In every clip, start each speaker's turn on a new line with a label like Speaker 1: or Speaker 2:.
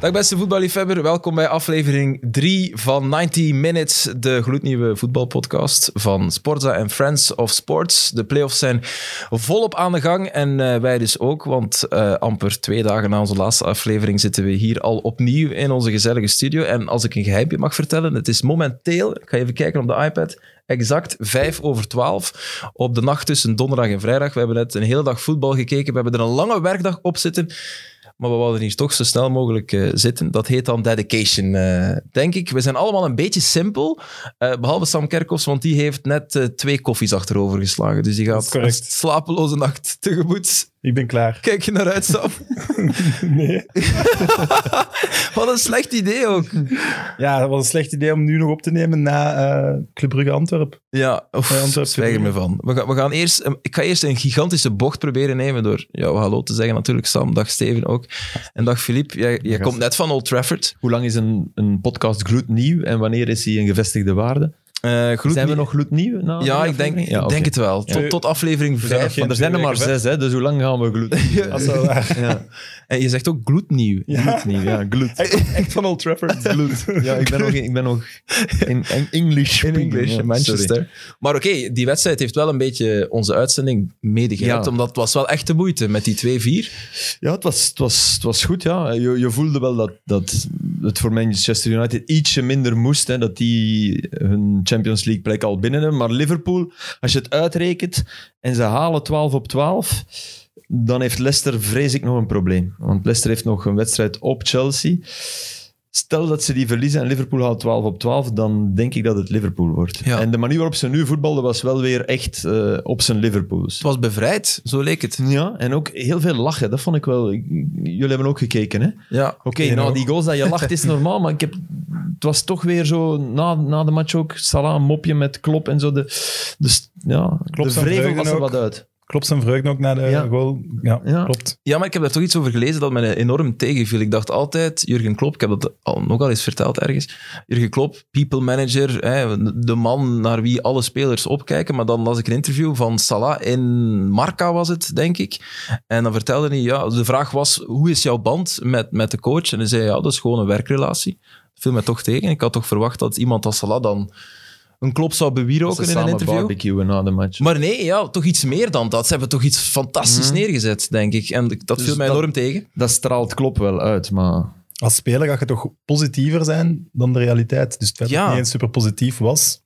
Speaker 1: Dag beste voetballiefhebber, welkom bij aflevering 3 van 90 Minutes, de gloednieuwe voetbalpodcast van Sporza en Friends of Sports. De playoffs zijn volop aan de gang en eh, wij dus ook, want eh, amper twee dagen na onze laatste aflevering zitten we hier al opnieuw in onze gezellige studio. En als ik een geheimje mag vertellen, het is momenteel, ik ga even kijken op de iPad, exact 5 over 12 op de nacht tussen donderdag en vrijdag. We hebben net een hele dag voetbal gekeken, we hebben er een lange werkdag op zitten. Maar we wilden hier toch zo snel mogelijk eh, zitten. Dat heet dan dedication, eh, denk ik. We zijn allemaal een beetje simpel. eh, behalve Sam Kerkhoffs, want die heeft net eh, twee koffies achterover geslagen. Dus die
Speaker 2: Dat
Speaker 1: gaat
Speaker 2: is
Speaker 1: een
Speaker 2: correct.
Speaker 1: slapeloze nacht tegemoet.
Speaker 2: Ik ben klaar.
Speaker 1: Kijk je naar uit, Sam?
Speaker 2: Nee.
Speaker 1: Wat een slecht idee ook.
Speaker 2: Ja, dat was een slecht idee om nu nog op te nemen na eh Club Brugge Antwerp.
Speaker 1: Ja,
Speaker 2: Ja,
Speaker 1: oef,
Speaker 2: Antwerpen.
Speaker 1: zwijg er me van. We gaan, we gaan eerst, een- ik ga eerst een gigantische bocht proberen nemen door jou hallo te zeggen natuurlijk, Sam. Dag Steven ook. En dag Filip. Jij, jij
Speaker 3: Dag,
Speaker 1: komt net van Old Trafford.
Speaker 3: Hoe lang is een, een podcast gloednieuw en wanneer is hij een gevestigde waarde?
Speaker 1: Eh groet
Speaker 3: zijn we
Speaker 1: niet-
Speaker 3: nog gloednieuw? na die
Speaker 1: Ja, ik denk,
Speaker 3: aflevering? Ja,
Speaker 1: ik
Speaker 3: oké.
Speaker 1: denk het wel. Tot,
Speaker 2: Twee-
Speaker 1: tot aflevering
Speaker 2: zijn nog
Speaker 1: 5.
Speaker 2: geen
Speaker 3: Want er zijn er maar
Speaker 2: Twee weken
Speaker 3: zes, hè, dus hoe lang gaan we gloednieuw?
Speaker 2: Als we daar-
Speaker 3: ja.
Speaker 1: En je zegt ook gloednieuw.
Speaker 3: Gloednieuw, ja, gloed.
Speaker 2: Echt van Old Trafford.
Speaker 3: Ja, ik ben nog in, ik ben nog in, in English.
Speaker 1: In
Speaker 3: speaking,
Speaker 1: English,
Speaker 3: ja,
Speaker 1: in Manchester. Maar oké, die wedstrijd heeft wel een beetje onze uitzending medegehaald.
Speaker 3: Ja.
Speaker 1: Omdat het was wel echt de moeite met die 2-4.
Speaker 3: sorry. Ja, het was, het was, het was goed, ja. Je, je voelde wel dat, dat het voor Manchester United ietsje minder moest, hè, dat die hun Champions League plek al binnen hebben. Maar Liverpool, als je het uitrekent en ze halen 12 op 12, dan heeft Leicester, vrees ik, nog een probleem. Want Leicester heeft nog een wedstrijd op Chelsea. Stel dat ze die verliezen en Liverpool haalt 12 op 12, dan denk ik dat het Liverpool wordt.
Speaker 1: Ja.
Speaker 3: En de manier waarop ze nu voetbalden was wel weer echt eh, op zijn Liverpools.
Speaker 1: Het was bevrijd, zo leek het.
Speaker 3: Ja, en ook heel veel lachen. Dat vond ik wel... ik- Jullie hebben ook gekeken, hè? Oké,
Speaker 1: Ja.
Speaker 2: Ja,
Speaker 3: nou,
Speaker 2: ook.
Speaker 3: die goals dat je lacht is normaal, maar ik heb, het was toch weer zo... Na, na de match ook, Salah een mopje met Klop en zo. De, dus ja,
Speaker 2: Klopt,
Speaker 3: de
Speaker 2: Van
Speaker 3: vrevel
Speaker 2: Bruggen
Speaker 3: was er
Speaker 2: ook.
Speaker 3: wat uit.
Speaker 2: Klopt zijn vreugde ook naar de
Speaker 3: Ja.
Speaker 2: goal. Ja,
Speaker 3: Ja.
Speaker 2: klopt.
Speaker 1: ja, maar ik heb daar toch iets over gelezen dat me enorm tegenviel. Ik dacht altijd, Jurgen Klopp, ik heb dat al, nogal eens verteld ergens. Jurgen Klopp, people manager, hè, de man naar wie alle spelers opkijken. Maar dan las ik een interview van Salah in Marca, was het, denk ik. En dan vertelde hij, ja, de vraag was, hoe is jouw band met, met de coach? En hij zei, ja, dat is gewoon een werkrelatie. Dat viel mij toch tegen. Ik had toch verwacht dat iemand als Salah dan een klop zou bewieroken in een
Speaker 3: samen
Speaker 1: interview.
Speaker 3: barbecuen na de match.
Speaker 1: Maar nee, ja, toch iets meer dan dat. Ze hebben toch iets fantastisch
Speaker 3: Mhm.
Speaker 1: neergezet, denk ik. En dat
Speaker 3: Dus
Speaker 1: viel mij
Speaker 3: dat-
Speaker 1: enorm tegen.
Speaker 3: dat straalt Klop wel uit, maar...
Speaker 2: Als speler ga je toch positiever zijn dan de realiteit. Dus het feit dat
Speaker 1: Ja.
Speaker 2: het niet eens super positief was.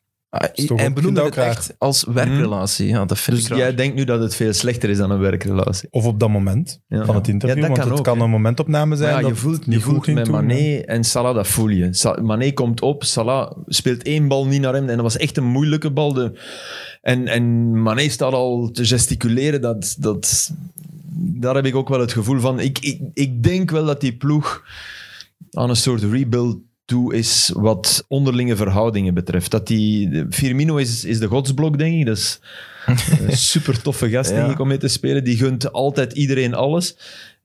Speaker 2: is toch
Speaker 1: en
Speaker 2: ook-
Speaker 1: Ah, benoemde
Speaker 2: vind
Speaker 1: het
Speaker 2: ik ook raar.
Speaker 1: echt als werkrelatie. Ja, dat vind
Speaker 3: Dus
Speaker 1: ik raar.
Speaker 3: jij denkt nu dat het veel slechter is dan een werkrelatie.
Speaker 2: Of op dat moment
Speaker 3: Ja.
Speaker 2: van het interview.
Speaker 3: Ja, dat
Speaker 2: want
Speaker 3: kan
Speaker 2: het
Speaker 3: ook,
Speaker 2: kan
Speaker 3: hè.
Speaker 2: een momentopname zijn.
Speaker 3: Maar ja, je
Speaker 2: dat
Speaker 3: voelt,
Speaker 2: niet
Speaker 3: je voelt
Speaker 2: ging
Speaker 3: met
Speaker 2: toen.
Speaker 3: Mané en Salah, dat voel je. Sa- Mané komt op, Salah speelt één bal niet naar hem. En dat was echt een moeilijke bal. De, en, en Mané staat al te gesticuleren. Dat, dat, daar heb ik ook wel het gevoel van. Ik, ik, ik denk wel dat die ploeg aan een soort rebuild toe is wat onderlinge verhoudingen betreft. Dat die, Firmino is, is de godsblok, denk ik. Dat is een super toffe gast
Speaker 1: Ja.
Speaker 3: denk ik, om mee te spelen. Die gunt altijd iedereen alles.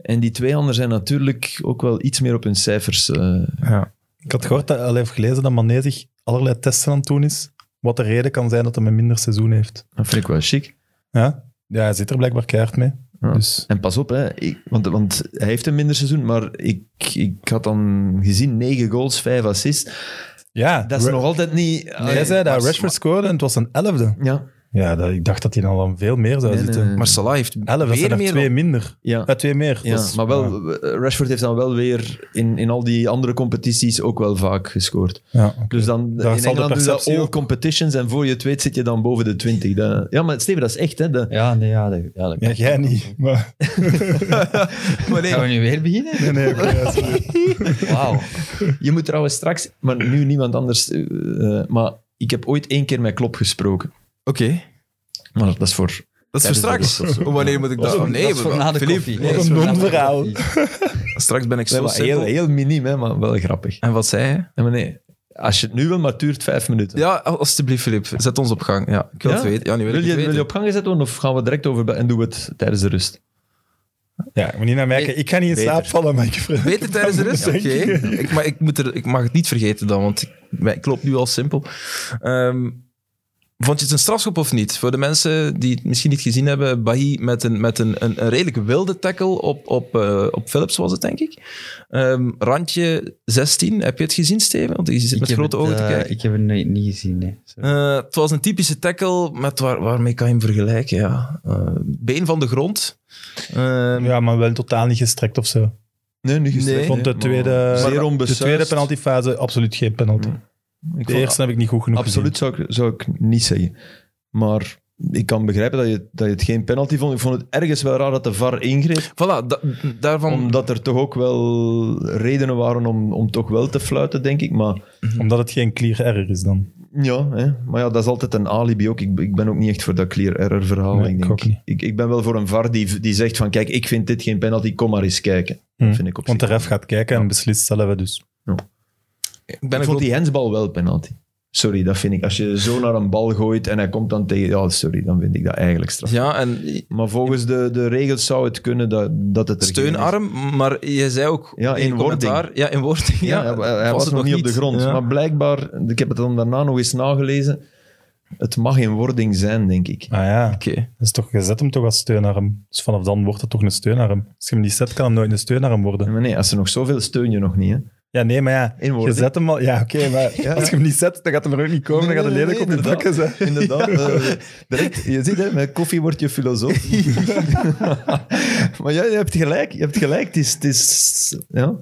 Speaker 3: En die twee anderen zijn natuurlijk ook wel iets meer op hun cijfers. eh.
Speaker 2: Ja. Ik had gehoord dat, al even gelezen dat Mané zich allerlei testen aan het doen is. Wat de reden kan zijn dat hij een minder seizoen heeft.
Speaker 3: dat vind ik wel chic.
Speaker 2: Ja, ja hij zit er blijkbaar keihard mee.
Speaker 3: Ja.
Speaker 2: Dus
Speaker 3: En pas op, hè, ik, want, want hij heeft een minder seizoen, maar ik, ik had dan gezien negen goals, vijf assists.
Speaker 2: ja,
Speaker 3: Dat is
Speaker 2: Ra-
Speaker 3: nog altijd niet...
Speaker 2: jij zei dat
Speaker 3: maar-
Speaker 2: Rashford scoorde en het was een elfde.
Speaker 3: Ja,
Speaker 2: Ja, dat, ik dacht dat hij al aan veel meer zou
Speaker 3: Nee,
Speaker 2: zitten.
Speaker 3: nee, nee.
Speaker 1: Maar Salah heeft
Speaker 2: Elf, dat zijn
Speaker 1: weer
Speaker 2: er
Speaker 1: meer
Speaker 2: twee
Speaker 1: dan-
Speaker 2: minder.
Speaker 3: ja.
Speaker 2: Ja, twee meer.
Speaker 3: Ja,
Speaker 2: Dat is-
Speaker 3: maar wel, eh, Rashford heeft dan wel weer in, in al die andere competities ook wel vaak gescoord.
Speaker 2: Ja.
Speaker 3: Dus dan
Speaker 2: Daar
Speaker 3: in
Speaker 2: zal de
Speaker 3: Engeland doen ze
Speaker 2: perceptie
Speaker 3: all
Speaker 2: ook-
Speaker 3: competitions en voor je het weet zit je dan boven de 20. Dat- ja, maar Steven, dat is echt. Hè, de-
Speaker 4: Ja, nee, ja, dat, ja, dat
Speaker 2: Ja, jij niet. Maar...
Speaker 1: Maar nee,
Speaker 4: Gaan we nu weer beginnen?
Speaker 2: Nee, nee, oké, ja, sorry.
Speaker 4: Wauw.
Speaker 3: Je moet trouwens straks, maar nu niemand anders. eh, eh, maar ik heb ooit één keer met Klop gesproken.
Speaker 1: Oké,
Speaker 3: Maar dat is voor.
Speaker 1: dat is
Speaker 3: Ja,
Speaker 1: voor
Speaker 3: dus dat
Speaker 1: straks.
Speaker 3: is
Speaker 1: Oh, Wanneer moet ik dat?
Speaker 4: Dat is-
Speaker 1: nee,
Speaker 4: dat is voor
Speaker 1: maar-
Speaker 4: na de
Speaker 1: Philippe,
Speaker 4: koffie.
Speaker 1: nee,
Speaker 2: Dat is
Speaker 4: voor
Speaker 2: een
Speaker 4: na de
Speaker 2: non-verhaal.
Speaker 4: koffie.
Speaker 1: straks ben ik
Speaker 3: Nee,
Speaker 1: zo
Speaker 3: maar heel,
Speaker 1: simpel.
Speaker 3: heel miniem, hè, maar wel grappig.
Speaker 1: En wat zei hij?
Speaker 3: Ja, maar nee, als je het nu wil, maar het duurt vijf minuten.
Speaker 1: Ja, alstublieft, Filip. Zet ons op gang. Ja, ik wil
Speaker 3: Ja?
Speaker 1: het weten. Ja, nu wil,
Speaker 3: wil,
Speaker 1: ik het
Speaker 3: je, wil je
Speaker 1: weten.
Speaker 3: op gang gezet worden of gaan we direct over en doen we het tijdens de rust?
Speaker 2: ja, ik moet niet naar merken. Ik ga niet in
Speaker 3: Beter.
Speaker 2: slaap vallen, maar ik vrees.
Speaker 1: Beter tijdens de rust? Oké.
Speaker 2: Denk ik.
Speaker 1: Ik, maar ik, moet er- ik mag het niet vergeten dan, want ik, ik loop nu al simpel. Ehm, Vond je het een strafschop of niet? Voor de mensen die het misschien niet gezien hebben, Bahi met een, met een, een, een redelijk wilde tackle op, op, eh, op Philips was het, denk ik. Ehm, randje 16, heb je het gezien, Steven? Want je zit
Speaker 4: Ik
Speaker 1: met
Speaker 4: heb
Speaker 1: grote
Speaker 4: het,
Speaker 1: ogen te
Speaker 4: eh,
Speaker 1: kijken.
Speaker 4: Ik heb het niet, niet gezien, hè. Sorry.
Speaker 1: Eh, het was een typische tackle, met waar, waarmee kan je hem vergelijken? Ja. Eh, been van de grond. Ehm,
Speaker 2: Ja, maar wel totaal niet gestrekt of zo.
Speaker 3: Nee, niet gestrekt.
Speaker 1: Nee.
Speaker 2: Ik vond de
Speaker 3: maar
Speaker 2: tweede,
Speaker 3: Zeer
Speaker 2: de
Speaker 3: onbesuist.
Speaker 2: tweede penaltyfase absoluut geen penalty.
Speaker 3: Ik
Speaker 2: De
Speaker 3: vond-
Speaker 2: eerste heb ik niet goed genoeg
Speaker 3: Mm. Absoluut zou ik, zou ik niet zeggen. Maar ik kan begrijpen dat je, dat je het geen penalty vond. Ik vond het ergens wel raar dat de VAR ingreep.
Speaker 1: Voilà, da- daarvan...
Speaker 3: Omdat er toch ook wel redenen waren om, om toch wel te fluiten, denk ik. Maar
Speaker 2: gezien. Mm. Omdat het geen clear error is dan.
Speaker 3: ja, hè. maar ja dat is altijd een alibi ook. Ik, ik ben ook niet echt voor dat clear error verhaal.
Speaker 2: Nee,
Speaker 3: ik,
Speaker 2: ik
Speaker 3: denk.
Speaker 2: ook niet.
Speaker 3: Ik, ik ben wel voor een VAR die, die zegt van kijk, ik vind dit geen penalty, kom maar eens kijken.
Speaker 2: Hm.
Speaker 3: Dat vind ik op
Speaker 2: Want de
Speaker 3: zich.
Speaker 2: ref gaat kijken en beslist zelf hè, dus.
Speaker 1: ik ben
Speaker 3: ik
Speaker 1: een
Speaker 3: vond
Speaker 1: groot-
Speaker 3: die hensbal wel penalty. Sorry, dat vind ik. Als je zo naar een bal gooit en hij komt dan tegen... Ja, sorry, dan vind ik dat eigenlijk straf.
Speaker 1: Ja, en
Speaker 3: Maar volgens de, de regels zou het kunnen dat, dat het er
Speaker 1: steunarm, maar je zei ook
Speaker 3: Ja,
Speaker 1: in je
Speaker 3: in wording.
Speaker 1: commentaar- Ja, in wording.
Speaker 3: geen is.
Speaker 1: Ja,
Speaker 3: Ja, hij- hij was,
Speaker 1: er
Speaker 3: nog niet op de grond.
Speaker 1: Ja.
Speaker 3: Maar blijkbaar, ik heb het dan daarna nog eens nagelezen, het mag in wording zijn, denk ik.
Speaker 2: Ah ja,
Speaker 1: Oké.
Speaker 2: dat is toch, je zet hem toch als steunarm. Dus vanaf dan wordt het toch een steunarm. Als je hem niet zet, kan hem nooit een steunarm worden.
Speaker 3: Maar nee, als er nog zoveel steun je nog niet. Hè.
Speaker 2: Ja, nee, maar ja,
Speaker 3: In
Speaker 2: je
Speaker 3: wording.
Speaker 2: zet hem al... Ja, oké, maar als je hem niet zet, dan gaat hem er ook niet komen. Dan gaat hij
Speaker 3: Nee,
Speaker 2: lelijk
Speaker 3: nee,
Speaker 2: op de
Speaker 3: inderdaad.
Speaker 2: bakken zijn.
Speaker 3: Inderdaad. eh, direct, je ziet, hè, met koffie word je filosoof. maar ja, je hebt gelijk. Je hebt gelijk. Het is... Het is ja.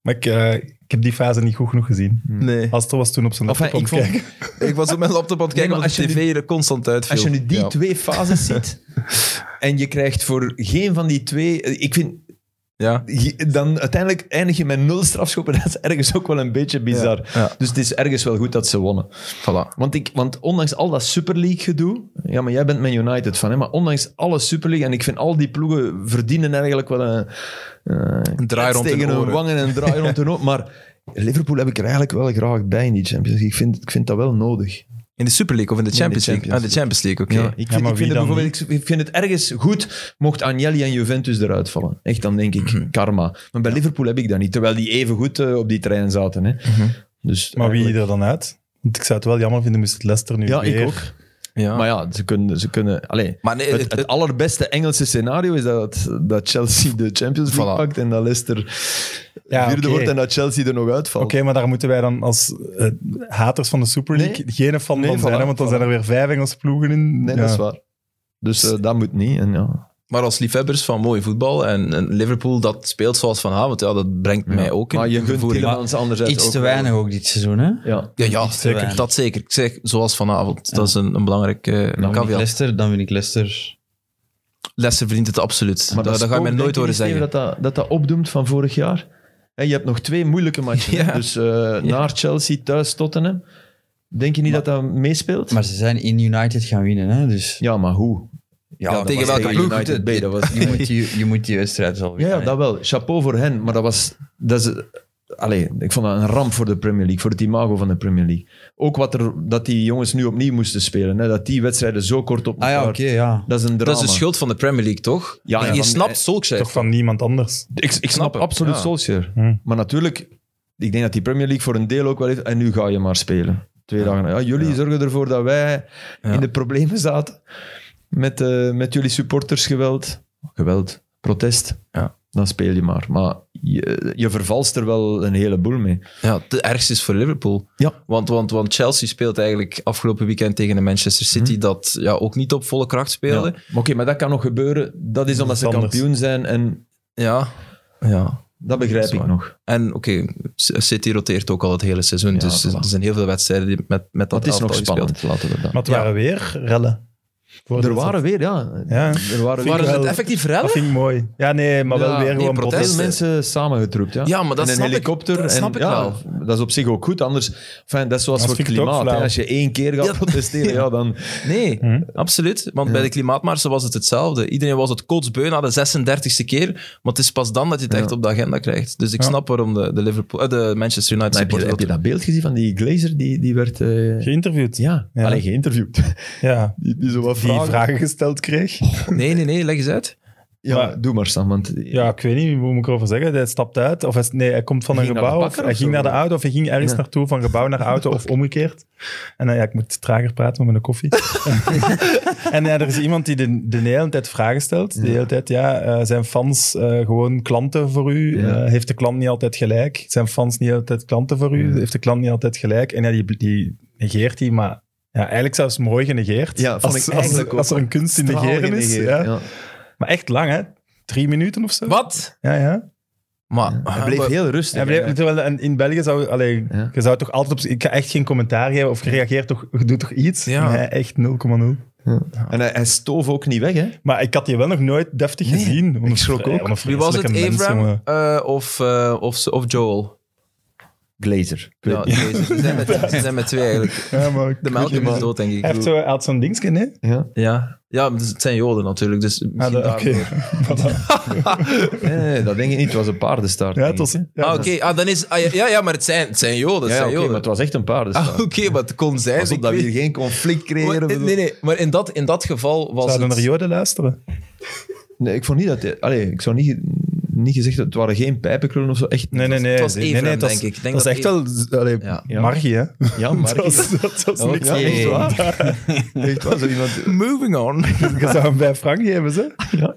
Speaker 2: Maar ik, eh, ik heb die fase niet goed genoeg gezien.
Speaker 1: Nee.
Speaker 2: Aster was toen op zijn laptop
Speaker 3: Enfin,
Speaker 2: aan
Speaker 3: eh, ik
Speaker 2: het
Speaker 3: vond-
Speaker 2: kijken.
Speaker 1: Ik was op mijn laptop aan het kijken,
Speaker 3: Nee, maar
Speaker 1: omdat de
Speaker 3: als je
Speaker 1: tv er constant uitviel.
Speaker 3: Als je nu die
Speaker 1: Ja.
Speaker 3: twee fases ziet en je krijgt voor geen van die twee... eh, Ik vind,
Speaker 1: Ja.
Speaker 3: Je- dan uiteindelijk eindig je met nul strafschoppen. Dat is ergens ook wel een beetje bizar.
Speaker 1: Ja.
Speaker 3: Dus het is ergens wel goed dat ze wonnen.
Speaker 1: Voilà.
Speaker 3: Want, ik, want ondanks al dat Super League gedoe... Ja, maar jij bent Man United van, hè? Maar ondanks alle Super League... En ik vind al die ploegen verdienen eigenlijk wel een... eh,
Speaker 1: Een draai
Speaker 3: klets
Speaker 1: rond hun
Speaker 3: tegen hun
Speaker 1: oren.
Speaker 3: wangen en een draai rond hun oren. Maar Liverpool heb ik er eigenlijk wel graag bij in die Champions League. Ik vind, ik vind dat wel nodig.
Speaker 1: In de Super League of in de
Speaker 3: Nee, in de
Speaker 1: Champions League? Ah, de Champions League, oké.
Speaker 3: Ja, ik, vind,
Speaker 2: maar
Speaker 3: ik,
Speaker 2: wie
Speaker 3: vind het
Speaker 2: dan
Speaker 3: bijvoorbeeld, ik vind het ergens goed mocht Agnelli en Juventus eruit vallen. Echt, dan denk ik karma. Maar bij Liverpool heb ik dat niet, terwijl die even goed eh, op die trein zaten. Hè.
Speaker 1: Mhm.
Speaker 3: Dus
Speaker 2: Maar wie
Speaker 3: eigenlijk-
Speaker 2: er dan uit? Want ik zou het wel jammer vinden, moest het Leicester nu
Speaker 3: Ja,
Speaker 2: weer... Ah.
Speaker 3: ik ook.
Speaker 1: Ja.
Speaker 3: Maar ja, ze kunnen... Ze kunnen allee,
Speaker 1: Maar nee,
Speaker 3: het,
Speaker 1: het-
Speaker 3: het allerbeste Engelse scenario is dat, dat Chelsea de Champions League
Speaker 1: Voilà.
Speaker 3: pakt en dat Leicester
Speaker 2: Ja,
Speaker 3: vierde
Speaker 2: oké.
Speaker 3: wordt en dat Chelsea er nog uitvalt.
Speaker 2: Oké, maar daar moeten wij dan als eh, haters van de Super League geen fan
Speaker 3: Nee,
Speaker 2: van zijn,
Speaker 3: voilà,
Speaker 2: hè, want dan
Speaker 3: voilà.
Speaker 2: zijn er weer vijf Engelse ploegen in.
Speaker 3: Nee,
Speaker 2: Ja.
Speaker 3: dat is waar. Dus eh, dat moet niet. En ja.
Speaker 1: Maar als liefhebbers van mooi voetbal en, en Liverpool dat speelt zoals vanavond, ja, dat brengt mij ook in
Speaker 3: Maar je gunt
Speaker 1: vervoering.
Speaker 3: Tielemans anderzijds
Speaker 4: Iets
Speaker 3: ook
Speaker 4: te
Speaker 1: eh,
Speaker 3: wel.
Speaker 4: weinig ook dit seizoen, hè?
Speaker 3: Ja.
Speaker 1: Ja, ja
Speaker 4: Iets te
Speaker 1: zeker.
Speaker 4: weinig.
Speaker 1: dat zeker. Ik zeg, zoals vanavond. Dat is een, een belangrijke eh,
Speaker 4: Dan vind ik
Speaker 1: caveat.
Speaker 4: Leicester, dan vind ik Leicester...
Speaker 1: Lessen verdient het absoluut.
Speaker 3: Maar
Speaker 1: dat, dat, ga je mij
Speaker 3: spook,
Speaker 1: nooit
Speaker 3: denk
Speaker 1: horen
Speaker 3: je niet,
Speaker 1: zeggen.
Speaker 3: Steven, Dat dat, dat dat opdoemt van vorig jaar. Hè, je hebt nog twee moeilijke matchen. hè.
Speaker 1: Ja.
Speaker 3: Dus eh, naar Chelsea, thuis Tottenham. Denk je niet dat dat meespeelt?
Speaker 4: Maar ze zijn in United gaan winnen, hè? Dus...
Speaker 3: ja, maar hoe?
Speaker 1: Ja,
Speaker 3: dat
Speaker 1: tegen
Speaker 3: was
Speaker 1: welke ploeg?
Speaker 3: United B, dat was...
Speaker 4: Je moet die, je moet die wedstrijd wel
Speaker 3: Ja,
Speaker 4: winnen.
Speaker 3: ja, dat wel. Chapeau voor hen. Maar dat was... Dat is, allee, ik vond dat een ramp voor de Premier League. Voor het imago van de Premier League. Ook wat er, dat die jongens nu opnieuw moesten spelen. Hè, dat die wedstrijden zo kort op
Speaker 4: Ah ja, oké,
Speaker 3: elkaar-
Speaker 4: ja.
Speaker 3: Dat is een drama.
Speaker 1: Dat is de schuld van de Premier League, toch?
Speaker 3: Ja,
Speaker 1: En
Speaker 3: ja,
Speaker 1: je
Speaker 3: van-
Speaker 1: snapt
Speaker 3: eh,
Speaker 1: Solskjaer.
Speaker 2: Toch van niemand anders.
Speaker 3: Ik, ik
Speaker 1: Snap
Speaker 3: snap
Speaker 1: hem,
Speaker 3: absoluut
Speaker 1: ja.
Speaker 3: Solskjaer.
Speaker 2: Hmm.
Speaker 3: Maar natuurlijk, ik denk dat die Premier League voor een deel ook wel heeft. En nu ga je maar spelen. Twee dagen. na- Ja, jullie zorgen ervoor dat wij
Speaker 1: Ja.
Speaker 3: in de problemen zaten. Met, eh, met jullie supportersgeweld. Geweld, protest.
Speaker 1: Ja.
Speaker 3: Dan speel je maar. Maar je, je vervalst er wel een heleboel mee.
Speaker 1: Ja, het ergste is voor Liverpool.
Speaker 3: Ja.
Speaker 1: Want, want, want Chelsea speelt eigenlijk afgelopen weekend tegen de Manchester City, dat ja, ook niet op volle kracht
Speaker 3: Ja.
Speaker 1: speelde.
Speaker 3: Maar Oké, maar dat kan nog gebeuren. Dat is omdat
Speaker 2: is
Speaker 3: ze
Speaker 2: anders.
Speaker 3: kampioen zijn. En
Speaker 1: Ja. ja.
Speaker 3: dat begrijp
Speaker 1: Dat is
Speaker 3: ik
Speaker 1: waar.
Speaker 3: nog.
Speaker 1: En oké, City roteert ook al het hele seizoen,
Speaker 3: Ja,
Speaker 1: dus
Speaker 3: voilà.
Speaker 1: er zijn heel veel wedstrijden die met, met
Speaker 3: Dat
Speaker 1: dat
Speaker 3: het is nog
Speaker 1: elftal gespeeld.
Speaker 3: spannend. Laten we dat.
Speaker 2: Maar het
Speaker 1: Ja.
Speaker 2: waren weer rellen. Voor de-
Speaker 3: er waren weer, ja.
Speaker 2: Ja.
Speaker 3: Er waren weer.
Speaker 1: Waren
Speaker 2: wel-
Speaker 1: het effectief
Speaker 2: Dat
Speaker 1: rellen?
Speaker 2: vind ik mooi. Ja, nee, maar
Speaker 3: Ja,
Speaker 2: wel weer
Speaker 3: nee,
Speaker 2: gewoon
Speaker 1: protest.
Speaker 2: protest.
Speaker 3: Veel mensen samengetroept, ja.
Speaker 1: Ja, maar dat
Speaker 3: en een
Speaker 1: snap ik.
Speaker 3: helikopter.
Speaker 1: Dat
Speaker 3: en,
Speaker 1: snap ik
Speaker 3: ja,
Speaker 1: wel.
Speaker 3: Dat is op zich ook goed. Anders, enfin, dat is zoals
Speaker 2: Dat
Speaker 3: voor het
Speaker 2: vind ik ook
Speaker 3: klimaat. hè.
Speaker 2: flauw.
Speaker 3: Als je één keer gaat
Speaker 1: Ja.
Speaker 3: protesteren, ja, dan...
Speaker 1: Nee,
Speaker 2: Hm?
Speaker 1: absoluut. Want bij de klimaatmarsen was het hetzelfde. Iedereen was het kotsbeu na de 36e keer, maar het is pas dan dat je het echt op de agenda krijgt. Dus ik
Speaker 2: Ja.
Speaker 1: snap waarom de, de, Liverpool, eh, de Manchester United
Speaker 3: heb, je,
Speaker 1: supporters
Speaker 3: heb je
Speaker 1: dat
Speaker 3: dat beeld gezien van die Glazer? Die, die werd... eh,
Speaker 2: Geïnterviewd.
Speaker 3: ja,
Speaker 2: Ja.
Speaker 3: Allee, geïnterviewd.
Speaker 2: Ja.
Speaker 3: Die, die zo wat
Speaker 2: Die
Speaker 3: vragen...
Speaker 2: vragen gesteld kreeg.
Speaker 1: doen. Nee, nee, nee, leg eens uit.
Speaker 3: Ja,
Speaker 2: Maar-
Speaker 3: doe maar, Sam. Want
Speaker 2: Ja, ik weet niet, hoe moet ik erover zeggen? Hij stapt uit, of hij, nee, hij komt van
Speaker 3: Hij
Speaker 2: een
Speaker 3: ging naar de
Speaker 2: gebouw, of
Speaker 3: bakker
Speaker 2: hij
Speaker 3: of
Speaker 2: ging
Speaker 3: zo,
Speaker 2: naar de
Speaker 3: ja.
Speaker 2: auto, of hij ging ergens
Speaker 3: Ja.
Speaker 2: naartoe, van gebouw naar auto, of omgekeerd. En dan, ja, ik moet trager praten met mijn koffie. en ja, er is iemand die de, de hele tijd vragen stelt. De
Speaker 3: Ja.
Speaker 2: hele tijd, ja, eh, zijn fans eh, gewoon klanten voor u?
Speaker 3: Ja.
Speaker 2: Eh, heeft de klant niet altijd gelijk? Zijn fans niet altijd klanten voor u?
Speaker 3: Ja.
Speaker 2: Heeft de klant niet altijd gelijk? En ja, die, die negeert die, maar... Ja, eigenlijk zelfs mooi genegeerd.
Speaker 3: Ja, vond
Speaker 2: als,
Speaker 3: ik
Speaker 2: als-
Speaker 3: eigenlijk
Speaker 2: als,
Speaker 3: ook
Speaker 2: er een kunst in
Speaker 3: straal
Speaker 2: negeren is.
Speaker 3: genegeerd,
Speaker 2: ja.
Speaker 3: ja.
Speaker 2: Maar echt lang, hè? Drie minuten of zo?
Speaker 1: Wat?
Speaker 2: Ja, ja.
Speaker 1: Maar, eh,
Speaker 3: Hij bleef heel rustig.
Speaker 2: Hij bleef,
Speaker 3: hè.
Speaker 2: terwijl en in België zou... Allee,
Speaker 3: Ja.
Speaker 2: Je zou toch altijd op... Ik ga echt geen commentaar geven of je reageert toch... Je doet toch iets?
Speaker 1: Ja.
Speaker 2: Nee, echt 0,0.
Speaker 3: En hij, hij stoof ook niet weg, hè?
Speaker 2: Maar ik had die wel nog nooit deftig
Speaker 3: Nee,
Speaker 2: gezien. Ik
Speaker 3: schrok ook.
Speaker 1: Wie was het? Abraham eh, of, eh, of, ze- of Joel?
Speaker 3: Glazer. Ik weet
Speaker 1: Ja,
Speaker 3: niet.
Speaker 1: deze. Ze zijn, met, ze zijn met twee eigenlijk.
Speaker 2: Ja, maar ik
Speaker 1: De
Speaker 2: weet niet,
Speaker 1: Malcolm is
Speaker 2: man.
Speaker 1: dood, denk ik.
Speaker 2: Hij heeft zo, hij had zo'n dingetje, nee?
Speaker 3: Ja.
Speaker 1: Ja, ja maar het zijn Joden natuurlijk, dus misschien
Speaker 2: Ah, dat-
Speaker 1: daardoor.
Speaker 2: Oké.
Speaker 3: Nee, nee, nee, dat denk ik niet. Het was een paardenstaart.
Speaker 2: Ja, het
Speaker 3: denk
Speaker 2: was...
Speaker 3: ik.
Speaker 2: ja,
Speaker 1: ah, oké. Ah, dan is, ah, ja, ja, ja, maar het zijn, het zijn Joden. Het
Speaker 3: Ja, ja,
Speaker 1: zijn
Speaker 3: oké, maar
Speaker 1: Joden.
Speaker 3: het was echt een paardenstaart.
Speaker 1: Ah, oké, maar het kon zijn.
Speaker 3: Alsof
Speaker 1: ik
Speaker 3: dat we
Speaker 1: weet-
Speaker 3: hier geen conflict
Speaker 1: Maar- eh,
Speaker 3: creëren. bedoel-
Speaker 1: nee, nee, maar in dat, in dat geval was
Speaker 2: Zouden
Speaker 1: het...
Speaker 2: er joden luisteren?
Speaker 3: Nee, ik vond niet dat... hij- Allee, ik zou niet, niet gezegd dat het waren geen pijpenkrullen of zo. Echt,
Speaker 2: Nee, nee, nee.
Speaker 1: het was
Speaker 2: nee, nee,
Speaker 1: Abraham,
Speaker 2: het was-
Speaker 1: denk ik. Ik denk
Speaker 2: dat is echt
Speaker 1: dat
Speaker 2: wel... Allee,
Speaker 1: Ja.
Speaker 3: Ja.
Speaker 2: margie, hè?
Speaker 3: Ja, maar...
Speaker 2: Dat was, dat was
Speaker 3: Ja,
Speaker 2: niks.
Speaker 3: ja, echt
Speaker 4: Nee.
Speaker 3: waar. Echt waar, zo iemand...
Speaker 1: Moving on.
Speaker 2: Je zou hem bij Frank geven, ze.
Speaker 3: Ja.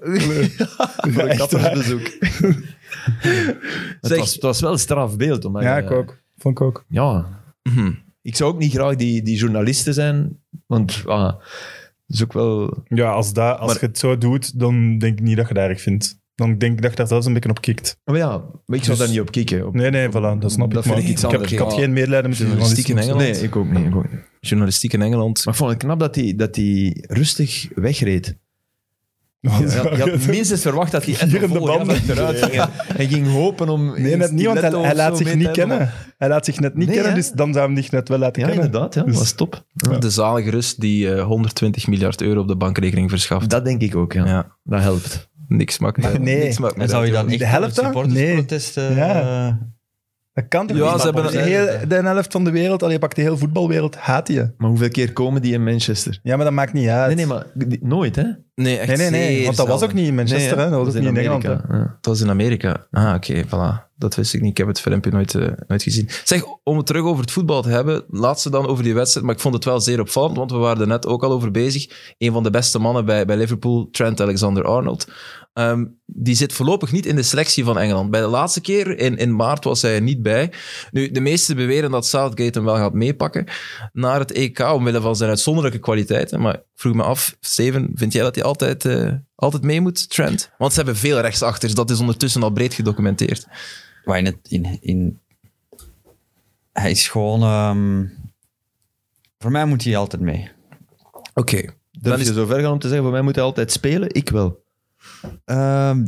Speaker 3: Voor een
Speaker 2: echt
Speaker 3: kappersbezoek. het,
Speaker 1: Zeg-
Speaker 3: was, het was wel een strafbeeld. Omdat
Speaker 2: Ja,
Speaker 3: je-
Speaker 2: ik ook. Vond ik ook.
Speaker 3: Ja.
Speaker 1: Mhm.
Speaker 3: Ik zou ook niet graag die, die journalisten zijn, want ah, dat is ook wel...
Speaker 2: Ja, als, dat, als
Speaker 3: Maar-
Speaker 2: je het zo doet, dan denk ik niet dat je dat erg vindt. Dan denk ik dat je daar zelfs een beetje op kikt.
Speaker 3: Maar ja, maar ik zou
Speaker 2: Dus-
Speaker 3: daar niet op kikken. Op
Speaker 2: Nee, nee, voilà, dat snap
Speaker 3: Dat
Speaker 2: ik. maar
Speaker 3: vind ik iets
Speaker 2: ik, heb,
Speaker 3: anders,
Speaker 2: ik had
Speaker 1: ja.
Speaker 2: geen medelijden met de
Speaker 1: Journalistiek
Speaker 2: journalisten.
Speaker 1: in Engeland.
Speaker 3: Nee, ik ook niet. Ik ook niet.
Speaker 1: Journalistiek in Engeland.
Speaker 3: Maar ik vond het knap dat hij dat die rustig wegreed.
Speaker 2: Ja,
Speaker 3: Je had, je had minstens verwacht dat hij echt
Speaker 2: Hier in de
Speaker 3: vol gas
Speaker 2: banden.
Speaker 3: achteruit ging. en- En ging hopen om...
Speaker 2: Nee, net niet, want hij, hij laat zich niet kennen. Hij laat zich net niet
Speaker 3: Nee,
Speaker 2: kennen,
Speaker 3: hè?
Speaker 2: dus dan zou hem zich net wel laten
Speaker 3: Ja,
Speaker 2: kennen.
Speaker 3: inderdaad. Ja,
Speaker 2: Dus-
Speaker 3: dat was top.
Speaker 1: De zalige rust die eh, 120 miljard euro op de bankrekening verschaft.
Speaker 3: Dat denk ik ook, ja.
Speaker 1: Ja,
Speaker 3: Dat helpt.
Speaker 1: niks maakt uit.
Speaker 2: Nee.
Speaker 1: Niks maakt
Speaker 4: En
Speaker 1: meer
Speaker 4: zou je
Speaker 1: uit,
Speaker 4: dan
Speaker 2: De
Speaker 4: echt
Speaker 2: helft dan?
Speaker 4: supportersprotesten...
Speaker 2: Nee. Ja.
Speaker 4: eh,
Speaker 2: Dat kan toch
Speaker 1: Ja,
Speaker 2: niet?
Speaker 1: ze hebben-
Speaker 2: de, hele, de helft van de wereld, allee, je pakt de hele voetbalwereld, haat je.
Speaker 3: Maar hoeveel keer komen die in Manchester?
Speaker 2: Ja, maar dat maakt niet uit.
Speaker 3: Nee, nee, maar die- nooit, hè?
Speaker 1: jongen. Nee, echt
Speaker 2: nee, nee, nee,
Speaker 1: zeer
Speaker 2: want dat was ook
Speaker 1: zelden.
Speaker 2: niet in Manchester,
Speaker 3: Nee,
Speaker 2: hè? dat was ook
Speaker 3: is
Speaker 2: niet in Engeland.
Speaker 3: Amerika,
Speaker 2: hè.
Speaker 3: ja.
Speaker 1: Het was in Amerika. Ah, oké, voilà. Dat wist ik niet. Ik heb het filmpje nooit, eh, nooit gezien. Zeg, om het terug over het voetbal te hebben, laatste dan over die wedstrijd, maar ik vond het wel zeer opvallend, want we waren er net ook al over bezig. Een van de beste mannen bij, bij Liverpool, Trent Alexander-Arnold, ehm, die zit voorlopig niet in de selectie van Engeland. Bij de laatste keer, in, in maart, was hij er niet bij. Nu, de meesten beweren dat Southgate hem wel gaat meepakken naar het EK, omwille van zijn uitzonderlijke kwaliteiten. Maar ik vroeg me af, Steven, vind jij dat hij altijd, eh, altijd mee moet, Trent? Want ze hebben veel rechtsachters, dat is ondertussen al breed gedocumenteerd.
Speaker 4: Waar in het, in, in... Hij is gewoon... ehm, Voor mij moet hij altijd mee.
Speaker 1: Oké.
Speaker 3: Durf
Speaker 1: Dan is-
Speaker 3: je zo ver gaan om te zeggen, voor mij moet hij altijd spelen? Ik wel.
Speaker 4: Ehm,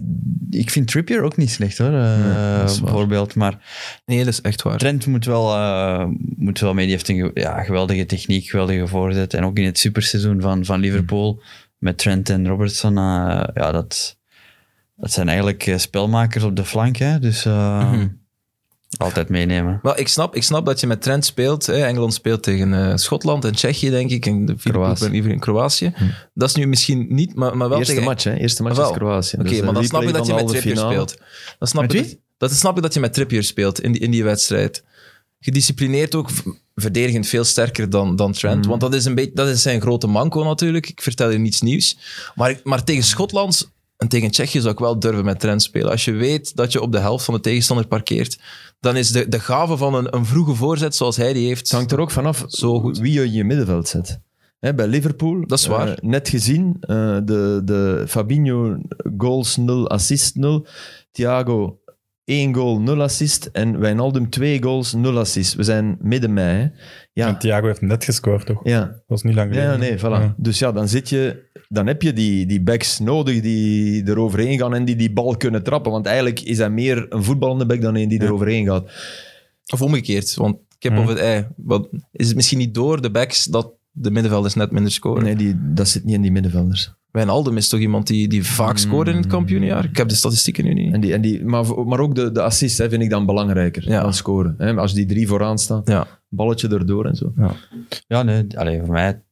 Speaker 4: ik vind Trippier ook niet slecht, hoor. eh, bijvoorbeeld, maar...
Speaker 1: Nee, dat is echt waar.
Speaker 4: Trent moet wel, eh, moet wel mee. Die heeft een ge- ja, geweldige techniek, geweldige voorzet. En ook in het superseizoen van, van Liverpool met Trent en Robertson. eh, ja, dat, dat zijn eigenlijk eh, spelmakers op de flank. Hè? Dus eh, altijd meenemen.
Speaker 1: Wel, ik snap, ik snap dat je met Trent speelt. Hè. Engeland speelt tegen eh, Schotland en Tsjechië, denk ik. En de vierde
Speaker 3: Kroatië. Hm.
Speaker 1: ploeg ben liever in Kroatië. Dat is nu misschien niet, maar, maar wel
Speaker 3: Eerste
Speaker 1: tegen... Ah,
Speaker 3: match, hè? Eerste match
Speaker 1: Wel.
Speaker 3: is Kroatië.
Speaker 1: Oké,
Speaker 3: Dus een
Speaker 1: maar dan snap ik
Speaker 3: replay
Speaker 1: dat je
Speaker 3: van de
Speaker 1: met Trippier
Speaker 3: halve finale.
Speaker 1: speelt. Dan snap
Speaker 4: Met
Speaker 1: ik
Speaker 4: wie?
Speaker 1: Dat, dat dan snap ik dat je met Trippier speelt in die, in die wedstrijd. Gedisciplineerd ook, v- verdedigend veel sterker dan, dan
Speaker 3: Mhm.
Speaker 1: Trent. Want dat is, een beetje, dat is zijn grote manco natuurlijk. Ik vertel je niets nieuws. Maar, ik- maar tegen Schotland en tegen Tsjechië zou ik wel durven met Trent spelen. Als je weet dat je op de helft van de tegenstander parkeert, dan is de, de gave van een, een vroege voorzet zoals hij die heeft...
Speaker 3: Het hangt er ook vanaf
Speaker 1: Zo goed.
Speaker 3: wie je in je middenveld zet. Hè, bij Liverpool,
Speaker 1: Dat is waar.
Speaker 3: eh, net gezien, eh, de, de Fabinho goals 0, assist 0. Thiago 1 goal, 0 assist. En Wijnaldum 2 goals, 0 assist. We zijn midden mei. hè.
Speaker 2: En
Speaker 3: Ja,
Speaker 2: Thiago heeft net gescoord, toch?
Speaker 3: ja.
Speaker 2: Dat was niet lang
Speaker 3: Ja,
Speaker 2: geleden.
Speaker 3: ja, nee, voilà.
Speaker 2: Ja.
Speaker 3: Dus ja, dan zit je... Dan heb je die, die backs nodig die eroverheen gaan en die die bal kunnen trappen. Want eigenlijk is hij meer een voetballende back dan een die eroverheen gaat.
Speaker 1: Of omgekeerd, want ik heb
Speaker 3: Mhm.
Speaker 2: Hmm.
Speaker 1: of het ei. Wat, is het misschien niet door de backs dat de middenvelders net minder scoren?
Speaker 3: Nee, die, dat zit niet in die middenvelders.
Speaker 1: Wijnaldum is toch iemand die, die vaak scoorde in het kampioenjaar? Ik heb de statistieken nu niet.
Speaker 3: Mm. En die, en die, maar, maar ook de, de assist hè, vind ik dan belangrijker
Speaker 1: Ja.
Speaker 3: dan scoren. Hè. Als die drie vooraan staan,
Speaker 1: Ja.
Speaker 3: balletje erdoor en zo.
Speaker 4: Ja, nee, allee, voor mij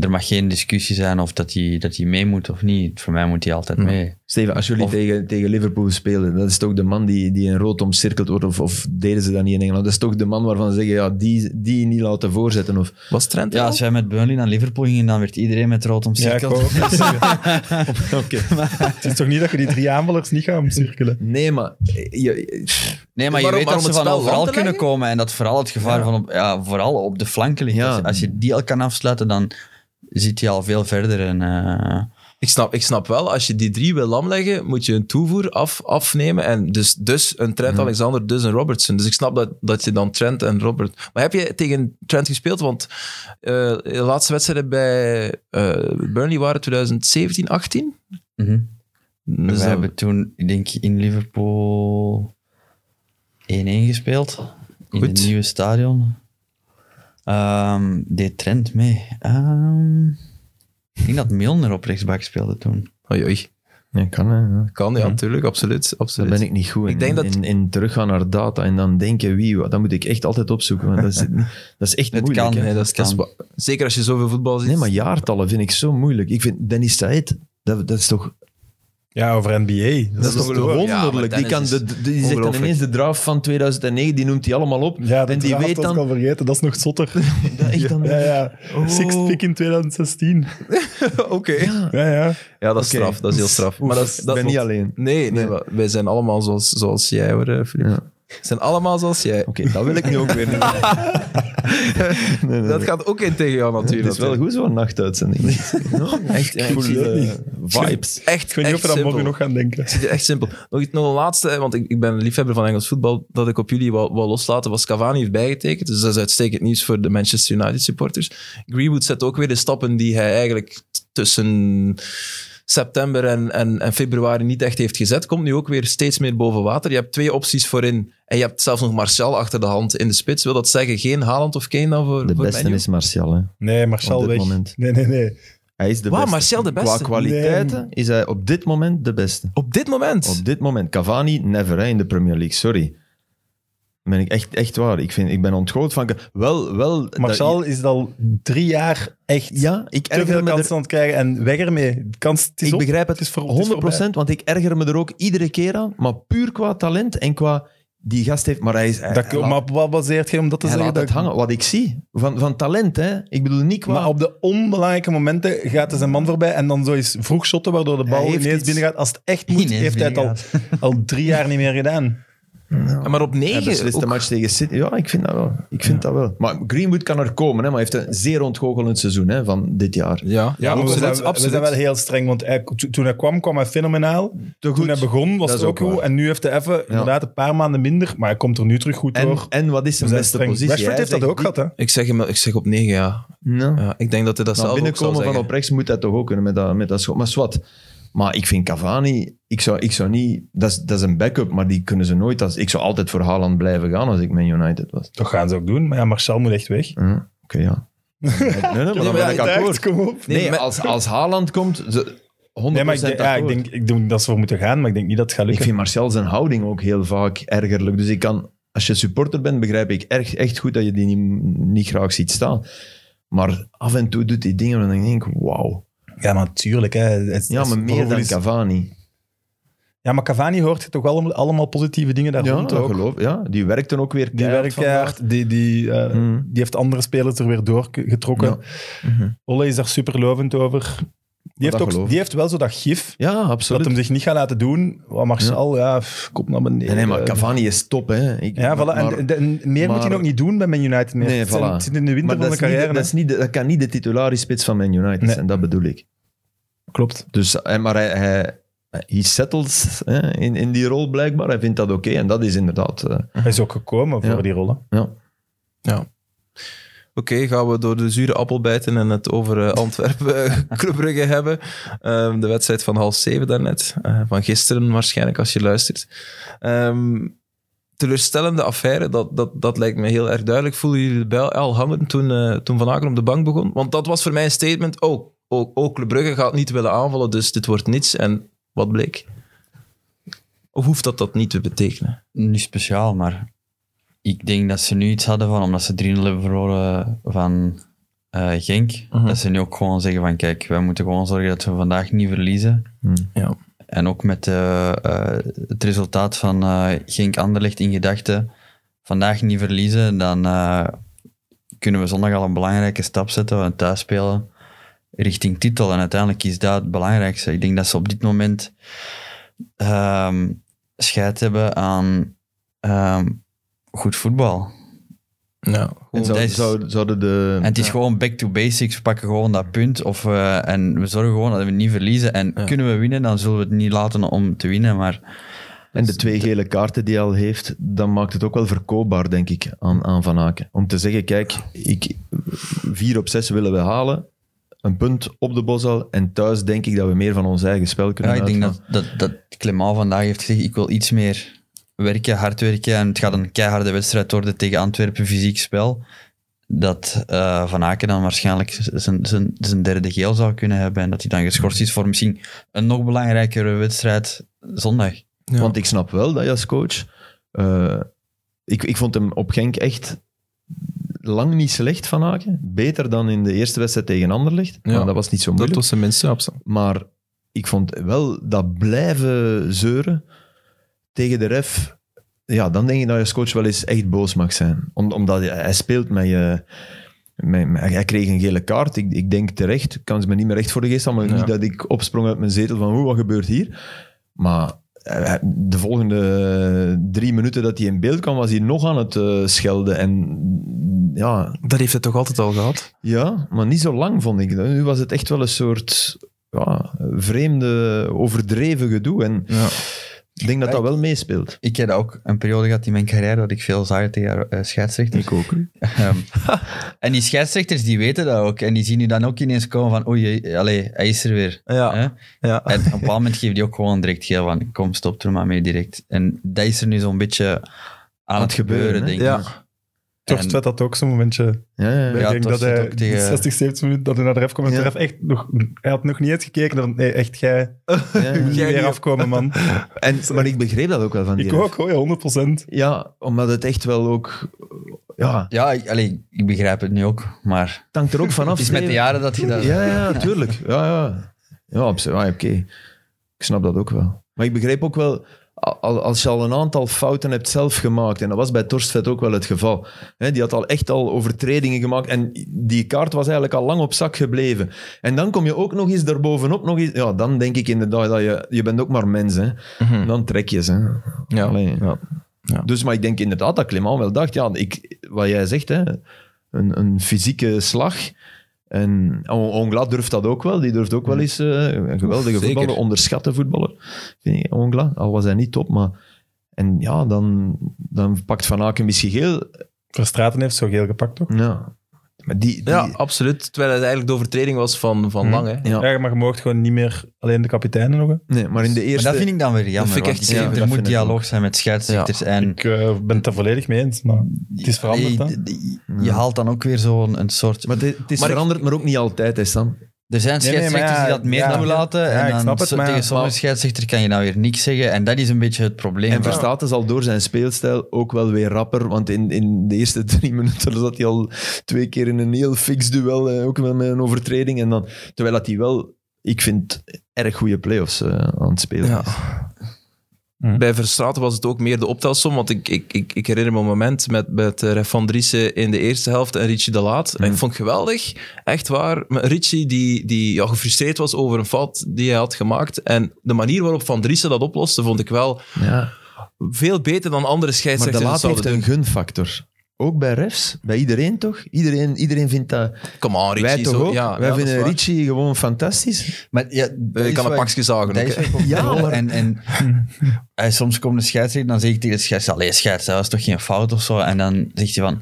Speaker 4: er mag geen discussie zijn of dat hij dat die mee moet of niet. Voor mij moet hij altijd mee.
Speaker 3: Steven, als jullie
Speaker 4: Of-
Speaker 3: tegen, tegen Liverpool spelen, dat is toch de man die, die in rood omcirkeld wordt, of, of deden ze dat niet in Engeland? Dat is toch de man waarvan ze zeggen, ja, die, die niet laten voorzetten. Of,
Speaker 1: Was Trent er
Speaker 4: Ja,
Speaker 1: al?
Speaker 4: als wij met Burnley naar Liverpool gingen, dan werd iedereen met rood
Speaker 2: Ja, ik
Speaker 4: omcirkeld.
Speaker 2: wou ook zeggen. Het is toch niet dat je die drie aanvallers niet gaat omcirkelen?
Speaker 3: nee, maar... eh, Je,
Speaker 4: nee, maar je
Speaker 1: Dus Waarom-
Speaker 4: weet dat
Speaker 1: waarom
Speaker 4: ze
Speaker 1: het spel
Speaker 4: van
Speaker 1: land
Speaker 4: overal
Speaker 1: te
Speaker 4: kunnen
Speaker 1: leggen?
Speaker 4: komen en dat vooral het gevaar van op, ja, vooral op de flanken ligt.
Speaker 3: Ja.
Speaker 4: Als, je- als je die al kan afsluiten, dan zit je al veel verder. En, eh,
Speaker 1: Ik snap, ik snap wel, als je die drie wil lamleggen, moet je een toevoer af, afnemen. En dus, dus een
Speaker 3: Mhm.
Speaker 1: Trent Alexander, dus een Robertson. Dus ik snap dat, dat je dan Trent en Robert... Maar heb je tegen Trent gespeeld? Want eh, de laatste wedstrijden bij eh, Burnley waren 2017, 18?
Speaker 4: mhm.
Speaker 1: Dus
Speaker 4: we
Speaker 1: dat-
Speaker 4: hebben toen, ik denk in Liverpool 1-1 gespeeld. In
Speaker 1: Goed.
Speaker 4: het nieuwe stadion. Ehm deed Trent mee. Ehm, ik denk dat Milner op rechtsback speelde toen.
Speaker 1: Oei, oei.
Speaker 3: ja, kan, hè, ja.
Speaker 1: Kan, ja, natuurlijk. Absoluut.
Speaker 3: Daar
Speaker 1: absoluut.
Speaker 3: Mhm. ben Dus ik niet goed in.
Speaker 1: Ik denk dat-
Speaker 3: in, in teruggaan naar data en dan denken wie, wat, dat moet ik echt altijd opzoeken. Want dat, is, dat is echt
Speaker 4: Het
Speaker 3: moeilijk.
Speaker 4: kan,
Speaker 3: hè.
Speaker 1: Nee, dat is, dat is
Speaker 4: Kan.
Speaker 1: wa- zeker als je zoveel voetbal ziet.
Speaker 3: Nee, maar jaartallen vind ik zo moeilijk. Ik vind Dennis Said, dat, dat is toch
Speaker 2: Ja, over NBA.
Speaker 3: Dat, is toch
Speaker 1: ongelooflijk?
Speaker 3: wonderlijk.
Speaker 1: Ja, maar
Speaker 3: die, kan
Speaker 1: tennis
Speaker 3: de,
Speaker 1: is
Speaker 3: de- die zegt dan
Speaker 1: ongelooflijk.
Speaker 3: ineens de draft van 2009, die noemt hij allemaal op.
Speaker 2: Ja, dat
Speaker 3: en die weet dan... Oh.
Speaker 2: ik al vergeten. Dat is nog zotter.
Speaker 3: dat echt dan
Speaker 2: Ja, ja. Sixth pick in 2016.
Speaker 1: Oké. Ja,
Speaker 2: Ja, ja.
Speaker 1: dat is
Speaker 3: Oké.
Speaker 1: straf. Dat is heel straf.
Speaker 3: Oef,
Speaker 1: maar dat, is- dat
Speaker 3: ik ben
Speaker 1: is-
Speaker 3: niet alleen.
Speaker 1: Nee, nee, maar wij zijn allemaal zoals, zoals jij hoor, eh, Filip.
Speaker 3: Ja.
Speaker 1: We zijn allemaal zoals jij.
Speaker 3: Oké, dat wil ik nu ook weer niet.
Speaker 1: Dat gaat ook in tegen jou
Speaker 3: Het
Speaker 1: natuurlijk.
Speaker 3: is wel goed zo'n nachtuitzending. Ja, echt ja, ik
Speaker 2: voel
Speaker 3: zie,
Speaker 2: het
Speaker 3: eh,
Speaker 2: niet.
Speaker 3: vibes.
Speaker 1: Echt,
Speaker 2: Ik weet niet of
Speaker 1: echt
Speaker 2: we dat
Speaker 1: simpel.
Speaker 2: morgen nog gaan denken.
Speaker 1: Ik zie het Echt simpel. Nog, iets- nog een laatste, hè, want ik, ik ben een liefhebber van Engels voetbal, dat ik op jullie wou, wou loslaten, was Cavani heeft bijgetekend. Dus dat is uitstekend nieuws voor de Manchester United supporters. Greenwood zet ook weer de stappen die hij eigenlijk t- tussen september en, en, en februari niet echt heeft gezet. Komt nu ook weer steeds meer boven water. Je hebt twee opties voorin. En je hebt zelfs nog Martial achter de hand in de spits. Wil dat zeggen geen Haaland of Kane dan voor
Speaker 3: De
Speaker 1: voor
Speaker 3: beste
Speaker 1: Man U?
Speaker 3: is Martial. Hè.
Speaker 2: Nee, Marcel
Speaker 3: Op dit
Speaker 2: weg.
Speaker 3: moment.
Speaker 2: Nee, nee, nee.
Speaker 3: Hij is de
Speaker 1: Wauw,
Speaker 3: beste.
Speaker 1: Martial de
Speaker 3: Qua
Speaker 1: beste.
Speaker 3: kwaliteiten is hij op dit moment de beste.
Speaker 1: Op dit moment?
Speaker 3: Op dit moment. Cavani, never hè, in de Premier League, sorry. Ben ik echt, echt waar. Ik, vind, ik ben ontgoocheld van... Wel, wel... dat-
Speaker 2: Marcel is al drie jaar echt
Speaker 3: Ja, ik
Speaker 2: te
Speaker 3: erger
Speaker 2: veel
Speaker 3: me er
Speaker 2: kansen aan het krijgen. En weg ermee. De kans, het is
Speaker 3: ik
Speaker 2: op.
Speaker 3: begrijp het,
Speaker 2: Het is voor- het is
Speaker 3: 100%,
Speaker 2: voorbij.
Speaker 3: want ik erger me er ook iedere keer aan. Maar puur qua talent en qua die gast heeft, maar hij is. Hij,
Speaker 2: Dat,
Speaker 3: hij laat,
Speaker 2: maar op wat baseert je om dat te
Speaker 3: hij
Speaker 2: zeggen?
Speaker 3: laat
Speaker 2: Dat,
Speaker 3: het hangen. Wat ik zie van, van talent, hè? Ik bedoel niet qua.
Speaker 2: Maar op de onbelangrijke momenten gaat er zijn man voorbij en dan zo eens vroeg shotten, waardoor de bal
Speaker 3: Hij heeft
Speaker 2: ineens
Speaker 3: iets-
Speaker 2: binnengaat. Als het echt moet,
Speaker 4: Ineens
Speaker 2: heeft hij het al, al drie jaar niet meer gedaan.
Speaker 1: Ja, maar op
Speaker 3: hij
Speaker 1: negen?
Speaker 3: beslist de
Speaker 1: ook.
Speaker 3: match tegen City. Ja, ik vind dat wel. Ik vind dat wel. Maar Greenwood kan er komen, hè? Maar hij heeft een zeer ontgoochelend seizoen hè, van dit jaar.
Speaker 1: Ja, ja,
Speaker 2: maar we,
Speaker 1: absoluut.
Speaker 2: zijn, we
Speaker 1: absoluut.
Speaker 2: zijn wel heel streng, want hij- to- toen hij kwam, kwam hij fenomenaal. Toen hij begon, was
Speaker 3: Dat
Speaker 2: het
Speaker 3: is
Speaker 2: ook
Speaker 3: ook
Speaker 2: goed.
Speaker 3: waar.
Speaker 2: En nu heeft hij even, inderdaad, een paar maanden minder. Maar hij komt er nu terug goed
Speaker 3: En,
Speaker 2: door.
Speaker 3: en wat is
Speaker 2: We
Speaker 3: zijn
Speaker 2: zijn
Speaker 3: beste
Speaker 2: streng.
Speaker 3: positie?
Speaker 2: Rashford
Speaker 3: Hij
Speaker 2: heeft dat
Speaker 3: zegt
Speaker 2: ook
Speaker 3: die-
Speaker 2: gehad, hè?
Speaker 1: Ik zeg, hem, ik zeg op negen, ja.
Speaker 3: Ja.
Speaker 1: ja. Ik denk dat hij dat
Speaker 3: Nou,
Speaker 1: zelf ook zal
Speaker 3: binnenkomen van
Speaker 1: zeggen.
Speaker 3: op rechts moet hij toch ook kunnen met dat, met dat schot. Maar zwart. Maar ik vind Cavani, ik zou, ik zou niet... Dat is, dat is een backup, maar die kunnen ze nooit... Als, ik zou altijd voor Haaland blijven gaan als ik Man United was.
Speaker 2: Dat gaan ze ook doen. Maar ja, Marcel moet echt weg.
Speaker 3: Hm, Oké, ja. Nee, nee, maar
Speaker 1: maar
Speaker 3: dan ben ik
Speaker 1: ja,
Speaker 3: akkoord.
Speaker 2: kom op.
Speaker 1: Nee,
Speaker 3: Nee,
Speaker 1: maar-
Speaker 3: als, als Haaland komt, ze, 100%
Speaker 2: Nee, maar ik denk, ja, ik,
Speaker 3: akkoord.
Speaker 2: denk, ik denk dat ze voor moeten gaan, maar ik denk niet dat het gaat
Speaker 3: Ik
Speaker 2: lukken.
Speaker 3: vind Marcel zijn houding ook heel vaak ergerlijk. Dus ik kan, als je supporter bent, begrijp ik erg, echt goed dat je die niet, niet graag ziet staan. Maar af en toe doet hij dingen waarvan ik denk, wauw.
Speaker 2: Ja, natuurlijk. Hè. Het- het-
Speaker 3: Ja, maar meer
Speaker 2: waarover
Speaker 3: dan
Speaker 2: is-
Speaker 3: Cavani.
Speaker 2: Ja, maar Cavani hoort je toch allemaal, allemaal positieve dingen daar
Speaker 3: Ja,
Speaker 2: rond
Speaker 3: dat
Speaker 2: ook.
Speaker 3: geloof ik. Ja, die werkte ook weer
Speaker 2: Die
Speaker 3: keihard
Speaker 2: werkt keihard, die, die, eh,
Speaker 3: Mhm.
Speaker 2: die heeft andere spelers er weer doorgetrokken. Olle is daar superlovend over. Die heeft,
Speaker 3: dat
Speaker 2: ook,
Speaker 3: geloof ik.
Speaker 2: die heeft wel zo dat gif
Speaker 3: vandaag. Ja,
Speaker 2: dat
Speaker 3: absoluut.
Speaker 2: hem zich niet gaat laten doen. Wat Marcel, ja, pff, kom naar beneden.
Speaker 3: nee, nee, maar Cavani is top, hè. Ik-
Speaker 2: Ja, voilà.
Speaker 3: maar-
Speaker 2: en, de- en meer moet hij
Speaker 3: maar-
Speaker 2: nog niet doen bij Man United meer.
Speaker 3: Nee,
Speaker 2: het, zijn-
Speaker 3: voilà.
Speaker 2: het zit in de winter
Speaker 3: maar
Speaker 2: van
Speaker 3: dat,
Speaker 2: de
Speaker 3: is niet,
Speaker 2: carrière.
Speaker 3: de- dat, is niet de- dat kan niet de titularis spits van Man United
Speaker 2: Nee.
Speaker 3: zijn, dat bedoel ik.
Speaker 2: Klopt.
Speaker 3: Dus, hè, maar hij, hij he settles hè, in, in die rol blijkbaar. Hij vindt dat oké en dat is inderdaad... eh,
Speaker 2: Hij is ook gekomen voor
Speaker 3: Ja.
Speaker 2: die rollen.
Speaker 3: ja.
Speaker 1: Oké, gaan we door de zure appel bijten en het over eh, Antwerpen eh, Club Brugge hebben. Ehm, de wedstrijd van half zeven daarnet. eh, van gisteren waarschijnlijk, als je luistert. Ehm, teleurstellende affaire, dat, dat, dat lijkt me heel erg duidelijk. Voelden jullie de bel al hangen toen, eh, toen Van Aken op de bank begon? Want dat was voor mij een statement. Oh, ook, ook Club Brugge gaat niet willen aanvallen, dus dit wordt niets. En wat bleek? Of hoeft dat dat niet te betekenen?
Speaker 4: Niet speciaal, maar ik denk dat ze nu iets hadden van, omdat ze 3-0 hebben verloren van eh, Genk. Dat ze nu ook gewoon zeggen van kijk, wij moeten gewoon zorgen dat we vandaag niet verliezen.
Speaker 1: Ja.
Speaker 4: En ook met eh, eh, het resultaat van eh, Genk Anderlecht in gedachten, vandaag niet verliezen, dan eh, kunnen we zondag al een belangrijke stap zetten. We gaan thuis spelen richting titel. En uiteindelijk is dat het belangrijkste. Ik denk dat ze op dit moment ehm scheid hebben aan ehm, goed voetbal.
Speaker 1: Ja.
Speaker 3: En zou,
Speaker 4: dat is-
Speaker 3: zou, zouden de...
Speaker 4: En het is gewoon back to basics. We pakken gewoon dat punt. Of, eh, en we zorgen gewoon dat we niet verliezen. En
Speaker 1: Ja.
Speaker 4: kunnen we winnen, dan zullen we het niet laten om te winnen. Maar
Speaker 3: En de twee gele kaarten die hij al heeft, dan maakt het ook wel verkoopbaar, denk ik, aan, aan Van Aken. Om te zeggen, kijk, ik, vier op zes willen we halen. Een punt op de Bosal. En thuis denk ik dat we meer van ons eigen spel
Speaker 4: ja,
Speaker 3: kunnen
Speaker 4: ik denk
Speaker 3: uitgaan.
Speaker 4: dat, dat, dat Clément vandaag heeft gezegd, ik wil iets meer werken, hard werken. En het gaat een keiharde wedstrijd worden tegen Antwerpen, fysiek spel. Dat eh, Van Aken dan waarschijnlijk z- zijn- zijn zijn derde geel zou kunnen hebben. En dat hij dan geschorst is voor misschien een nog belangrijkere wedstrijd zondag.
Speaker 1: Ja.
Speaker 3: Want ik snap wel dat je als coach... eh, ik, ik vond hem op Genk echt lang niet slecht, Van Aken. Beter dan in de eerste wedstrijd tegen Anderlecht.
Speaker 1: Ja.
Speaker 3: Maar dat was niet zo
Speaker 1: Dat
Speaker 3: moeilijk.
Speaker 1: was zijn minste opstand.
Speaker 3: Maar ik vond wel dat blijven zeuren tegen de ref. Ja, dan denk ik dat je als coach wel eens echt boos mag zijn. Om, omdat hij, hij speelt met je. met- met- hij kreeg een gele kaart. Ik, ik denk terecht. Ik kan ze me niet meer recht voor de geest halen, Maar
Speaker 1: Ja.
Speaker 3: niet dat ik opsprong uit mijn zetel van hoe, wat gebeurt hier? Maar hij- hij- de volgende drie minuten dat hij in beeld kwam, was hij nog aan het eh, schelden. En ja,
Speaker 1: Dat heeft hij toch altijd al gehad?
Speaker 3: ja, maar niet zo lang vond ik. Nu was het echt wel een soort ja, vreemde, overdreven gedoe. En
Speaker 1: Ja.
Speaker 3: ik denk dat dat wel meespeelt.
Speaker 4: Ik heb dat ook een periode gehad in mijn carrière dat ik veel zag tegen eh, scheidsrechters.
Speaker 3: Ik ook.
Speaker 4: Ehm, en die scheidsrechters die weten dat ook. En die zien nu dan ook ineens komen van oei, allee, hij is er weer. Hè?
Speaker 1: Ja. ja.
Speaker 4: En op een bepaald moment geeft die ook gewoon direct geel van kom, stop er maar mee direct. En dat is er nu zo'n beetje aan het gebeuren,
Speaker 3: gebeuren, hè?
Speaker 4: denk ik.
Speaker 1: Ja.
Speaker 2: Torst werd dat ook zo'n momentje.
Speaker 3: Ja, ja, ja.
Speaker 2: ik denk
Speaker 4: Torst
Speaker 2: dat
Speaker 4: zit
Speaker 2: hij
Speaker 4: ook tegen-
Speaker 2: de 60, 70 minuten dat hij naar de ref kwam. En
Speaker 3: Ja.
Speaker 2: de ref echt nog, hij had nog niet eens gekeken. Dat, nee, echt, jij
Speaker 3: ja.
Speaker 2: moet niet
Speaker 1: Jij
Speaker 2: weer
Speaker 1: niet.
Speaker 2: afkomen, man.
Speaker 3: En, maar ik begreep dat ook wel van die
Speaker 2: ik
Speaker 3: ref.
Speaker 2: ook, hoor, ja, 100 procent.
Speaker 3: Ja, omdat het echt wel ook... Ja,
Speaker 4: Ja, ik, allee, ik begrijp het nu ook, maar
Speaker 3: het hangt er ook vanaf.
Speaker 4: het is met de jaren dat je dat...
Speaker 3: Ja, ja, tuurlijk. Ja, ja. Ja, op zich. Ja, oké. Ik snap dat ook wel. Maar ik begreep ook wel, al- als je al een aantal fouten hebt zelf gemaakt, en dat was bij Torstvet ook wel het geval, hè, die had al echt al overtredingen gemaakt en die kaart was eigenlijk al lang op zak gebleven. En dan kom je ook nog eens daarbovenop, nog eens, ja, dan denk ik inderdaad dat je, je bent ook maar mens, hè. Dan trek je ze. hè.
Speaker 1: Ja.
Speaker 3: Allee.
Speaker 1: Ja. Ja.
Speaker 3: Dus, maar ik denk inderdaad dat Clément wel dacht, ja, ik, wat jij zegt, hè, een, een fysieke slag. En On- Ongla durft dat ook wel. Die durft ook wel eens eh, een geweldige
Speaker 1: Zeker.
Speaker 3: voetballer, onderschatte voetballer. Vind ik, Ongla, al was hij niet top, maar... En ja, dan, dan pakt Van Aken misschien geel.
Speaker 2: Verstraten heeft zo geel gepakt, toch?
Speaker 3: Ja. Maar die... die Mhm.
Speaker 1: Ja, absoluut. Terwijl het eigenlijk de overtreding was van, van
Speaker 2: Hm.
Speaker 1: Lang. Hè.
Speaker 3: ja.
Speaker 2: Ja, maar je mocht gewoon niet meer alleen de kapiteinen nog. hè.
Speaker 3: Nee, maar in de
Speaker 4: Maar
Speaker 3: eerste...
Speaker 4: dat vind ik dan weer jammer.
Speaker 1: Dat vind ik
Speaker 4: want
Speaker 1: echt
Speaker 4: denk,
Speaker 3: zeer, dat
Speaker 4: er moet
Speaker 3: vind ik
Speaker 4: dialoog zijn met scheidsrechters. En
Speaker 2: Ik eh, ben het daar volledig mee eens, maar het is veranderd. hè.
Speaker 4: Allee, d- d- Je haalt dan ook weer zo'n een soort...
Speaker 3: Maar het, het is
Speaker 1: Maar ik-
Speaker 3: veranderd, maar ook niet altijd, hè, Sam.
Speaker 4: Er zijn
Speaker 2: Nee, nee,
Speaker 4: scheidsrechters
Speaker 2: maar ja,
Speaker 4: die dat meer
Speaker 2: ja.
Speaker 4: toelaten.
Speaker 2: Ja, ik
Speaker 4: en dan
Speaker 2: snap het,
Speaker 4: so-
Speaker 2: maar-
Speaker 4: tegen sommige
Speaker 2: maar-
Speaker 4: scheidsrechter kan je dan weer niks zeggen. En dat is een beetje het probleem.
Speaker 3: En Verstaat is al door zijn speelstijl ook wel weer rapper. Want in, in de eerste drie minuten zat hij al twee keer in een heel fix duel. eh, Ook wel met een overtreding. En dan, terwijl dat hij wel, ik vind, erg goede playoffs eh, aan het spelen
Speaker 1: Ja.
Speaker 3: is. Mhm.
Speaker 2: Hm.
Speaker 1: Bij Verstraten was het ook meer de optelsom, want ik, ik, ik, ik herinner me een moment met, met eh, Van Driessen in de eerste helft en Richie de Laat. En
Speaker 3: Mhm.
Speaker 1: ik vond het geweldig, echt waar. Maar Richie die, die ja, gefrustreerd was over een fout die hij had gemaakt. En de manier waarop Van Driessen dat oploste, vond ik wel
Speaker 3: Ja.
Speaker 1: veel beter dan andere
Speaker 3: Maar de
Speaker 1: scheidsrechters het
Speaker 3: laat heeft
Speaker 1: zouden
Speaker 3: een gunfactor. Ook bij refs, bij iedereen toch? Iedereen, iedereen vindt dat.
Speaker 1: doen. Come on, Richie.
Speaker 3: wij toch
Speaker 1: zo-
Speaker 3: ook?
Speaker 1: ja, ja,
Speaker 3: wij
Speaker 1: dat is
Speaker 3: vinden
Speaker 1: waar.
Speaker 3: Richie gewoon fantastisch.
Speaker 4: Maar
Speaker 2: Eh,
Speaker 4: ja, dat
Speaker 1: Ik
Speaker 4: is
Speaker 1: kan een
Speaker 4: wat-
Speaker 1: pakje zagen.
Speaker 4: dat
Speaker 1: ook,
Speaker 4: is
Speaker 1: hè.
Speaker 4: wat ik
Speaker 3: Ja,
Speaker 4: bedoel.
Speaker 3: maar-
Speaker 4: En, en en soms komt de scheidsrechter, dan zeg ik tegen de scheidsrechter, allee scheids, dat was toch geen fout of zo. En dan zegt hij van,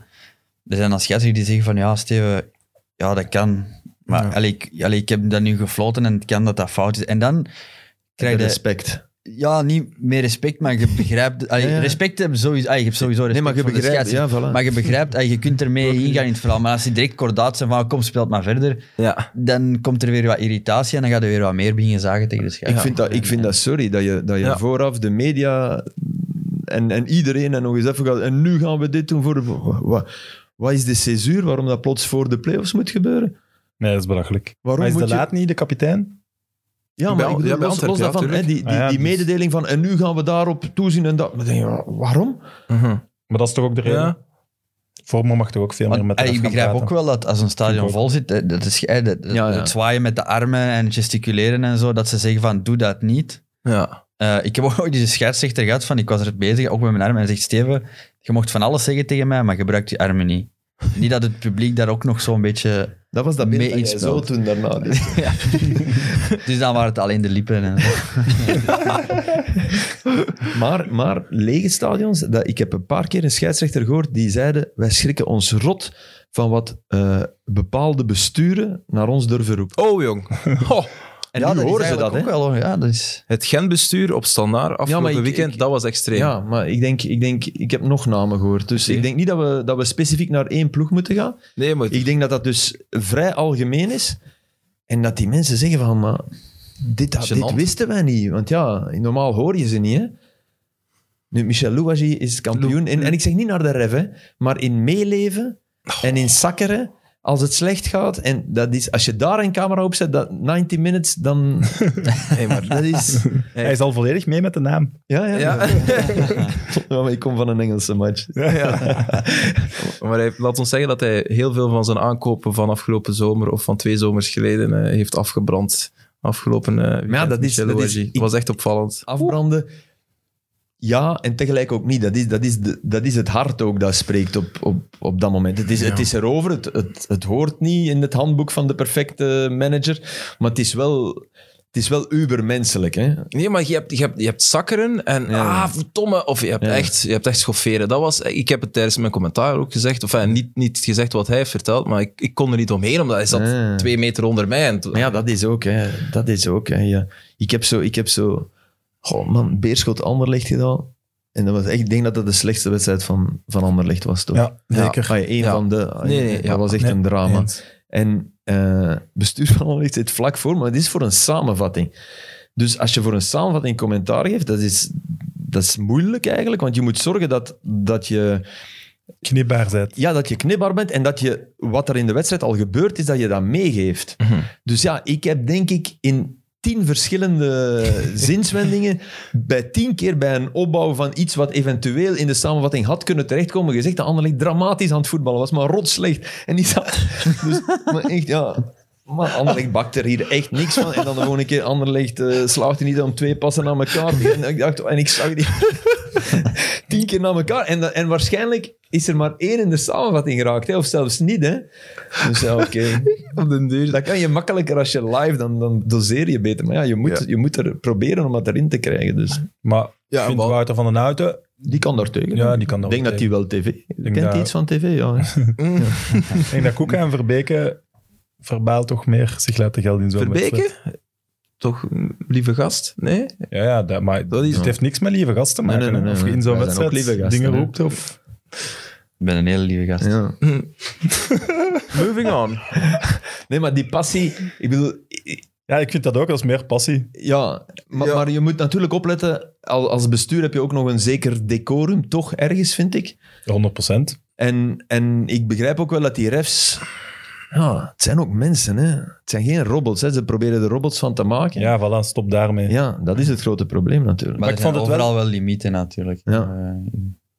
Speaker 4: er zijn dan scheidsrechters die zeggen van, ja Steven, ja dat kan. Maar allee, ik, allee, ik heb dat nu gefloten en het kan dat dat fout is. En dan krijg je
Speaker 3: respect.
Speaker 4: ja, niet meer respect, maar je begrijpt... allee,
Speaker 3: Ja, ja.
Speaker 4: Respect heb je sowieso... allee, je hebt sowieso
Speaker 3: Nee, maar
Speaker 4: respect
Speaker 3: je
Speaker 4: voor de
Speaker 3: begrijpt. Ja,
Speaker 4: scheidsrechter.
Speaker 3: voilà.
Speaker 4: Maar je begrijpt, en je kunt ermee ingaan in het verhaal. Maar als ze direct kordaat zijn van "Ah, kom, speelt maar verder,
Speaker 1: Ja.
Speaker 4: dan komt er weer wat irritatie en dan gaat er weer wat meer beginnen zagen tegen de
Speaker 3: Ik,
Speaker 4: scheidsrechter.
Speaker 3: vind dat, ik vind dat sorry dat je, dat je
Speaker 1: Ja.
Speaker 3: vooraf de media en, en iedereen en nog eens even gaat. En nu gaan we dit doen voor de. wa- wa- Wat, Wat is de césuur waarom dat plots voor de play-offs moet gebeuren?
Speaker 2: Nee, dat is belachelijk.
Speaker 3: Waarom
Speaker 2: Maar is
Speaker 3: moet
Speaker 2: de
Speaker 3: je-
Speaker 2: Laat niet de kapitein?
Speaker 3: Ja,
Speaker 1: Bij-
Speaker 3: maar ik bedoel,
Speaker 1: ja, bij
Speaker 3: los,
Speaker 1: Antwerpen,
Speaker 3: los
Speaker 1: ja,
Speaker 3: daarvan, hè,
Speaker 1: tuurlijk.
Speaker 3: die, die,
Speaker 2: Ah ja,
Speaker 3: die
Speaker 2: dus-
Speaker 3: mededeling van en nu gaan we daarop toezien en dat. Maar dan denk je, wa- waarom?
Speaker 1: Mhm.
Speaker 2: Maar dat is toch ook de reden?
Speaker 1: Ja.
Speaker 2: Vormo mag toch ook veel meer
Speaker 4: Want,
Speaker 2: met de
Speaker 4: eh,
Speaker 2: ref
Speaker 4: ik
Speaker 2: gaan
Speaker 4: begrijp
Speaker 2: praten?
Speaker 4: ook wel dat als een
Speaker 2: Ik
Speaker 4: stadion
Speaker 2: ook.
Speaker 4: vol zit, eh, dat is, eh, dat- dat-
Speaker 3: Ja, ja.
Speaker 4: het zwaaien met de armen en gesticuleren en zo, dat ze zeggen van doe dat niet.
Speaker 1: Ja.
Speaker 4: Eh, ik heb ook ooit eens een scheidsrechter gehad van ik was er bezig, ook met mijn armen. En hij zegt Steven, je mocht van alles zeggen tegen mij, maar gebruik die armen niet. niet dat het publiek daar ook nog zo'n beetje...
Speaker 3: Dat was dat
Speaker 4: Mee
Speaker 3: beeld dat jij zo
Speaker 4: inspelt.
Speaker 3: toen daarna. deed.
Speaker 4: Dus dan waren het alleen de lippen. En zo.
Speaker 3: maar, maar lege stadions, dat, ik heb een paar keer een scheidsrechter gehoord die zeiden wij schrikken ons rot van wat eh, bepaalde besturen naar ons durven roepen.
Speaker 1: Oh, jong. Ho.
Speaker 4: En
Speaker 3: Ja,
Speaker 4: nu
Speaker 3: dat is
Speaker 4: horen ze dat,
Speaker 3: eigenlijk
Speaker 4: hè?
Speaker 3: ook
Speaker 4: Wel, hoor. ja, dat is...
Speaker 1: Het Genbestuur op standaard afgelopen
Speaker 3: ik-
Speaker 1: weekend,
Speaker 3: ik-
Speaker 1: dat was extreem.
Speaker 3: Ja, maar ik denk, ik denk, ik heb nog namen gehoord. Dus
Speaker 1: Oké.
Speaker 3: ik denk niet dat we, dat we specifiek naar één ploeg moeten gaan.
Speaker 1: Nee, maar
Speaker 3: Ik denk dat dat dus vrij algemeen is. En dat die mensen zeggen van, maar dit, dat- dit
Speaker 1: Gênant.
Speaker 3: wisten wij niet. Want ja, normaal hoor je ze niet, hè. Nu, Michel Louwagie is kampioen. En, en ik zeg niet naar de ref, hè. Maar in meeleven
Speaker 1: Oh.
Speaker 3: en in zakkeren, als het slecht gaat. En dat is, als je daar een camera op zet, dat 90 minutes, dan... Nee, maar dat is...
Speaker 2: Hij is al volledig mee met de naam.
Speaker 3: Ja, ja.
Speaker 1: Ja.
Speaker 3: Ja, maar ik kom van een Engelse match.
Speaker 1: Maar hij, laat ons zeggen dat hij heel veel van zijn aankopen van afgelopen zomer of van twee zomers geleden eh, heeft afgebrand. Afgelopen eh weekend,
Speaker 3: ja, dat is-
Speaker 1: Michel
Speaker 3: dat is-
Speaker 1: Ouagie.
Speaker 3: ik-
Speaker 1: was echt opvallend.
Speaker 3: afbranden. Ja, en tegelijk ook niet. Dat is, dat is, de, dat is het hart ook dat spreekt op, op, op dat moment. Het is, het is erover, het, het, het hoort niet in het handboek van de perfecte manager. Maar het is wel, het is wel ubermenselijk. Hè?
Speaker 1: Nee, maar je hebt, je hebt, je hebt zakkeren en
Speaker 3: Ja.
Speaker 1: ah, verdomme. Of je hebt,
Speaker 3: Ja.
Speaker 1: echt, je hebt echt schofferen. Dat was, ik heb het tijdens mijn commentaar ook gezegd. Of enfin, niet, niet gezegd wat hij heeft verteld, maar ik, ik kon er niet omheen, omdat hij zat
Speaker 3: Ja.
Speaker 1: twee meter onder mij. En,
Speaker 3: Maar ja, dat is ook. Hè. Dat is ook hè. Ja. Ik heb zo... Ik heb zo goh, man, Beerschot Anderlecht gedaan. En dat was echt, ik denk dat dat de slechtste wedstrijd van, van Anderlecht was, toch?
Speaker 2: Ja, zeker.
Speaker 3: Ah, een
Speaker 1: Ja.
Speaker 3: van de...
Speaker 1: Nee, nee,
Speaker 3: dat
Speaker 1: ja.
Speaker 3: was echt
Speaker 2: Nee,
Speaker 3: een drama.
Speaker 2: eens.
Speaker 3: En eh bestuur van Anderlecht zit vlak voor, maar het is voor een samenvatting. Dus als je voor een samenvatting commentaar geeft, dat is, dat is moeilijk eigenlijk, want je moet zorgen dat, dat, je,
Speaker 2: Knipbaar zet.
Speaker 3: ja, dat je knipbaar bent en dat je wat er in de wedstrijd al gebeurd is, dat je dat meegeeft.
Speaker 1: Mhm.
Speaker 3: Dus ja, ik heb denk ik in tien verschillende zinswendingen, bij tien keer bij een opbouw van iets wat eventueel in de samenvatting had kunnen terechtkomen, gezegd dat Anderlecht dramatisch aan het voetballen was, maar rot slecht. En die zat... Dus, maar echt, ja... Maar Anderlecht bakt er hier echt niks van. En dan de volgende keer, Anderlecht eh, slaagt er niet om twee passen aan elkaar. En ik, dacht, en ik zag die tien keer naar elkaar. En, dan- en waarschijnlijk is er maar één in de samenvatting geraakt. Hè? Of zelfs niet, hè. Dus ja, oké.
Speaker 1: op den duur.
Speaker 3: Dat kan je makkelijker als je live, dan, dan doseer je beter. Maar ja, je moet,
Speaker 1: Ja.
Speaker 3: Je moet er proberen om dat erin te krijgen. Dus
Speaker 2: Maar
Speaker 1: Ja,
Speaker 2: ik vind
Speaker 1: wel.
Speaker 2: Wouter van den Houten...
Speaker 3: die kan daar tegen.
Speaker 2: Ja, die kan
Speaker 3: ik
Speaker 2: dat
Speaker 3: denk
Speaker 2: wel
Speaker 3: dat die wel tv... Kent
Speaker 2: dat-
Speaker 3: hij iets van tv? Ja. hè.
Speaker 2: Ik denk dat Koeka en Verbeke verbaal toch meer zich laten gelden in zo'n
Speaker 1: Verbeke?
Speaker 2: wedstrijd.
Speaker 1: Toch een lieve gast? Nee?
Speaker 2: Ja, ja dat, maar
Speaker 1: Dat is-
Speaker 2: het heeft niks met lieve gasten te
Speaker 3: Nee,
Speaker 2: maken.
Speaker 3: nee, nee,
Speaker 2: hè.
Speaker 3: nee,
Speaker 2: of je in zo'n
Speaker 3: nee. Wij zijn ook
Speaker 2: wedstrijd
Speaker 3: lieve gasten,
Speaker 2: dingen
Speaker 3: hè.
Speaker 2: roept. Of...
Speaker 4: Ik ben een hele lieve gast.
Speaker 3: Ja.
Speaker 1: Moving on.
Speaker 3: Nee, maar die passie... Ik bedoel...
Speaker 2: Ja, ik vind dat ook als meer passie.
Speaker 3: Ja, maar,
Speaker 1: Ja.
Speaker 3: maar je moet natuurlijk opletten... Als, als bestuur heb je ook nog een zeker decorum, toch? Ergens, vind ik.
Speaker 2: 100 procent.
Speaker 3: En, en ik begrijp ook wel dat die refs... Ja, het zijn ook mensen, hè. Het zijn geen robots, hè. Ze proberen er robots van te maken.
Speaker 2: Ja, voilà, stop daarmee.
Speaker 3: Ja, dat is het grote probleem natuurlijk.
Speaker 4: Maar,
Speaker 2: ik
Speaker 4: er
Speaker 2: vond
Speaker 4: zijn
Speaker 2: het wel-
Speaker 4: overal wel... limieten natuurlijk.
Speaker 3: Ja.
Speaker 4: Eh,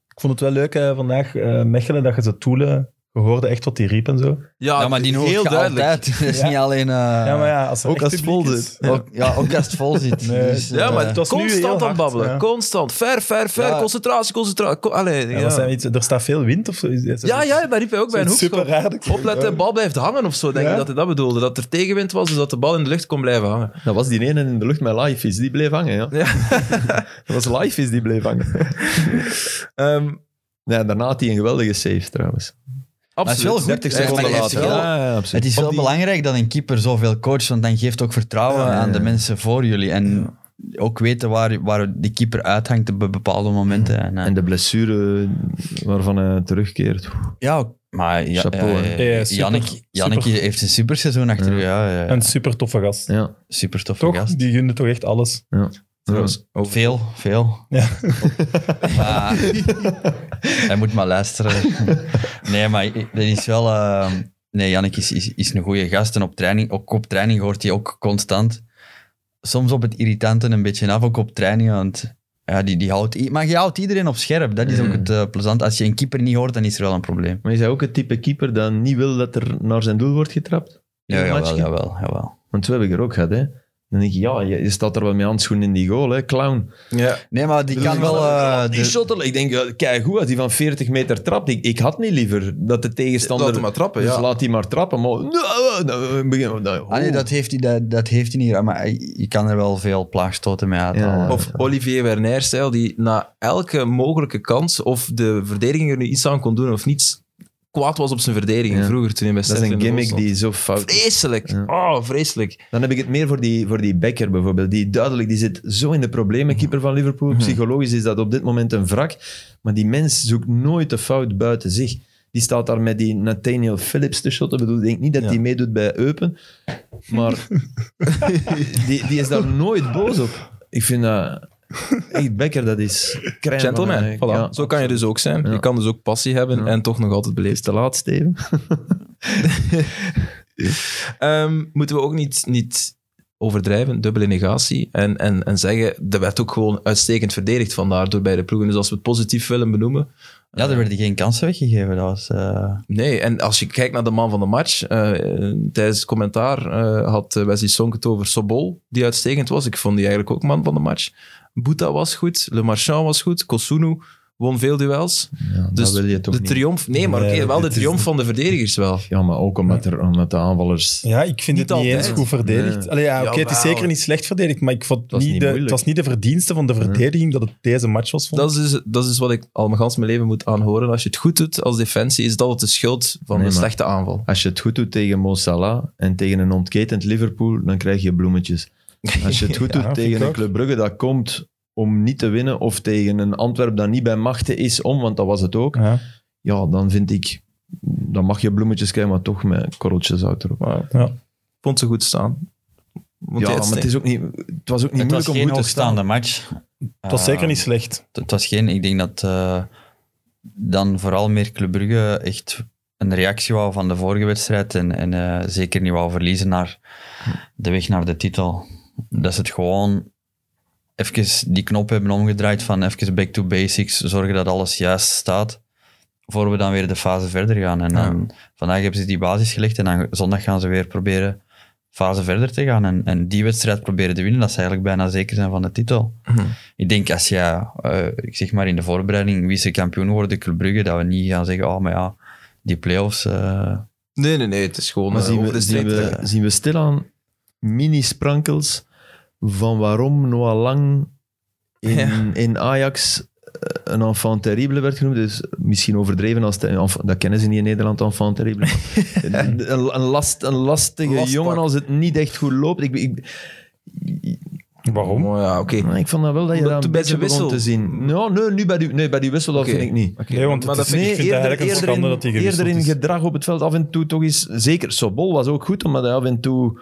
Speaker 2: Ik vond het wel leuk eh, vandaag, eh, Mechelen, dat je ze toelen... Je hoorde echt wat die riep en zo.
Speaker 1: Ja,
Speaker 4: ja, maar die hoort
Speaker 1: heel
Speaker 4: je
Speaker 1: duidelijk.
Speaker 4: altijd. Dat is
Speaker 2: Ja.
Speaker 4: niet alleen... eh,
Speaker 2: ja, maar ja, als er
Speaker 3: ook
Speaker 2: echt
Speaker 3: als het
Speaker 2: publiek
Speaker 3: vol
Speaker 2: is.
Speaker 3: zit.
Speaker 4: Ook, ja, ook als het vol zit.
Speaker 2: Nee.
Speaker 4: Dus,
Speaker 1: Ja,
Speaker 4: eh,
Speaker 1: maar
Speaker 2: het was nu heel
Speaker 1: constant aan
Speaker 2: hard,
Speaker 1: babbelen.
Speaker 2: ja.
Speaker 1: Constant. Ver, ver, ver.
Speaker 4: Ja.
Speaker 1: Concentratie, concentratie. Co- Allee,
Speaker 2: Ja,
Speaker 1: ja.
Speaker 2: dat zijn iets, er staat veel wind of zo. Is- is-
Speaker 1: Ja, ja, daar riep hij ook bij een
Speaker 2: Zo'n
Speaker 1: hoekschop.
Speaker 2: superraar dat je-
Speaker 1: Opletten, de bal blijft hangen of zo, denk
Speaker 2: Ja.
Speaker 1: ik dat hij dat bedoelde. Dat er tegenwind was, dus dat de bal in de lucht kon blijven hangen.
Speaker 3: Dat was die ene in de lucht met Life is, die bleef hangen. Ja.
Speaker 1: Ja.
Speaker 3: dat was Life is, die bleef hangen.
Speaker 1: Ehm,
Speaker 3: Nee, daarna had hij een geweldige save trouwens.
Speaker 4: Maar het is
Speaker 1: absoluut.
Speaker 4: wel goed.
Speaker 1: 30
Speaker 4: Ja,
Speaker 1: seconden
Speaker 4: maar hij
Speaker 1: later.
Speaker 4: heeft wel-
Speaker 1: Ja.
Speaker 4: Het is wel
Speaker 3: die-
Speaker 4: belangrijk dat een keeper zoveel coacht, want dan geeft ook vertrouwen
Speaker 3: Ja, ja,
Speaker 4: aan de
Speaker 3: ja.
Speaker 4: mensen voor jullie. En ook weten waar, waar die keeper uithangt op bepaalde momenten. En, eh,
Speaker 3: En de blessure waarvan hij terugkeert.
Speaker 4: ja, maar ja,
Speaker 3: Chapeau, hè.
Speaker 4: eh,
Speaker 2: Ja, super,
Speaker 4: Jannik, Jannik
Speaker 2: super.
Speaker 4: heeft een superseizoen achter
Speaker 3: Ja.
Speaker 4: ja. Ja,
Speaker 2: Een super toffe gast.
Speaker 3: Ja.
Speaker 4: super toffe
Speaker 2: Toch?
Speaker 4: gast.
Speaker 2: Die gunde toch echt alles.
Speaker 3: Ja.
Speaker 1: Trouwens, over-
Speaker 4: Veel, veel.
Speaker 2: Ja.
Speaker 4: Maar- hij moet maar luisteren. Nee, maar dat is wel... eh, nee, Jannik is, is, is een goede gast. En op training, ook op training hoort hij ook constant... Soms op het irritante een beetje af, ook op training. Want ja, die, die houdt, i- maar je houdt iedereen op scherp. Dat is ook het eh, plezant. Als je een keeper niet hoort, dan is er wel een probleem.
Speaker 3: Maar is hij ook het type keeper dat niet wil dat er naar zijn doel wordt getrapt? In
Speaker 4: Ja,
Speaker 3: een
Speaker 4: jawel,
Speaker 3: matchje?
Speaker 4: jawel, jawel.
Speaker 3: Want zo heb ik er ook gehad, hè. Dan denk je, ja, je je staat er wel met handschoenen in die goal, hè, clown.
Speaker 1: Ja.
Speaker 4: Nee, maar die kan wel... eh,
Speaker 3: Die
Speaker 4: de-
Speaker 3: shottel, ik denk, kijk goed, als die van 40 meter trapt, ik, ik had niet liever dat de tegenstander...
Speaker 1: Laat hem maar trappen,
Speaker 3: Dus
Speaker 1: ja.
Speaker 3: laat die maar trappen, maar... Nou, nou, begin- nou,
Speaker 4: Ah, nee,
Speaker 3: oh.
Speaker 4: dat heeft hij, dat, dat heeft hij niet. Maar je kan er wel veel plaagstoten mee uithalen.
Speaker 3: Ja.
Speaker 1: Of Olivier Werner-stijl, die na elke mogelijke kans, of de verdediging er nu iets aan kon doen of niets, kwaad was op zijn verdediging
Speaker 3: Ja.
Speaker 1: vroeger toen hij bij
Speaker 3: Dat is
Speaker 1: Sterk in
Speaker 3: een
Speaker 1: de goal
Speaker 3: gimmick
Speaker 1: stond.
Speaker 3: die zo fout is.
Speaker 1: Vreselijk.
Speaker 3: Ja.
Speaker 1: Oh, vreselijk.
Speaker 3: Dan heb ik het meer voor die, voor die Becker bijvoorbeeld. Die duidelijk, die zit zo in de problemen, keeper van Liverpool.
Speaker 1: Mhm.
Speaker 3: Psychologisch is dat op dit moment een wrak. Maar die mens zoekt nooit de fout buiten zich. Die staat daar met die Nathaniel Phillips te shotten. Ik bedoel, ik denk niet dat
Speaker 1: Ja.
Speaker 3: die meedoet bij Eupen. Maar die, die is daar nooit boos op. Ik vind dat... Echt, Becker, dat is... crème van
Speaker 1: Gentleman.
Speaker 3: een-
Speaker 1: Voilà.
Speaker 3: ja.
Speaker 1: Zo kan je dus ook zijn.
Speaker 3: Ja.
Speaker 1: Je kan dus ook passie hebben
Speaker 3: Ja.
Speaker 1: en toch nog altijd
Speaker 3: Het
Speaker 1: beleefd
Speaker 3: is te laat, Steven.
Speaker 1: Ehm, moeten we ook niet, niet overdrijven, dubbele negatie. En, en, en zeggen, de werd ook gewoon uitstekend verdedigd vandaar door beide ploegen. Dus als we het positief willen benoemen.
Speaker 4: Ja, er werden geen kansen weggegeven. Dat was, eh,
Speaker 1: Nee, en als je kijkt naar de man van de match. eh, eh, tijdens het commentaar eh, had eh, Wesley Sonk het over Sobol, die uitstekend was. Ik vond die eigenlijk ook man van de match. Bouta was goed, Le Marchand was goed, Kosunu won veel duels. dus
Speaker 3: dat wil je toch
Speaker 1: de
Speaker 3: niet.
Speaker 1: triomf... Nee, maar oké,
Speaker 2: Nee,
Speaker 1: wel de
Speaker 2: dit is-
Speaker 1: triomf van de verdedigers wel.
Speaker 3: Ja, maar ook omdat, er, omdat de aanvallers...
Speaker 2: Ja, ik vind
Speaker 1: Niet
Speaker 2: het niet eens
Speaker 1: altijd.
Speaker 2: goed verdedigd.
Speaker 3: Nee.
Speaker 2: Allee, ja, oké, het is
Speaker 1: Jawel.
Speaker 2: zeker niet slecht verdedigd, maar ik vond
Speaker 3: was
Speaker 2: niet
Speaker 3: niet
Speaker 2: de,
Speaker 3: moeilijk.
Speaker 2: het was niet de verdienste van de verdediging dat het deze match was. Vond.
Speaker 1: Dat is, dus, dat is dus wat ik al mijn gans mijn leven moet aanhoren. Als je het goed doet als defensie, is dat het de schuld van
Speaker 3: Nee,
Speaker 1: de
Speaker 3: maar-
Speaker 1: slechte aanval.
Speaker 3: Als je het goed doet tegen Mo Salah en tegen een ontketend Liverpool, dan krijg je bloemetjes. Als je het
Speaker 2: Ja,
Speaker 3: goed doet
Speaker 2: vind
Speaker 3: tegen
Speaker 2: ik
Speaker 3: een
Speaker 2: ook.
Speaker 3: Club Brugge dat komt om niet te winnen, of tegen een Antwerp dat niet bij machten is om, want dat was het ook,
Speaker 2: Ja,
Speaker 3: ja, dan vind ik, dan mag je bloemetjes krijgen, maar toch met korreltjes zout erop.
Speaker 1: Maar
Speaker 2: Ja.
Speaker 1: ik vond ze goed staan. Want
Speaker 3: ja,
Speaker 1: hij
Speaker 3: maar het, is ook niet, het was ook niet
Speaker 4: het
Speaker 3: moeilijk
Speaker 4: was
Speaker 3: om
Speaker 4: geen
Speaker 3: goed te staan.
Speaker 4: hoogstaande match. Eh,
Speaker 2: het
Speaker 3: Ah.
Speaker 2: was zeker niet slecht.
Speaker 4: Het was geen... Ik denk dat eh, dan vooral meer Club Brugge echt een reactie wou van de vorige wedstrijd en, en eh, zeker niet wou verliezen naar de weg naar de titel. Dat ze het gewoon even die knop hebben omgedraaid van even back to basics, zorgen dat alles juist staat, voor we dan weer de fase verder gaan. En dan, vandaag hebben ze die basis gelegd en dan zondag gaan ze weer proberen fase verder te gaan. En, en die wedstrijd proberen te winnen, dat ze eigenlijk bijna zeker zijn van de titel. Ik denk als je, eh, ik zeg maar in de voorbereiding, wie ze kampioen worden, Club Brugge, dat we niet gaan zeggen, oh, maar ja, die play-offs... eh,
Speaker 1: Nee, nee, nee. Het is gewoon
Speaker 3: Maar
Speaker 1: eh,
Speaker 3: zien
Speaker 1: over
Speaker 3: we,
Speaker 1: de
Speaker 3: zien,
Speaker 1: streep.
Speaker 3: we, zien we stilaan mini-sprankels van waarom Noah Lang in,
Speaker 1: Ja.
Speaker 3: in Ajax eh, een enfant terrible werd genoemd. Dus misschien overdreven, als het- enf- dat kennen ze niet in Nederland, enfant terrible. Maar een, een, last, een lastige
Speaker 1: Lastpak.
Speaker 3: jongen als het niet echt goed loopt. Ik, ik,
Speaker 2: Waarom?
Speaker 1: Maar Oh ja, oké.
Speaker 3: maar ik vond dat wel dat je
Speaker 1: Omdat
Speaker 3: dat een
Speaker 1: bij
Speaker 3: beetje
Speaker 1: de
Speaker 3: begon
Speaker 1: wissel.
Speaker 3: te zien. No, nee, nu bij die, nee, bij die wissel dat
Speaker 1: Oké.
Speaker 3: vind ik niet.
Speaker 1: Oké,
Speaker 2: Nee, want
Speaker 1: maar dat
Speaker 2: het is
Speaker 1: vind
Speaker 2: niet-
Speaker 1: ik...
Speaker 2: vind het eigenlijk een
Speaker 3: in-
Speaker 2: schande dat hij gewisseld
Speaker 3: eerder in
Speaker 2: is.
Speaker 3: gedrag op het veld af en toe toch eens... Zeker, Sobol was ook goed, omdat hij af en toe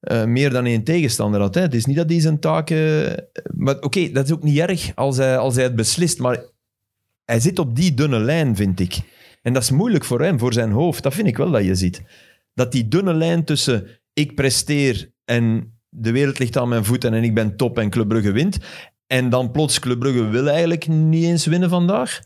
Speaker 3: eh, meer dan één tegenstander had. Hè. Het is niet dat hij zijn taken... maar oké, dat is ook niet erg als hij, als hij het beslist. Maar hij zit op die dunne lijn, vind ik. En dat is moeilijk voor hem, voor zijn hoofd. Dat vind ik wel dat je ziet. Dat die dunne lijn tussen ik presteer en de wereld ligt aan mijn voeten en ik ben top en Club Brugge wint. En dan plots, Club Brugge wil eigenlijk niet eens winnen vandaag.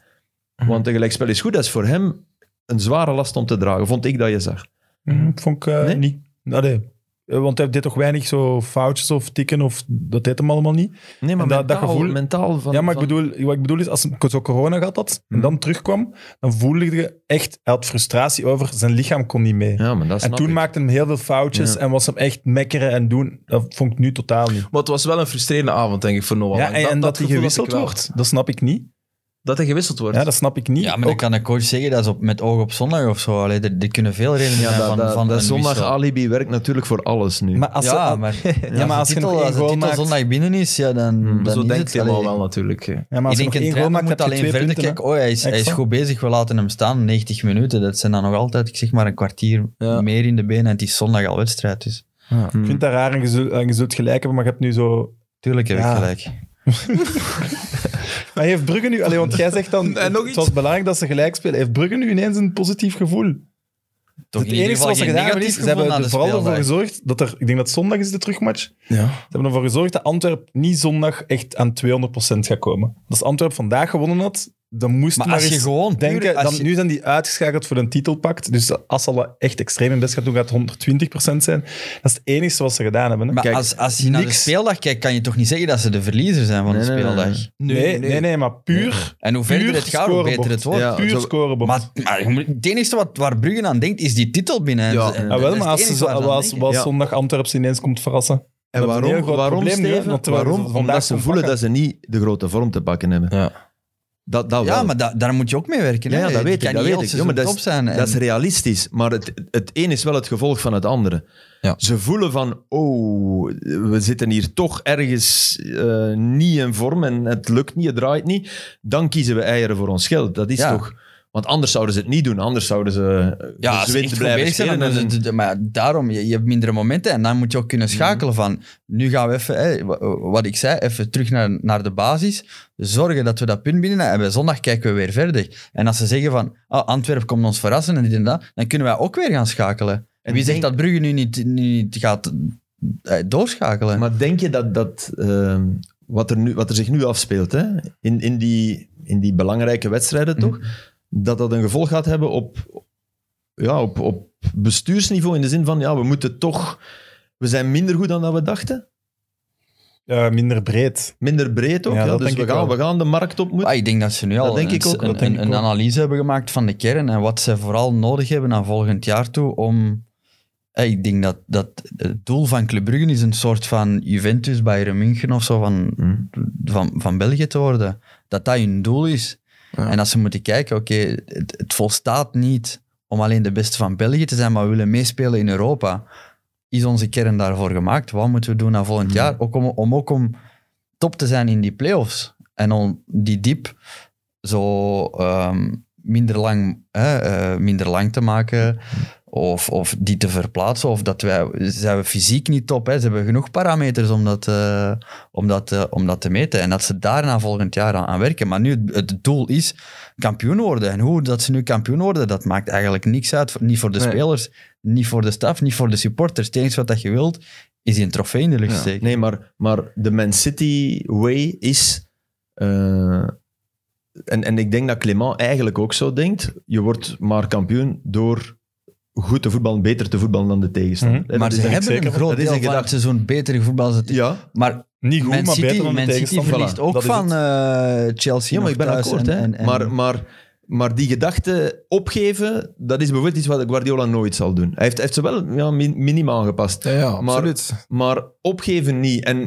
Speaker 3: Want een gelijkspel is goed. Dat is voor hem een zware last om te dragen, vond ik dat je zag.
Speaker 2: Hm, vond ik eh,
Speaker 3: Nee?
Speaker 2: niet. Allee, eh, Want hij deed toch weinig zo foutjes of tikken of dat deed hem allemaal niet.
Speaker 3: Nee,
Speaker 2: maar
Speaker 3: dat,
Speaker 2: mentaal-
Speaker 3: gevoel... Mentaal van,
Speaker 2: ja, maar ik bedoel, wat ik bedoel is, als hij zo corona gehad had en
Speaker 3: Hm.
Speaker 2: dan terugkwam, dan voelde je echt, hij had frustratie over, zijn lichaam kon niet mee.
Speaker 3: Ja, maar dat
Speaker 2: en
Speaker 3: snap
Speaker 2: toen
Speaker 3: ik.
Speaker 2: maakte hem heel veel foutjes
Speaker 3: Ja.
Speaker 2: en was hem echt mekkeren en doen. Dat vond ik nu totaal niet.
Speaker 1: Maar het was wel een frustrerende avond, denk ik, voor Noah.
Speaker 2: Ja,
Speaker 1: Lang.
Speaker 2: en dat,
Speaker 1: gevoel
Speaker 2: hij
Speaker 1: had ik
Speaker 2: gewisseld
Speaker 1: wel.
Speaker 2: wordt, dat snap ik niet.
Speaker 1: Dat hij gewisseld wordt.
Speaker 2: Ja, dat snap ik niet.
Speaker 4: Ja, maar dan
Speaker 2: Ook-
Speaker 4: kan de coach zeggen dat is op, met oog op zondag of zo. Allee, er, er kunnen veel redenen
Speaker 3: Ja,
Speaker 4: zijn
Speaker 3: dat,
Speaker 4: van,
Speaker 3: dat,
Speaker 4: van
Speaker 3: dat
Speaker 4: een
Speaker 3: zondag
Speaker 4: wissel.
Speaker 3: alibi werkt natuurlijk voor alles nu.
Speaker 2: maar als ze-
Speaker 4: ja, maar, ja,
Speaker 2: maar als
Speaker 4: de
Speaker 2: je
Speaker 4: titel,
Speaker 2: nog één
Speaker 4: als de
Speaker 2: goal
Speaker 4: titel
Speaker 2: maakt-
Speaker 4: zondag binnen is, ja, dan,
Speaker 2: Hmm.
Speaker 4: dan
Speaker 1: Zo
Speaker 4: is
Speaker 1: denkt
Speaker 4: het.
Speaker 1: hij allemaal
Speaker 4: Allee,
Speaker 1: wel natuurlijk. hè.
Speaker 2: ja, maar als je
Speaker 4: ik
Speaker 2: nog
Speaker 4: denk een
Speaker 2: één goal
Speaker 4: trainer
Speaker 2: maakt,
Speaker 4: moet
Speaker 2: heb je
Speaker 4: alleen
Speaker 2: twee
Speaker 4: verder
Speaker 2: punten. hè.
Speaker 4: kijken. Oh, hij is, hij is
Speaker 2: Extra.
Speaker 4: goed bezig, we laten hem staan. 90 minuten, dat zijn dan nog altijd, ik zeg maar, een kwartier
Speaker 1: Ja.
Speaker 4: meer in de benen. En het is zondag al wedstrijd, dus...
Speaker 2: Hmm. Ik vind dat raar en je zult, en je zult gelijk hebben, maar je hebt nu zo
Speaker 4: Tuurlijk heb
Speaker 2: Ja.
Speaker 4: ik gelijk.
Speaker 2: Maar heeft Brugge nu... Allee, want jij zegt dan...
Speaker 1: En nog
Speaker 2: Het
Speaker 1: iets.
Speaker 2: was belangrijk dat ze gelijk spelen. Heeft Brugge nu ineens een positief gevoel?
Speaker 4: Toch
Speaker 2: het enige wat ze gedaan hebben is... Ze hebben er vooral ervoor gezorgd dat er... Ik denk dat zondag is de terugmatch. Ze
Speaker 1: Ja.
Speaker 2: hebben ervoor gezorgd dat Antwerp niet zondag echt aan 200% gaat komen. Als Antwerp vandaag gewonnen had, dan moest
Speaker 4: Maar
Speaker 2: maar
Speaker 4: als je
Speaker 2: eens
Speaker 4: gewoon...
Speaker 2: denken...
Speaker 4: als
Speaker 2: Dan,
Speaker 4: je-
Speaker 2: Nu zijn die uitgeschakeld voor een titelpact. Dus als ze al echt extreem hun best gaan doen, gaat het 120% zijn. Dat is het enige wat ze gedaan hebben. hè.
Speaker 4: maar
Speaker 2: Kijk,
Speaker 4: als, als je naar de
Speaker 2: niks-
Speaker 4: speeldag kijkt, kan je toch niet zeggen dat ze de verliezer zijn van
Speaker 3: Nee,
Speaker 4: de
Speaker 3: nee, nee,
Speaker 4: speeldag?
Speaker 2: nee, nee, nee, maar puur...
Speaker 4: En hoe verder
Speaker 2: Puur
Speaker 4: het gaat, hoe beter het
Speaker 2: scorebord.
Speaker 4: wordt.
Speaker 3: Ja,
Speaker 2: puur
Speaker 3: zo-
Speaker 2: scorebord. Ah,
Speaker 4: Maar, maar je moet- het enige wat, waar Brugge aan denkt, is die titel binnen. En-
Speaker 3: Ja.
Speaker 4: en-
Speaker 2: Ja,
Speaker 4: dat
Speaker 2: wel,
Speaker 4: is
Speaker 2: maar
Speaker 4: het
Speaker 2: als,
Speaker 4: enige
Speaker 2: ze-
Speaker 4: waar ze aan
Speaker 2: als,
Speaker 4: denken.
Speaker 2: als
Speaker 3: Ja.
Speaker 2: zondag Antwerps ineens komt verrassen.
Speaker 3: En
Speaker 2: Dat is een heel
Speaker 3: waarom,
Speaker 2: groot
Speaker 3: waarom
Speaker 2: probleem nu, hè,
Speaker 3: Steven?
Speaker 2: want terwijl
Speaker 3: Waarom?
Speaker 2: ze vandaag
Speaker 3: Omdat ze
Speaker 2: gaan
Speaker 3: voelen
Speaker 2: pakken.
Speaker 3: dat ze niet de grote vorm te pakken hebben.
Speaker 1: Ja.
Speaker 3: Dat, dat wel.
Speaker 4: Ja, maar da- daar moet je ook mee werken.
Speaker 3: Ja,
Speaker 4: hè.
Speaker 3: ja,
Speaker 4: Je
Speaker 3: dat weet
Speaker 4: kan
Speaker 3: ik. Dat
Speaker 4: niet
Speaker 3: weet
Speaker 4: heel
Speaker 3: ik.
Speaker 4: het
Speaker 3: Ja, maar dat,
Speaker 4: seizoen
Speaker 3: is,
Speaker 4: top zijn.
Speaker 3: dat is
Speaker 4: En-
Speaker 3: realistisch. Maar het, het een is wel het gevolg van het andere.
Speaker 1: Ja.
Speaker 3: Ze voelen van, oh, we zitten hier toch ergens eh, niet in vorm en het lukt niet, het draait niet. Dan kiezen we eieren voor ons geld. Dat is
Speaker 4: Ja.
Speaker 3: toch... Want anders zouden ze het niet doen. Anders zouden ze eh,
Speaker 4: Ja, als ze
Speaker 3: gezwind
Speaker 4: echt blijven zijn, dan
Speaker 3: en- Mhm.
Speaker 4: is het- maar daarom, je, je hebt mindere momenten en dan moet je ook kunnen schakelen van, nu gaan we even, hè, wa- wat ik zei, even terug naar, naar de basis, zorgen dat we dat punt binnen en bij zondag kijken we weer verder. En als ze zeggen van, ah, Antwerpen komt ons verrassen en dit en dat, dan kunnen wij ook weer gaan schakelen. En
Speaker 3: En
Speaker 4: wie zegt
Speaker 3: denk-
Speaker 4: dat Brugge nu niet, nu niet gaat eh, doorschakelen?
Speaker 3: Maar denk je dat, dat ehm, wat, er nu, wat er zich nu afspeelt, hè, in, in, die, in die belangrijke wedstrijden
Speaker 4: Mhm.
Speaker 3: toch, dat dat een gevolg gaat hebben op, ja, op, op bestuursniveau? In de zin van, ja, we moeten toch... We zijn minder goed dan dat we dachten.
Speaker 2: Ja, eh, minder breed.
Speaker 3: Minder breed ook.
Speaker 2: Ja,
Speaker 3: Ja,
Speaker 2: dat
Speaker 3: dus
Speaker 2: denk
Speaker 3: we
Speaker 2: ik
Speaker 3: gaan,
Speaker 2: wel.
Speaker 3: we gaan de markt op moeten.
Speaker 4: Ah, ik denk dat ze nu
Speaker 3: Dat
Speaker 4: al
Speaker 3: denk
Speaker 4: een,
Speaker 3: ik ook,
Speaker 4: een-
Speaker 2: dat denk
Speaker 4: een-
Speaker 2: ik
Speaker 4: een
Speaker 2: ook.
Speaker 4: analyse hebben gemaakt van de kern en wat ze vooral nodig hebben aan volgend jaar toe om... Eh, Ik denk dat, dat het doel van Club Brugge is een soort van Juventus, Bayern München of zo van,
Speaker 3: Hm.
Speaker 4: van, van België te worden. Dat dat hun doel is.
Speaker 1: Ja.
Speaker 4: En als ze moeten kijken, oké, het, het volstaat niet om alleen de beste van België te zijn, maar we willen meespelen in Europa. Is onze kern daarvoor gemaakt? Wat moeten we doen na volgend jaar? Ook om, om ook om top te zijn in die play-offs. En om die diep zo ehm, minder, lang, hè, eh, minder lang te maken. Of, of die te verplaatsen. Of dat wij... Zijn we fysiek niet top? Hè? Ze hebben genoeg parameters om dat, eh, om, dat, eh, om dat te meten. En dat ze daarna volgend jaar aan, aan werken. Maar nu, het, het doel is kampioen worden. En hoe dat ze nu kampioen worden, dat maakt eigenlijk niks uit. Voor- Niet voor de
Speaker 1: Nee.
Speaker 4: spelers, niet voor de staf, niet voor de supporters. Het enige wat dat je wilt, is die een trofee in de lucht
Speaker 1: Ja.
Speaker 4: steken.
Speaker 3: Nee, maar, maar de Man City way is... eh, en, en ik denk dat Clément eigenlijk ook zo denkt. Je wordt maar kampioen door goed te voetballen, beter te voetballen dan de tegenstander.
Speaker 2: Mhm.
Speaker 3: Hè,
Speaker 4: Maar
Speaker 3: dat
Speaker 4: ze
Speaker 3: is
Speaker 2: ik
Speaker 4: hebben
Speaker 2: zeker.
Speaker 4: een groot
Speaker 3: Dat is
Speaker 4: deel
Speaker 3: een
Speaker 4: van het
Speaker 3: gedachte.
Speaker 4: seizoen betere voetbal. als het-
Speaker 3: Ja,
Speaker 4: Maar
Speaker 2: Niet goed,
Speaker 4: Man
Speaker 2: maar
Speaker 4: City,
Speaker 2: beter dan de
Speaker 4: Man City
Speaker 2: tegenstander.
Speaker 4: verliest ook
Speaker 2: Dat is
Speaker 4: van
Speaker 2: het.
Speaker 4: eh, Chelsea.
Speaker 3: ja maar
Speaker 4: nog
Speaker 3: ik ben
Speaker 4: thuis
Speaker 3: akkoord.
Speaker 4: en-
Speaker 3: hè.
Speaker 4: en- en-
Speaker 3: Maar, maar, maar die gedachte opgeven, dat is bijvoorbeeld iets wat Guardiola nooit zal doen. Hij heeft, heeft ze wel ja, min- minimaal aangepast.
Speaker 1: Ja, ja,
Speaker 3: Maar-
Speaker 1: absoluut.
Speaker 3: Maar opgeven niet. En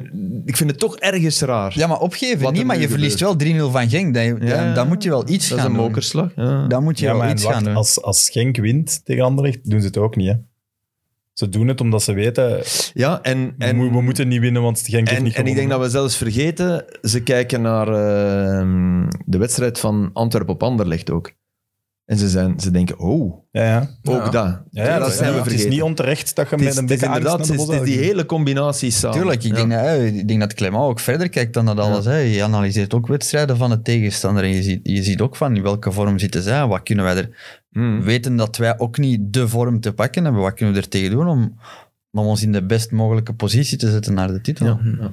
Speaker 3: ik vind het toch ergens raar.
Speaker 4: ja, maar opgeven
Speaker 3: Wat
Speaker 4: niet,
Speaker 3: er
Speaker 4: maar
Speaker 3: nu
Speaker 4: je verliest
Speaker 3: gebeurt.
Speaker 4: wel 3-0 van Genk. Dan, dan, dan moet je wel iets
Speaker 3: dat is
Speaker 4: gaan
Speaker 3: een
Speaker 4: doen.
Speaker 3: mokerslag. Ja.
Speaker 4: Dan moet je
Speaker 2: Ja,
Speaker 4: wel
Speaker 2: maar en
Speaker 4: iets gaan
Speaker 2: wacht,
Speaker 4: doen.
Speaker 2: als, als Genk wint tegen Anderlecht, doen ze het ook niet. Hè? Ze doen het omdat ze weten,
Speaker 3: Ja, en,
Speaker 2: en,
Speaker 3: en,
Speaker 2: we, we moeten niet winnen, want Genk heeft
Speaker 3: En,
Speaker 2: niet
Speaker 3: en ik denk dat we zelfs vergeten, ze kijken naar eh, de wedstrijd van Antwerpen op Anderlecht ook. En ze, zijn, ze denken, oh,
Speaker 2: Ja, ja.
Speaker 3: ook
Speaker 1: Ja.
Speaker 3: dat.
Speaker 2: Ja, ja,
Speaker 3: dat
Speaker 2: dat
Speaker 3: zijn we
Speaker 2: het
Speaker 3: vergeten.
Speaker 2: is niet onterecht dat je
Speaker 3: Het is,
Speaker 2: met een
Speaker 3: het is
Speaker 2: beetje angst naar
Speaker 3: inderdaad,
Speaker 2: de
Speaker 3: het is, het is die
Speaker 2: bos
Speaker 3: hele combinatie samen.
Speaker 4: Tuurlijk, ik,
Speaker 3: Ja.
Speaker 4: denk, dat, hè, ik denk dat Clement ook verder kijkt dan dat alles. Hè. Je analyseert ook wedstrijden van de tegenstander en je ziet, je ziet ook van in welke vorm zitten zij en wat kunnen wij er...
Speaker 3: Hmm.
Speaker 4: Weten dat wij ook niet de vorm te pakken hebben, wat kunnen we er tegen doen om, om ons in de best mogelijke positie te zetten naar de titel?
Speaker 3: Ja. Ja.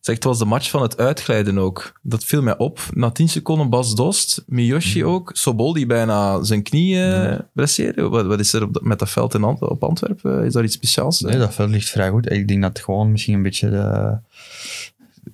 Speaker 1: Zeg, het was de match van het uitglijden ook. Dat viel mij op. Na 10 seconden Bas Dost, Miyoshi
Speaker 2: Mhm.
Speaker 1: ook, Sobol die bijna zijn knie eh blesseerde. Wat, wat is er op dat- met dat veld in Ant- op Antwerpen? Is daar iets speciaals?
Speaker 4: Nee, dat veld ligt vrij goed. Ik denk dat gewoon misschien een beetje de,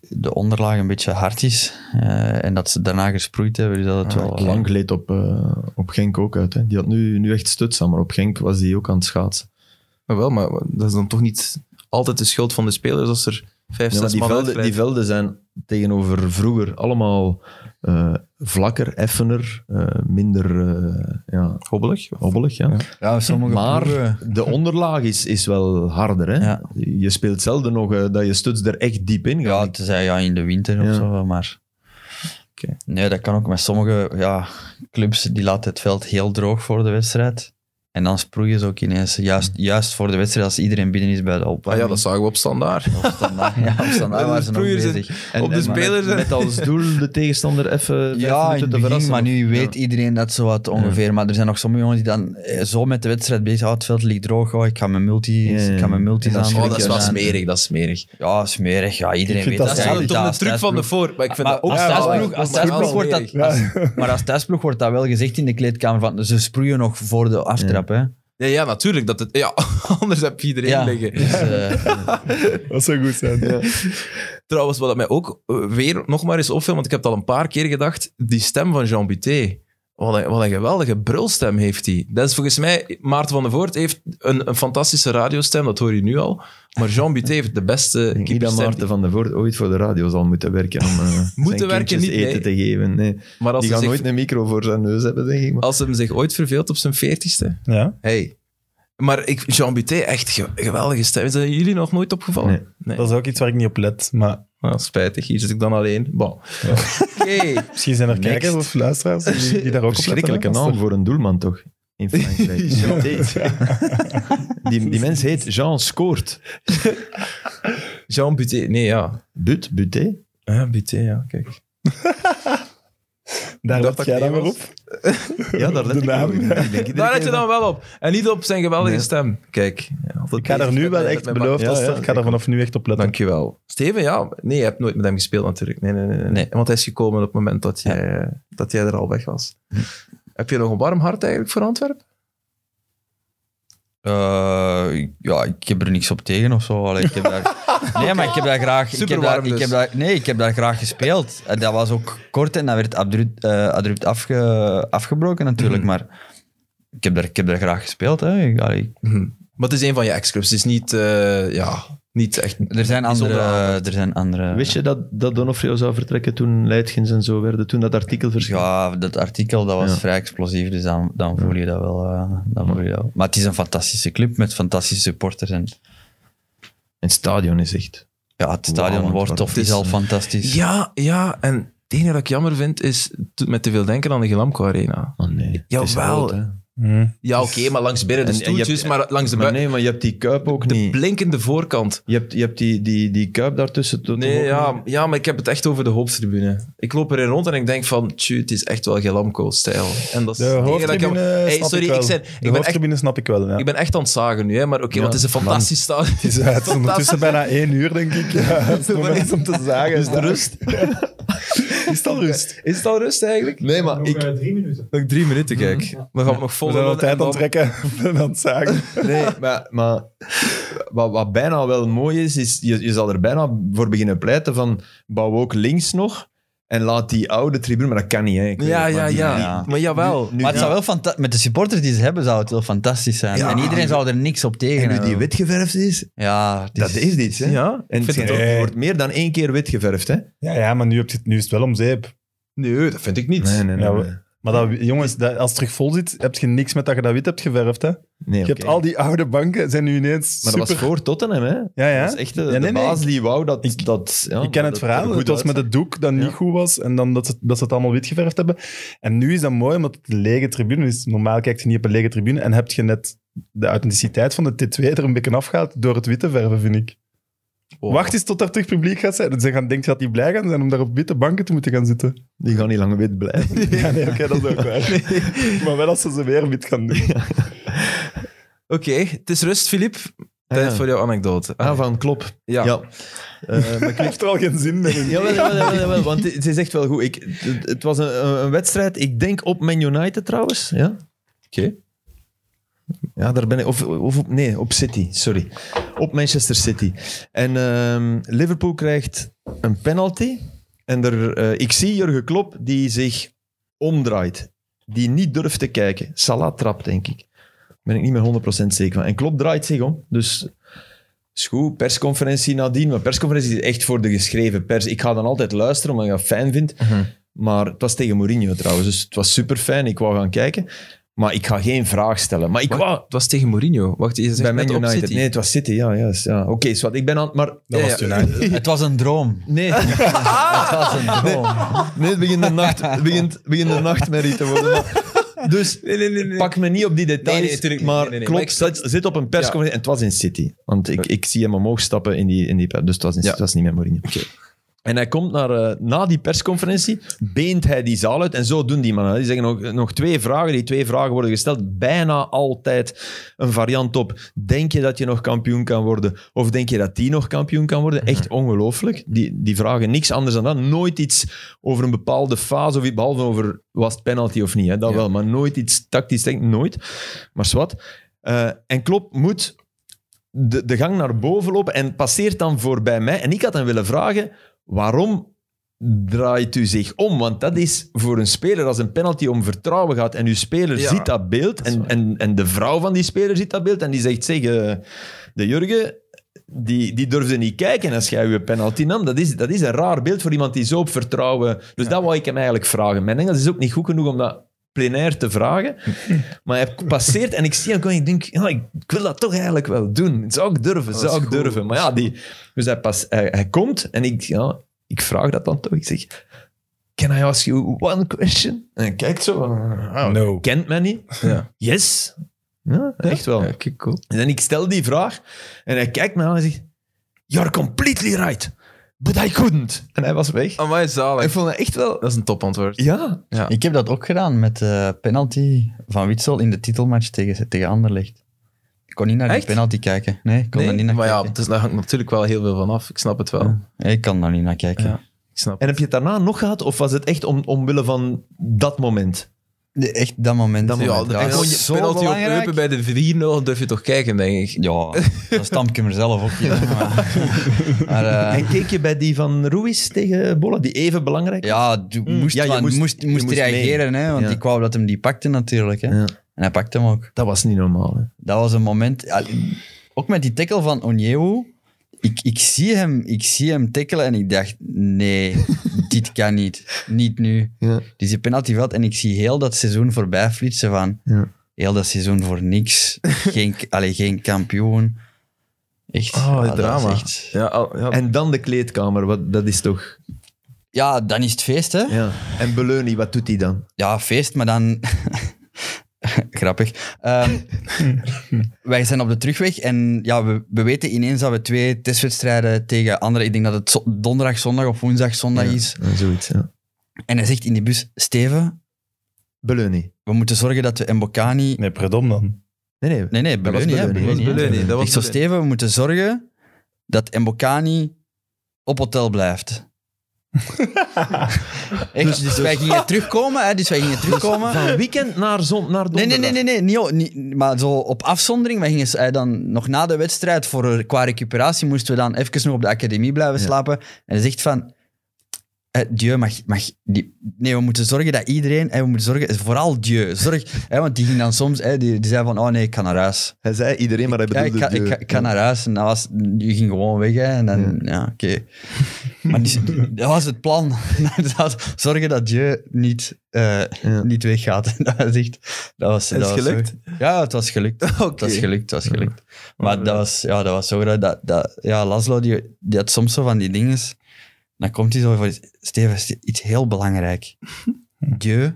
Speaker 4: de onderlaag een beetje hard is. eh, en dat ze daarna gesproeid hebben. Dus dat het wel...
Speaker 3: Lang gleed op, eh, op Genk ook uit. Hè. Die had nu, nu echt stuts aan, maar op Genk was die ook aan het schaatsen.
Speaker 4: Dus
Speaker 1: Maar wel, maar dat is dan toch niet altijd de schuld van de spelers als er vijf,
Speaker 3: Ja, maar
Speaker 1: zes
Speaker 3: die,
Speaker 1: man
Speaker 3: velden, die
Speaker 1: uitglijden.
Speaker 3: velden zijn tegenover vroeger allemaal eh, vlakker, effener, eh, minder eh, ja,
Speaker 1: Hobbelig.
Speaker 3: hobbelig. Ja.
Speaker 4: Ja, sommige
Speaker 3: Maar
Speaker 4: ploegen-
Speaker 3: de onderlaag is, is wel harder. Hè?
Speaker 4: Ja.
Speaker 3: Je speelt zelden nog eh, dat je stuts er echt diep in
Speaker 4: Ja,
Speaker 3: gaat.
Speaker 4: het is eh, ja, in de winter of
Speaker 3: Ja.
Speaker 4: zo, maar...
Speaker 1: Oké.
Speaker 4: Nee, dat kan ook. Maar sommige ja, clubs die laten het veld heel droog voor de wedstrijd. En dan sproeien ze ook ineens, juist, juist voor de wedstrijd, als iedereen binnen is bij de
Speaker 1: Mm. Ah
Speaker 4: opwarming.
Speaker 1: ja, dat zagen we op standaard. Oh,
Speaker 4: Of standaard, ja, of standaard
Speaker 1: de
Speaker 4: waren ze nog
Speaker 1: sproeiers en-
Speaker 4: bezig.
Speaker 1: op de
Speaker 3: maar
Speaker 1: spelers
Speaker 3: Met,
Speaker 1: en-
Speaker 3: met als doel de tegenstander even vijf
Speaker 4: Ja,
Speaker 3: minuten
Speaker 4: in
Speaker 3: te
Speaker 4: het begin,
Speaker 3: verrassen.
Speaker 4: maar nu weet iedereen dat zo wat ongeveer. Maar er zijn nog sommige jongens die dan eh, zo met de wedstrijd bezig zijn. Oh, het veld ligt droog, oh, ik ga mijn multis,
Speaker 3: Ja, ja.
Speaker 4: ik ga mijn multis
Speaker 3: En dan
Speaker 4: aan.
Speaker 1: Oh, dat is wel
Speaker 4: Ja,
Speaker 1: smerig, dat is smerig.
Speaker 4: Ja, smerig. Ja, iedereen
Speaker 2: Ik vind
Speaker 4: weet
Speaker 2: dat
Speaker 1: Dat is
Speaker 2: Ja,
Speaker 1: wel
Speaker 4: eigenlijk
Speaker 1: toch een
Speaker 4: als
Speaker 1: truc van de
Speaker 4: thuisploeg-
Speaker 1: voor, maar ik vind
Speaker 4: Maar
Speaker 1: dat ook...
Speaker 4: als
Speaker 1: Ja,
Speaker 4: thuisploeg-
Speaker 1: ja,
Speaker 4: als
Speaker 1: dat is wel
Speaker 4: thuisploeg wordt dat...
Speaker 1: smerig.
Speaker 2: Ja.
Speaker 4: als- Maar als thuisploeg wordt dat wel gezegd in de kleedkamer, van, ze sproeien nog voor de aftrap, hè.
Speaker 1: Ja, ja, natuurlijk. Dat het, ja, anders heb je iedereen
Speaker 4: Ja.
Speaker 1: liggen.
Speaker 4: Dus, eh,
Speaker 2: Dat zou goed zijn.
Speaker 1: Trouwens, wat dat mij ook eh, weer nog maar eens opviel, want ik heb het al een paar keer gedacht, die stem van Jean Buté. Wat een, wat een geweldige brulstem heeft hij. Dat is volgens mij... Maarten van der Voort heeft een, een fantastische radiostem, dat hoor je nu al. Maar Jean Buté heeft de beste
Speaker 3: Ik denk niet dat
Speaker 1: keeperstem.
Speaker 3: Maarten van der Voort ooit voor de radio zal moeten werken om eh, zijn
Speaker 1: werken,
Speaker 3: kindjes
Speaker 1: niet, nee.
Speaker 3: eten te geven. Nee.
Speaker 1: Maar als
Speaker 3: Die
Speaker 1: hij,
Speaker 3: gaan
Speaker 1: zich,
Speaker 3: nooit een micro voor zijn neus hebben, denk ik. Maar.
Speaker 1: als hem zich ooit verveelt op zijn veertigste...
Speaker 2: Ja.
Speaker 1: Hey. Maar ik, Jean Buté, echt ge- geweldige stem. Is dat jullie nog nooit opgevallen?
Speaker 3: Nee.
Speaker 2: Dat is ook iets waar ik niet op let. Maar
Speaker 1: Nou, spijtig, hier zit ik dan alleen. Bon. Oké.
Speaker 2: misschien zijn er
Speaker 4: Next.
Speaker 2: kijkers of luisteraars die, die daar ook op letten.
Speaker 3: Verschrikkelijke naam voor een doelman, toch? In Frankrijk. die, die mens heet Jean Scoort.
Speaker 1: Jean Buté, nee, ja.
Speaker 3: But, buté.
Speaker 1: Ah, Buté, ja, kijk.
Speaker 2: Daar
Speaker 1: Dat
Speaker 2: let jij
Speaker 1: dat
Speaker 2: dan
Speaker 1: niet
Speaker 2: weer op.
Speaker 3: Ja, daar
Speaker 2: De
Speaker 3: let ik
Speaker 2: naam.
Speaker 3: ook in. Ik denk iedere
Speaker 1: Daar let
Speaker 3: keer
Speaker 1: je
Speaker 3: dat-
Speaker 1: dan wel op. En niet op zijn geweldige
Speaker 3: Nee.
Speaker 1: stem. Kijk. ja, altijd
Speaker 2: Ik ga daar
Speaker 1: bezig
Speaker 2: nu
Speaker 1: met
Speaker 2: wel
Speaker 1: mijn-
Speaker 2: echt
Speaker 1: met mijn-
Speaker 2: beloofd.
Speaker 3: Ja,
Speaker 2: als-
Speaker 3: ja,
Speaker 2: ik ga daar
Speaker 3: ik
Speaker 2: vanaf nu echt op letten.
Speaker 1: Dankjewel. Steven, ja. Nee, je hebt nooit met hem gespeeld natuurlijk. Nee, nee, nee. nee.
Speaker 4: Nee.
Speaker 1: Want hij is gekomen op het moment dat jij, eh, dat jij er al weg was.
Speaker 2: Hm.
Speaker 1: Heb je nog een warm hart eigenlijk voor Antwerpen?
Speaker 4: eh, ja, ik heb er niks op tegen of zo. Allee, ik heb daar, nee, maar ik heb daar graag... Ik heb
Speaker 1: Superwarm
Speaker 4: daar, ik
Speaker 1: dus.
Speaker 4: heb daar, nee, ik heb daar graag gespeeld. En dat was ook kort en dat werd abrupt, eh, abrupt afge, afgebroken natuurlijk. Maar ik heb, daar, ik heb daar graag gespeeld. Hè. Ik- allee,
Speaker 1: Hm. Maar het is een van je ex-clubs. Het is niet, eh, ja, niet echt...
Speaker 4: Er zijn andere...
Speaker 1: Bijzonder
Speaker 4: Er zijn
Speaker 1: Ah,
Speaker 4: andere
Speaker 3: Wist je dat, dat Donofrio zou vertrekken toen Leidgens en zo werden? Toen dat artikel verscheen?
Speaker 4: dus Ja, dat artikel dat was
Speaker 3: Ja.
Speaker 4: vrij explosief, dus dan, dan, voel je dat wel, eh, dan voel je dat wel. Maar het is een fantastische club met fantastische supporters. En,
Speaker 3: En het stadion is echt...
Speaker 4: ja, het
Speaker 3: Wauw,
Speaker 4: stadion
Speaker 3: want
Speaker 4: wordt
Speaker 3: wat
Speaker 4: of
Speaker 1: is-
Speaker 4: is al fantastisch.
Speaker 1: Ja, ja. En het enige dat ik jammer vind, is het doet me te veel denken aan de Gelamco Arena. Dus-
Speaker 3: Oh nee.
Speaker 1: Jawel.
Speaker 3: Het is rood, hè.
Speaker 2: Hmm.
Speaker 1: Ja, oké, maar langs binnen de
Speaker 3: En- en je hebt-
Speaker 1: stoeltjes, maar langs de
Speaker 3: Maar
Speaker 1: buiten.
Speaker 3: nee, maar je hebt die kuip ook
Speaker 1: de
Speaker 3: niet.
Speaker 1: blinkende voorkant.
Speaker 3: Je hebt, je hebt die, die, die kuip daartussen. tot-
Speaker 1: Nee,
Speaker 3: ook
Speaker 1: ja,
Speaker 3: niet.
Speaker 1: ja, maar ik heb het echt over de hoofdtribune. Ik loop erin rond en ik denk van, tjoe, het is echt wel Gelamco-stijl. En dat is
Speaker 2: De
Speaker 1: het enige dat ik-
Speaker 2: hoofdtribune
Speaker 1: Hey,
Speaker 2: snap
Speaker 1: sorry,
Speaker 2: ik wel.
Speaker 1: ik, zei-
Speaker 2: de
Speaker 1: ik, ben echt,
Speaker 2: hoofdtribune snap ik wel, ja.
Speaker 1: ik ben echt aan het zagen nu, hè, maar oké,
Speaker 3: Ja,
Speaker 1: want het is een fantastisch stadion.
Speaker 2: Het is eh, het is ondertussen bijna één uur, denk ik. Ja, het is het moment om te zagen. Is rust? Is het al rust?
Speaker 1: Is het al rust eigenlijk?
Speaker 3: Nee, maar ik,
Speaker 1: Nog drie minuten, kijk. Dan gaan we nog vol.
Speaker 2: We zijn
Speaker 1: doen
Speaker 2: al tijd
Speaker 1: en
Speaker 2: aan het
Speaker 1: dan-
Speaker 2: trekken en aan het zagen.
Speaker 3: Nee, maar, maar wat, wat bijna wel mooi is, is je, je zal er bijna voor beginnen pleiten van bouw ook links nog en laat die oude tribune, maar dat kan niet. Hè. Ik weet
Speaker 1: Ja,
Speaker 3: het, maar
Speaker 1: ja,
Speaker 3: die- die-
Speaker 1: ja. Maar jawel.
Speaker 4: maar het zou wel fanta- met de supporters die ze hebben, zou het wel fantastisch zijn.
Speaker 3: Ja.
Speaker 4: En iedereen zou er niks op tegen
Speaker 3: En nu die
Speaker 4: hebben.
Speaker 3: wit geverfd is,
Speaker 4: Ja, het
Speaker 3: dat is iets. Hè?
Speaker 1: Ja,
Speaker 3: En
Speaker 1: ik
Speaker 3: het
Speaker 1: vind het
Speaker 3: schijnt ook-
Speaker 2: Nee.
Speaker 3: wordt meer dan één keer wit geverfd. Hè?
Speaker 2: Ja, ja maar nu, heb je het, nu is het wel om zeep.
Speaker 1: Nee, dat vind ik niet.
Speaker 3: nee,
Speaker 2: Ja,
Speaker 3: nee.
Speaker 2: we- Maar dat, jongens, dat, als het terug vol zit, heb je niks met dat je dat wit hebt geverfd. Hè?
Speaker 3: Nee,
Speaker 2: Je hebt
Speaker 3: oké.
Speaker 2: al die oude banken, zijn nu ineens
Speaker 3: Maar dat
Speaker 2: super...
Speaker 3: was voor Tottenham, hè?
Speaker 2: Ja, ja.
Speaker 3: Dat is echt de,
Speaker 2: nee,
Speaker 3: de
Speaker 2: nee.
Speaker 3: baas die wou dat...
Speaker 2: Ik-
Speaker 3: dat ja,
Speaker 2: ik ken het
Speaker 3: dat
Speaker 2: verhaal.
Speaker 3: er
Speaker 2: Het
Speaker 3: goed
Speaker 2: was met het doek dat niet
Speaker 3: Ja.
Speaker 2: goed was en dan dat ze, dat ze het allemaal wit geverfd hebben. En nu is dat mooi, omdat het een lege tribune is. Normaal kijkt je niet op een lege tribune en heb je net de authenticiteit van de T2 er een beetje afgehaald door het wit te verven, vind ik.
Speaker 1: Wow.
Speaker 2: Wacht eens tot daar terug publiek gaat zijn. Ze gaan, denk je dat die blij gaan zijn om daar op witte banken te moeten gaan zitten?
Speaker 3: uitziet. Die gaan niet lang wit blijven.
Speaker 2: Ja, nee, oké, dat is ook waar. Maar wel als ze ze weer wit gaan doen.
Speaker 1: Oké, het is rust, Filip. Tijd
Speaker 3: Ah.
Speaker 1: voor jouw anekdote.
Speaker 3: Ah, van Klop.
Speaker 1: ja.
Speaker 3: Ja. Eh, maar
Speaker 2: Ik heb er al geen zin meer in.
Speaker 3: Jawel, jawel, jawel, jawel, want het is echt wel goed. Ik, het, het was een, een- een wedstrijd, ik denk op Man United trouwens. Ja? Oké. Ja, daar ben ik... Of, of op, nee, op City, sorry. Op Manchester City. En ehm, Liverpool krijgt een penalty. En er, eh, ik zie Jurgen Klopp die zich omdraait. Die niet durft te kijken. Salah trapt, denk ik. Daar ben ik niet meer 100% zeker van. En Klopp draait zich om. Dus is goed, persconferentie nadien. Maar persconferentie is echt voor de geschreven pers. Ik ga dan altijd luisteren, omdat ik dat fijn vind. Maar het was tegen Mourinho trouwens, dus het was super fijn. Ik wou gaan kijken, maar ik ga geen vraag stellen. Maar ik
Speaker 1: Wacht,
Speaker 3: wou...
Speaker 1: Het was tegen Mourinho. Wacht, je zegt
Speaker 3: Bij
Speaker 1: net
Speaker 3: Man
Speaker 1: op
Speaker 3: United.
Speaker 1: City.
Speaker 3: Nee, het was City, ja. juist, ja. Oké, zwart, ik ben aan... Maar...
Speaker 2: Dat
Speaker 1: Ja,
Speaker 2: was
Speaker 1: ja.
Speaker 2: toen eigenlijk.
Speaker 4: Het was een droom.
Speaker 3: Nee,
Speaker 4: Het was een droom.
Speaker 3: nee het begint de nacht, het begint, het begint de nachtmerrie te worden. Maar Dus
Speaker 1: Nee, nee, nee. nee.
Speaker 3: pak me niet op die details,
Speaker 1: Nee, nee, tuurlijk niet.
Speaker 3: maar
Speaker 1: Nee, nee, nee.
Speaker 3: klopt,
Speaker 1: Maar ik snap-
Speaker 3: zit, zit op een persconferentie. En het was in City. Want ik, ik zie hem omhoog stappen in die... In die per- dus het was, in,
Speaker 1: Ja.
Speaker 3: het was niet met Mourinho. En hij komt naar, eh, na die persconferentie, beent hij die zaal uit. En zo doen die mannen. Die zeggen nog, nog twee vragen. Die twee vragen worden gesteld. Bijna altijd een variant op. Denk je dat je nog kampioen kan worden? Of denk je dat die nog kampioen kan worden? Echt ongelooflijk. Die, die vragen niks anders dan dat. Nooit iets over een bepaalde fase. Of, iets, behalve over was het penalty of niet. Hè? Dat
Speaker 1: Ja.
Speaker 3: wel. Maar nooit iets tactisch. Denk, nooit. Maar zwart. Eh, en Klopp moet de, de gang naar boven lopen en passeert dan voorbij mij. En ik had hem willen vragen, waarom draait u zich om? Want dat is voor een speler als een penalty om vertrouwen gaat. En uw speler
Speaker 1: Ja,
Speaker 3: ziet dat beeld en, en, en de vrouw van die speler ziet dat beeld en die zegt, zeg, eh, de Jurgen... Die, die durfde niet kijken als jij je penalty nam. Dat is, dat is een raar beeld voor iemand die zo op vertrouwen... Dus dat wou ik hem eigenlijk vragen. Mijn Engels is ook niet goed genoeg om dat plenair te vragen. Maar hij passeert en ik zie hem komen en ik denk, ja, ik, ik wil dat toch eigenlijk wel doen. Zou ik durven,
Speaker 1: is
Speaker 3: zou ik
Speaker 1: goed.
Speaker 3: durven. Maar ja, die, dus hij, pas, hij, hij komt en ik, ja, ik vraag dat dan toch. Ik zeg, can I ask you one question? En hij kijkt zo, ah,
Speaker 2: No.
Speaker 3: kent mij niet?
Speaker 1: Ja.
Speaker 3: Yes. Ja, echt wel.
Speaker 1: Ja, oké, cool.
Speaker 3: En ik stel die vraag en hij kijkt me aan en zegt, you're completely right, but I couldn't. En hij was weg.
Speaker 1: Amai, zalig.
Speaker 3: Ik vond het echt wel...
Speaker 1: Dat is een topantwoord.
Speaker 3: Ja,
Speaker 4: Ik heb dat ook gedaan met de penalty van Witsel in de titelmatch tegen, tegen Anderlecht. Ik kon niet naar
Speaker 1: Echt?
Speaker 4: die penalty kijken. Nee, ik kon daar
Speaker 1: Nee,
Speaker 4: niet naar
Speaker 1: maar ja,
Speaker 4: kijken.
Speaker 1: het is, daar hangt natuurlijk wel heel veel van af. Ik snap het wel.
Speaker 4: Ja, ik kan daar niet naar kijken.
Speaker 1: Ja. Ik snap
Speaker 3: en heb je het daarna nog gehad of was het echt om, omwille van dat moment?
Speaker 4: Nee, echt dat moment.
Speaker 1: het. Ja, de
Speaker 4: dat
Speaker 1: penalty,
Speaker 4: is zo
Speaker 1: penalty op
Speaker 4: belangrijk.
Speaker 1: Eupen bij de 4-0 durf je toch kijken, denk ik.
Speaker 4: Ja, dat stamp ik mezelf ook. Ja, maar, maar, eh,
Speaker 3: En keek je bij die van Ruiz tegen Bolla, die even belangrijk
Speaker 4: ja, je moest,
Speaker 3: Hmm. ja, je
Speaker 4: wel-
Speaker 3: moest-
Speaker 4: moest,
Speaker 3: je
Speaker 4: moest
Speaker 3: moest
Speaker 4: reageren, hè, want
Speaker 3: Ja.
Speaker 4: ik wou dat hem die pakte natuurlijk. Hè.
Speaker 3: Ja.
Speaker 4: En hij pakte hem ook.
Speaker 3: Dat was niet normaal. Hè?
Speaker 4: Dat was een moment... ja, Ook met die tackle van Onyewu. Ik, ik, zie hem, ik zie hem tackelen en ik dacht, nee, dit kan niet. Niet nu.
Speaker 3: Ja.
Speaker 4: Dus die penalty valt en ik zie heel dat seizoen voorbij flitsen van...
Speaker 3: Ja.
Speaker 4: Heel dat seizoen voor niks. Geen, allee, geen kampioen. Echt.
Speaker 1: Oh,
Speaker 4: ja,
Speaker 1: het
Speaker 4: dat
Speaker 1: drama.
Speaker 4: was echt-
Speaker 1: Ja, al- ja.
Speaker 3: En dan de kleedkamer, wat, dat is toch...
Speaker 4: ja, dan is het feest, hè.
Speaker 3: Ja. En Beleuni, wat doet hij dan?
Speaker 4: Ja, feest, maar dan... Grappig. Ehm, wij zijn op de terugweg en ja, we, we weten ineens dat we twee testwedstrijden tegen anderen... Ik denk dat het zo- donderdag, zondag of woensdag, zondag is.
Speaker 3: Ja, Eh, zoiets, ja.
Speaker 4: En hij zegt in die bus, Steven,
Speaker 3: Beleuni.
Speaker 4: we moeten zorgen dat we Mbokani...
Speaker 2: Nee, Predom dan.
Speaker 3: Nee, nee.
Speaker 4: Nee, nee,
Speaker 3: was
Speaker 4: Beleuni, hè,
Speaker 3: Beleuni.
Speaker 1: dat was
Speaker 4: Beleuni, hè.
Speaker 1: Beleuni. Dat was
Speaker 4: Ik zo,
Speaker 1: Beleuni.
Speaker 4: Steven, we moeten zorgen dat Mbokani op hotel blijft. Echt, dus, wij gingen terugkomen, hè, dus wij gingen terugkomen.
Speaker 3: Van weekend naar, zon, naar
Speaker 4: Nee,
Speaker 3: donderdag.
Speaker 4: nee, nee, nee, nee, niet o- niet- maar zo op afzondering. Wij gingen s- eh, dan nog na de wedstrijd voor eh, qua recuperatie moesten we dan even nog op de academie blijven
Speaker 3: Ja.
Speaker 4: slapen. En hij zegt van, eh, Dieu mag, mag die, nee, we moeten zorgen dat iedereen, eh, we moeten zorgen, vooral Dieu, zorg, eh, want die ging dan soms, eh, die, die zei van, oh nee, ik ga naar huis.
Speaker 3: Hij zei iedereen, maar hij
Speaker 4: Ja, ik,
Speaker 3: bedoelde...
Speaker 4: ga, ik, ga, ik ga naar huis en dat was, je ging gewoon weg hè, en dan, ja, oké. Maar die, dat was het plan. Dat was zorgen dat Dieu niet, eh,
Speaker 3: Ja.
Speaker 4: niet weggaat. Dat was echt, dat was,
Speaker 1: Is
Speaker 4: dat was
Speaker 1: gelukt?
Speaker 4: zo- Ja, het was gelukt. Het was gelukt, het was gelukt. Maar dat was, ja, dat was zo graag. Dat, dat, ja, Laszlo, die, die had soms zo van die dingen. Dan komt hij zo voor, Steven, is iets heel belangrijk. Dieu,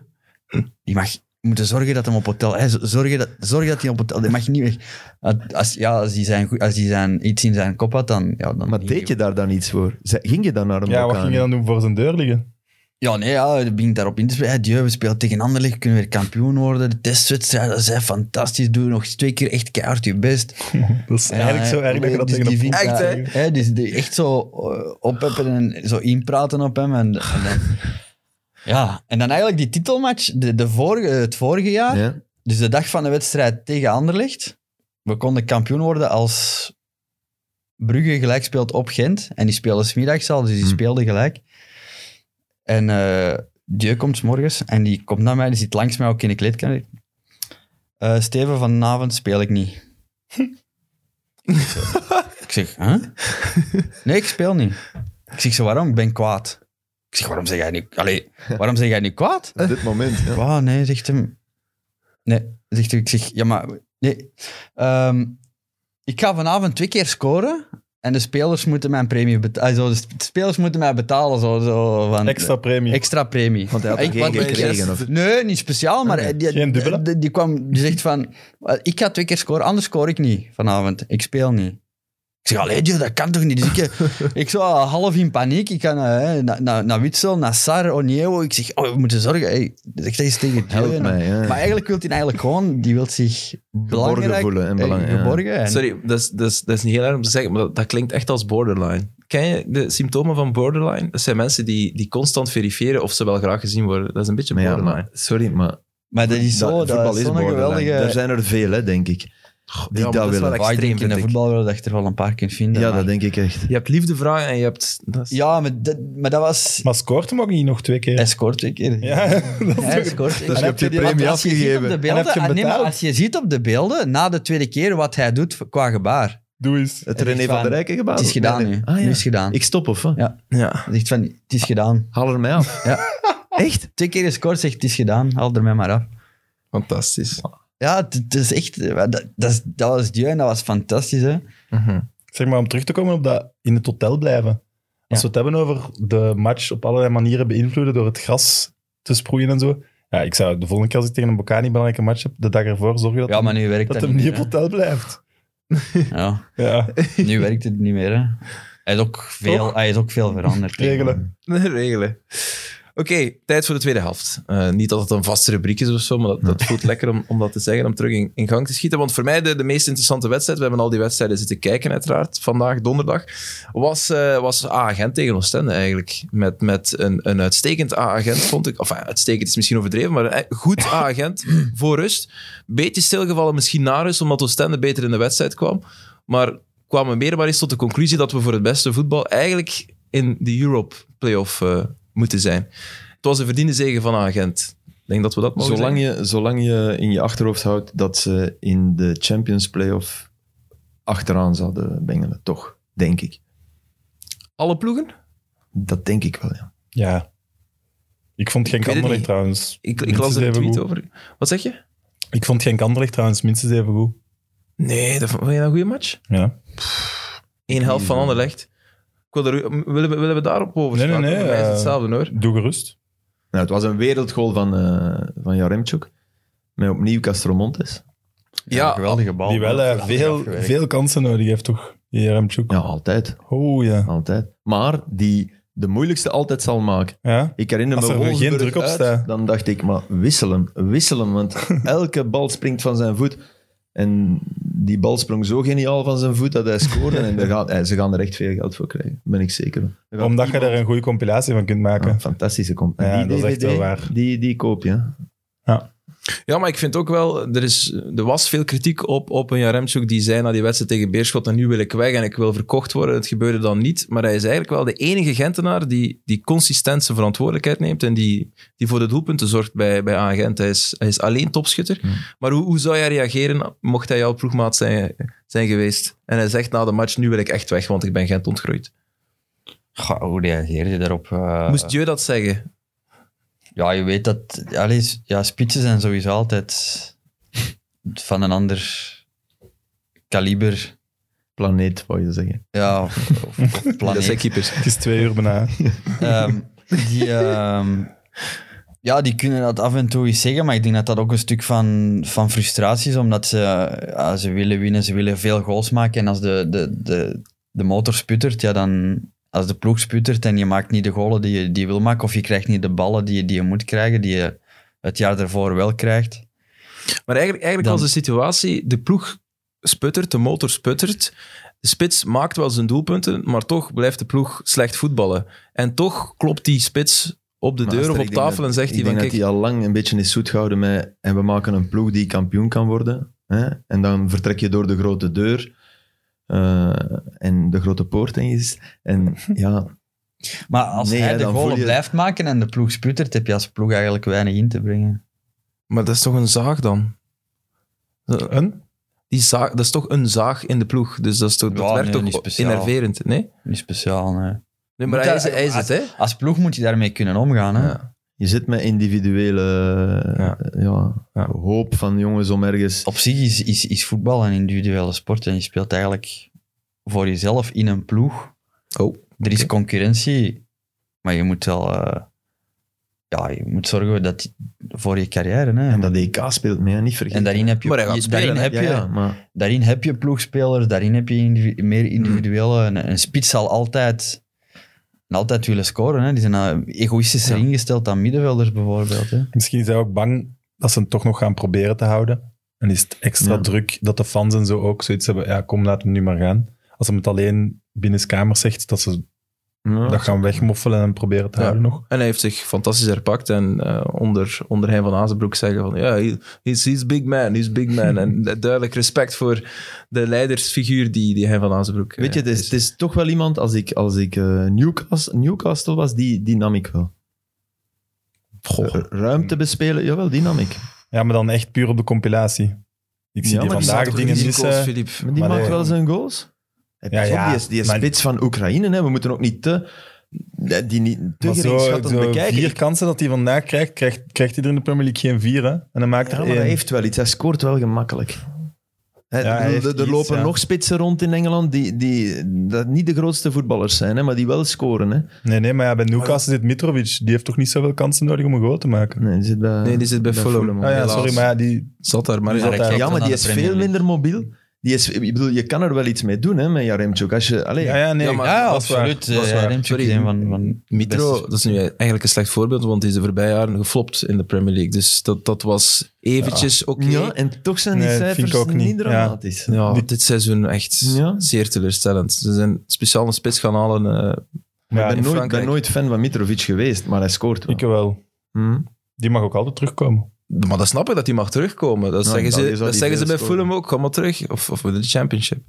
Speaker 4: die mag moeten zorgen dat hem op hotel... Hè, z- zorgen, dat, zorgen dat hij op hotel... Die mag niet weg. Als, ja, als hij, zijn, goe- als hij zijn, iets in zijn kop had, dan... Ja, dan
Speaker 3: Maar deed je daar dan iets voor? Ze- Ging je dan naar een
Speaker 2: Ja, wat
Speaker 3: Balkan?
Speaker 2: ging je dan doen voor zijn deur liggen?
Speaker 4: Ja, nee, ja, ik begint daarop in te spelen. Hey, Dieu, we spelen tegen Anderlecht, kunnen weer kampioen worden. De testwedstrijden dat zijn fantastisch. Doe nog eens twee keer echt keihard je best.
Speaker 2: Dat is
Speaker 4: Ja,
Speaker 2: eigenlijk zo
Speaker 4: hè,
Speaker 2: erg dat je dat
Speaker 4: dus
Speaker 2: tegen
Speaker 4: die
Speaker 2: een
Speaker 4: vindt
Speaker 1: Echt,
Speaker 4: dat-
Speaker 1: hè?
Speaker 4: hè, Dus die echt zo eh, opheppen en zo inpraten op hem. En, en dan, ja, en dan eigenlijk die titelmatch, de, de vorige, het vorige jaar.
Speaker 3: Ja.
Speaker 4: Dus de dag van de wedstrijd tegen Anderlecht. We konden kampioen worden als Brugge gelijk speelt op Gent. En die speelden smiddags al, dus die
Speaker 3: Hmm.
Speaker 4: speelden gelijk. En eh Dieu komt 's morgens en die komt naar mij, die zit langs mij ook in de kleedkamer. Eh, Steven, vanavond speel ik niet. ik zeg, hè? Nee, ik speel niet. Ik zeg, zo, waarom? Ik ben kwaad. Ik zeg, waarom zeg jij nu, allee, waarom zeg jij nu kwaad?
Speaker 3: Op dit moment, ja.
Speaker 4: Wauw, nee, zegt hem. Nee, zegt hij. Ik zeg, ja, maar... Nee. Ehm, ik ga vanavond twee keer scoren. En de spelers moeten mijn premie betalen. Zo, de sp- de spelers moeten mij betalen. Zo, zo, van,
Speaker 2: Extra premie.
Speaker 4: Extra premie.
Speaker 3: Want hij had
Speaker 4: Ik-
Speaker 3: er geen
Speaker 4: want-
Speaker 3: gekregen. Of...
Speaker 4: Nee, niet speciaal, maar eh, die,
Speaker 2: Geen dubbele?
Speaker 4: Die, die kwam, die zegt van, ik ga twee keer scoren, anders score ik niet vanavond. Ik speel niet. Ik zeg, allee, dude, dat kan toch niet? Dus ik, ik zo eh, half in paniek. Ik ga naar, hè, naar, naar, naar Witsel, naar Sar, Onieo. Ik zeg, oh, we moeten zorgen. Hey, zeg dat eens tegen
Speaker 3: Help
Speaker 4: Joey.
Speaker 3: mij, ja.
Speaker 4: Maar eigenlijk wil hij eigenlijk gewoon, die wil zich belangrijk...
Speaker 3: voelen en
Speaker 4: eh,
Speaker 3: belangrijk, ja.
Speaker 4: geborgen. En-
Speaker 1: Sorry, dat is, dat, is, dat is niet heel erg om te zeggen, maar dat, dat klinkt echt als borderline. Ken je de symptomen van borderline? Dat zijn mensen die, die constant verifiëren of ze wel graag gezien worden. Dat is een beetje
Speaker 3: Maar ja,
Speaker 1: borderline.
Speaker 3: maar, sorry, maar
Speaker 4: Maar dat is zo, dat,
Speaker 3: voetbal
Speaker 4: is
Speaker 3: is
Speaker 4: zo'n
Speaker 3: borderline.
Speaker 4: geweldige...
Speaker 3: Er zijn er veel, hè, denk ik, die
Speaker 1: maar
Speaker 3: dat
Speaker 1: dat is
Speaker 3: willen.
Speaker 1: wel
Speaker 4: Ah, ik
Speaker 1: extreem,
Speaker 4: denk in de
Speaker 1: vind ik.
Speaker 4: voetbalwereld dat je er wel een paar kunt vinden.
Speaker 3: Ja,
Speaker 4: maar-
Speaker 3: dat denk ik echt.
Speaker 1: Je hebt liefdevragen en je hebt... Dat is-
Speaker 4: ja maar, dat, maar dat was...
Speaker 2: Maar scoort hem ook niet nog twee keer?
Speaker 4: Hij scoort twee keer.
Speaker 2: Ja, dat is
Speaker 4: Hij
Speaker 2: toch-
Speaker 4: scoort.
Speaker 3: je
Speaker 4: En
Speaker 3: hebt je
Speaker 4: die-
Speaker 3: premie
Speaker 4: want als je ziet op
Speaker 3: afgegeven.
Speaker 4: de
Speaker 3: En
Speaker 4: beelden-
Speaker 2: heb je hem
Speaker 4: ah, nee, maar
Speaker 2: betaald?
Speaker 4: als je ziet op de beelden, na de tweede keer, wat hij doet qua gebaar.
Speaker 2: Doe eens.
Speaker 3: Het
Speaker 4: Het is
Speaker 3: René van
Speaker 4: waar.
Speaker 3: der Rijken gebouw.
Speaker 4: Het is gedaan
Speaker 3: Nee, nee.
Speaker 4: nu.
Speaker 3: Ah, ja.
Speaker 4: Nu is het gedaan.
Speaker 3: Ik stop, of wat?
Speaker 4: Ja.
Speaker 1: ja.
Speaker 4: Hij zegt van, het is gedaan.
Speaker 3: Haal er mij af.
Speaker 4: Echt? Twee keer gescoord, zegt het is gedaan. Haal er mij maar af.
Speaker 1: fantastisch.
Speaker 4: Ja, het, het is echt... eh, Dat, dat, is- dat was Dieu en dat was fantastisch, hè.
Speaker 1: Mhm.
Speaker 2: Zeg maar om terug te komen op dat in het hotel blijven. Als we het hebben over de match op allerlei manieren beïnvloeden door het gras te sproeien en zo. Ja, ik zou de volgende keer als ik tegen een Bocani een belangrijke match heb, de dag ervoor zorgen dat,
Speaker 4: Ja, maar nu werkt
Speaker 2: dat
Speaker 4: dat,
Speaker 2: hem niet op
Speaker 4: niet meer,
Speaker 2: hotel blijft.
Speaker 4: hè. Ja,
Speaker 2: Ja,
Speaker 4: nu werkt het niet meer, hè. Hij is ook veel, hij is ook veel veranderd.
Speaker 2: regelen.
Speaker 1: Regelen. Oké, tijd voor de tweede helft. Eh, niet dat het een vaste rubriek is of zo, maar dat, dat voelt lekker om, om dat te zeggen, om terug in, in gang te schieten. Want voor mij de, de meest interessante wedstrijd, we hebben al die wedstrijden zitten kijken uiteraard, vandaag donderdag, was, eh was A-agent tegen Oostende eigenlijk. Met, met een, een uitstekend A-agent, vond ik. Of eh, uitstekend is misschien overdreven, maar een goed A-agent voor rust. Beetje stilgevallen misschien na rust, omdat Oostende beter in de wedstrijd kwam. Maar kwamen meer maar eens tot de conclusie dat we voor het beste voetbal eigenlijk in de Europe playoff eh moeten zijn. Het was een verdiende zegen van Agent. Ik denk dat we dat mogen
Speaker 3: Zolang je, zolang je in je achterhoofd houdt dat ze in de Champions Playoff achteraan zouden bengelen, toch? Denk ik.
Speaker 1: zeggen. Alle ploegen?
Speaker 3: Dat denk ik wel, ja.
Speaker 2: Ja. Ik vond geen
Speaker 1: Ik weet het
Speaker 2: Anderlecht
Speaker 1: niet.
Speaker 2: trouwens.
Speaker 1: Ik, ik
Speaker 2: minstens
Speaker 1: las er een
Speaker 2: even
Speaker 1: tweet
Speaker 2: goed.
Speaker 1: over. Wat zeg je?
Speaker 2: Ik vond geen Anderlecht trouwens minstens even goed.
Speaker 1: Nee, dat vond vond je dat een goede match?
Speaker 2: Ja.
Speaker 1: Eén helft van Anderlecht. Ik wil er, willen, we, willen we daarop over
Speaker 2: Nee, nee,
Speaker 1: spreken?
Speaker 2: nee,
Speaker 1: Voor mij is
Speaker 2: eh,
Speaker 1: hetzelfde hoor.
Speaker 2: Doe gerust.
Speaker 3: Nou, het was een wereldgoal van, eh van Jaremchuk. Met opnieuw Castromontes.
Speaker 1: Ja,
Speaker 4: geweldige bal.
Speaker 2: Die wel eh,
Speaker 4: Ja,
Speaker 2: veel,
Speaker 4: afgewerkt.
Speaker 2: veel kansen nodig heeft, toch? Jeremtjouk.
Speaker 3: Ja, altijd.
Speaker 2: Oh ja.
Speaker 3: Altijd. Maar die de moeilijkste altijd zal maken.
Speaker 2: ja.
Speaker 3: Ik herinner
Speaker 2: Als
Speaker 3: me
Speaker 2: er geen
Speaker 3: Wolfsburg
Speaker 2: druk op
Speaker 3: uit,
Speaker 2: staat.
Speaker 3: Dan dacht ik, maar wisselen, wisselen. Want elke bal springt van zijn voet. En die bal sprong zo geniaal van zijn voet dat hij scoorde. en daar gaat, eh, ze gaan er echt veel geld voor krijgen, ben ik zeker. van. Er gaat
Speaker 2: Omdat je
Speaker 3: iemand-
Speaker 2: daar een goede compilatie van kunt maken.
Speaker 3: Ah, fantastische komt.
Speaker 2: Ja, dat is echt wel waar.
Speaker 3: Die, die koop je. hè.
Speaker 1: Ja, maar ik vind ook wel, er, is, er was veel kritiek op, op een Jaremchuk die zei na die wedstrijd tegen Beerschot en nu wil ik weg en ik wil verkocht worden. Het gebeurde dan niet, maar hij is eigenlijk wel de enige Gentenaar die, die consistent zijn verantwoordelijkheid neemt en die, die voor de doelpunten zorgt bij, bij A-Gent. Hij is, hij is alleen topschutter.
Speaker 2: Hmm.
Speaker 1: Maar hoe, hoe zou jij reageren mocht hij jouw ploegmaat zijn, zijn geweest en hij zegt na de match, nu wil ik echt weg, want ik ben Gent ontgroeid.
Speaker 4: Goh, hoe reageerde je daarop? eh?
Speaker 1: Moest je dat zeggen?
Speaker 4: Ja, je weet dat... Allee, ja, spitsen zijn sowieso altijd van een ander kaliber.
Speaker 3: Planeet, wou je zeggen.
Speaker 4: Ja, of, of- of
Speaker 1: Dat
Speaker 4: planeet.
Speaker 1: zijn keepers.
Speaker 2: Het is twee uur bijna.
Speaker 4: Ehm, die, ehm, ja, die kunnen dat af en toe eens zeggen, maar ik denk dat dat ook een stuk van, van frustratie is, omdat ze, ja, ze willen winnen, ze willen veel goals maken. En als de, de, de, de motor sputtert, ja, dan, als de ploeg sputtert en je maakt niet de goalen die je, die je wil maken, of je krijgt niet de ballen die je, die je moet krijgen, die je het jaar daarvoor wel krijgt.
Speaker 1: Maar eigenlijk, eigenlijk
Speaker 4: Dan-
Speaker 1: was de situatie, de ploeg sputtert, de motor sputtert. De spits maakt wel zijn doelpunten, maar toch blijft de ploeg slecht voetballen. En toch klopt die spits op de
Speaker 3: Maar
Speaker 1: deur
Speaker 3: Aster,
Speaker 1: of op
Speaker 3: ik denk
Speaker 1: tafel en
Speaker 3: dat-
Speaker 1: zegt hij
Speaker 3: Ik
Speaker 1: van
Speaker 3: denk
Speaker 1: kijk,
Speaker 3: dat hij al lang een beetje is zoet gehouden met... En we maken een ploeg die kampioen kan worden. Hè? En dan vertrek je door de grote deur. eh, en de grote poort, en is. En ja,
Speaker 4: Maar als
Speaker 3: Nee,
Speaker 4: hij
Speaker 3: hè,
Speaker 4: de
Speaker 3: dan voel
Speaker 4: goal
Speaker 3: je-
Speaker 4: blijft maken en de ploeg sputtert, heb je als ploeg eigenlijk weinig in te brengen.
Speaker 1: maar dat is toch een zaag dan?
Speaker 2: Een?
Speaker 1: Die zaag, dat is toch een zaag in de ploeg, dus dat, is toch, dat
Speaker 4: Ja,
Speaker 1: werkt
Speaker 4: nee, niet
Speaker 1: toch
Speaker 4: speciaal.
Speaker 1: enerverend, nee? Ah,
Speaker 4: Niet speciaal, nee.
Speaker 1: Nee, maar
Speaker 4: Moet
Speaker 1: hij is,
Speaker 4: hij-
Speaker 1: hij is het, hè?
Speaker 4: Als ploeg moet je daarmee kunnen omgaan, hè.
Speaker 1: Ja.
Speaker 3: Je zit met individuele
Speaker 1: Ja.
Speaker 3: ja.
Speaker 1: Ja.
Speaker 3: hoop van jongens om ergens.
Speaker 4: op zich is, is, is voetbal een individuele sport en je speelt eigenlijk voor jezelf in een ploeg.
Speaker 1: Oh,
Speaker 4: er is concurrentie, maar je moet wel... eh, ja, je moet zorgen dat voor je carrière. Hè.
Speaker 3: En dat EK speelt mee, hè, niet vergeten.
Speaker 4: En daarin heb je,
Speaker 1: Maar hij gaat
Speaker 4: je-
Speaker 1: spelen, hè?
Speaker 4: daarin heb
Speaker 3: ja,
Speaker 4: je,
Speaker 3: ja, maar
Speaker 4: daarin heb je ploegspelers, daarin heb je individu- meer individuele. Een, een spits zal altijd, en altijd willen scoren. Hè. Die zijn nou egoïstischer ingesteld dan middenvelders bijvoorbeeld. Hè.
Speaker 2: Misschien zijn ook bang dat ze hem toch nog gaan proberen te houden. En is het extra
Speaker 3: Ja.
Speaker 2: druk dat de fans en zo ook zoiets hebben. Ja, kom, laat hem nu maar gaan. Als hem het alleen binnen kamers zegt, dat ze
Speaker 3: ja,
Speaker 2: dat gaan wegmoffelen en proberen te
Speaker 1: Ja.
Speaker 2: houden nog.
Speaker 1: En hij heeft zich fantastisch herpakt. En eh, onder, onder Hein van Hazenbroek zeggen van... Ja, he- he's, he's big man, he's big man. en du- duidelijk respect voor de leidersfiguur die, die Hein van Hazenbroek eh,
Speaker 3: Weet je, het is, het is toch wel iemand, als ik, als ik eh, Newcastle, Newcastle was, die, die nam ik wel.
Speaker 1: Goh.
Speaker 3: R- Ruimte bespelen, jawel, die nam ik.
Speaker 2: Ja, maar dan echt puur op de compilatie. Ik zie
Speaker 3: Ja,
Speaker 2: die
Speaker 3: maar
Speaker 2: vandaag
Speaker 3: die
Speaker 1: staat toch
Speaker 2: dingen
Speaker 1: risico's,
Speaker 2: missen.
Speaker 1: Philippe?
Speaker 3: Maar die
Speaker 2: Maar
Speaker 3: maakt
Speaker 2: nee.
Speaker 3: wel zijn goals. Hey,
Speaker 2: Ja,
Speaker 3: pas op,
Speaker 2: ja,
Speaker 3: die is, die is
Speaker 2: maar-
Speaker 3: spits van Oekraïne, hè. we moeten ook niet te, die niet te
Speaker 2: Maar zo,
Speaker 3: geringschattend
Speaker 2: zo
Speaker 3: bekijken.
Speaker 2: vier kansen dat hij vandaag krijgt, krijgt, krijgt hij er in de Premier League geen vier. Hè? En dan maakt
Speaker 3: Ja,
Speaker 2: er
Speaker 3: maar hij
Speaker 2: één.
Speaker 3: heeft wel iets. Hij scoort wel gemakkelijk. Hè,
Speaker 2: Ehm. Ja, hij
Speaker 3: er-
Speaker 2: heeft
Speaker 3: er
Speaker 2: iets,
Speaker 3: lopen
Speaker 2: ja.
Speaker 3: nog spitsen rond in Engeland die, die dat niet de grootste voetballers zijn, hè, maar die wel scoren. Hè.
Speaker 2: Nee, nee, maar ja, bij Newcastle zit Mitrovic. Die heeft toch niet zoveel kansen nodig om een goal te maken.
Speaker 3: Nee, die zit bij,
Speaker 1: Nee, die zit bij Fulham.
Speaker 2: Ah ja,
Speaker 1: helaas.
Speaker 2: sorry, maar ja, die...
Speaker 1: Zat daar, maar...
Speaker 2: Die zat
Speaker 1: Ja,
Speaker 2: daar.
Speaker 3: Ja, maar die
Speaker 4: naar de
Speaker 3: is
Speaker 4: Premier
Speaker 3: veel
Speaker 4: League.
Speaker 3: minder mobiel. Die is, ik bedoel, je kan er wel iets mee doen hè, met Jaremchuk. Als je, allee,
Speaker 2: Ja, ja, nee. Ah,
Speaker 1: Ja, maar-
Speaker 2: dat
Speaker 4: Ja,
Speaker 2: is waar.
Speaker 4: absoluut.
Speaker 2: Dat is
Speaker 4: Eh,
Speaker 2: waar.
Speaker 4: Remtje
Speaker 1: Sorry,
Speaker 4: is een van, van
Speaker 1: Mitro,
Speaker 4: beste-
Speaker 1: dat is nu eigenlijk een slecht voorbeeld, want hij is de voorbije jaren geflopt in de Premier League. Dus dat, dat was eventjes oké.
Speaker 3: Ja, en toch zijn die
Speaker 2: Nee, vind
Speaker 3: cijfers
Speaker 2: ik ook
Speaker 3: niet.
Speaker 2: niet.
Speaker 3: dramatisch.
Speaker 1: Ja,
Speaker 2: Die-
Speaker 1: dit seizoen echt
Speaker 3: Ja.
Speaker 1: zeer teleurstellend. Ze zijn speciaal een spits gaan halen. eh,
Speaker 2: Ja,
Speaker 3: ik ben
Speaker 1: in
Speaker 3: nooit,
Speaker 1: Frankrijk.
Speaker 3: ben nooit fan van Mitrovic geweest, maar hij scoort wel.
Speaker 2: Ik wel.
Speaker 3: Hm.
Speaker 2: Die mag ook altijd terugkomen.
Speaker 1: maar dat snap ik, dat hij mag terugkomen. Dat
Speaker 3: Ja,
Speaker 1: zeggen
Speaker 3: Italië
Speaker 1: ze,
Speaker 3: zou
Speaker 1: dat
Speaker 3: die
Speaker 1: zeggen ze
Speaker 3: veel
Speaker 1: bij
Speaker 3: scoren.
Speaker 1: Fulham ook. Kom maar terug. Of, of in de championship.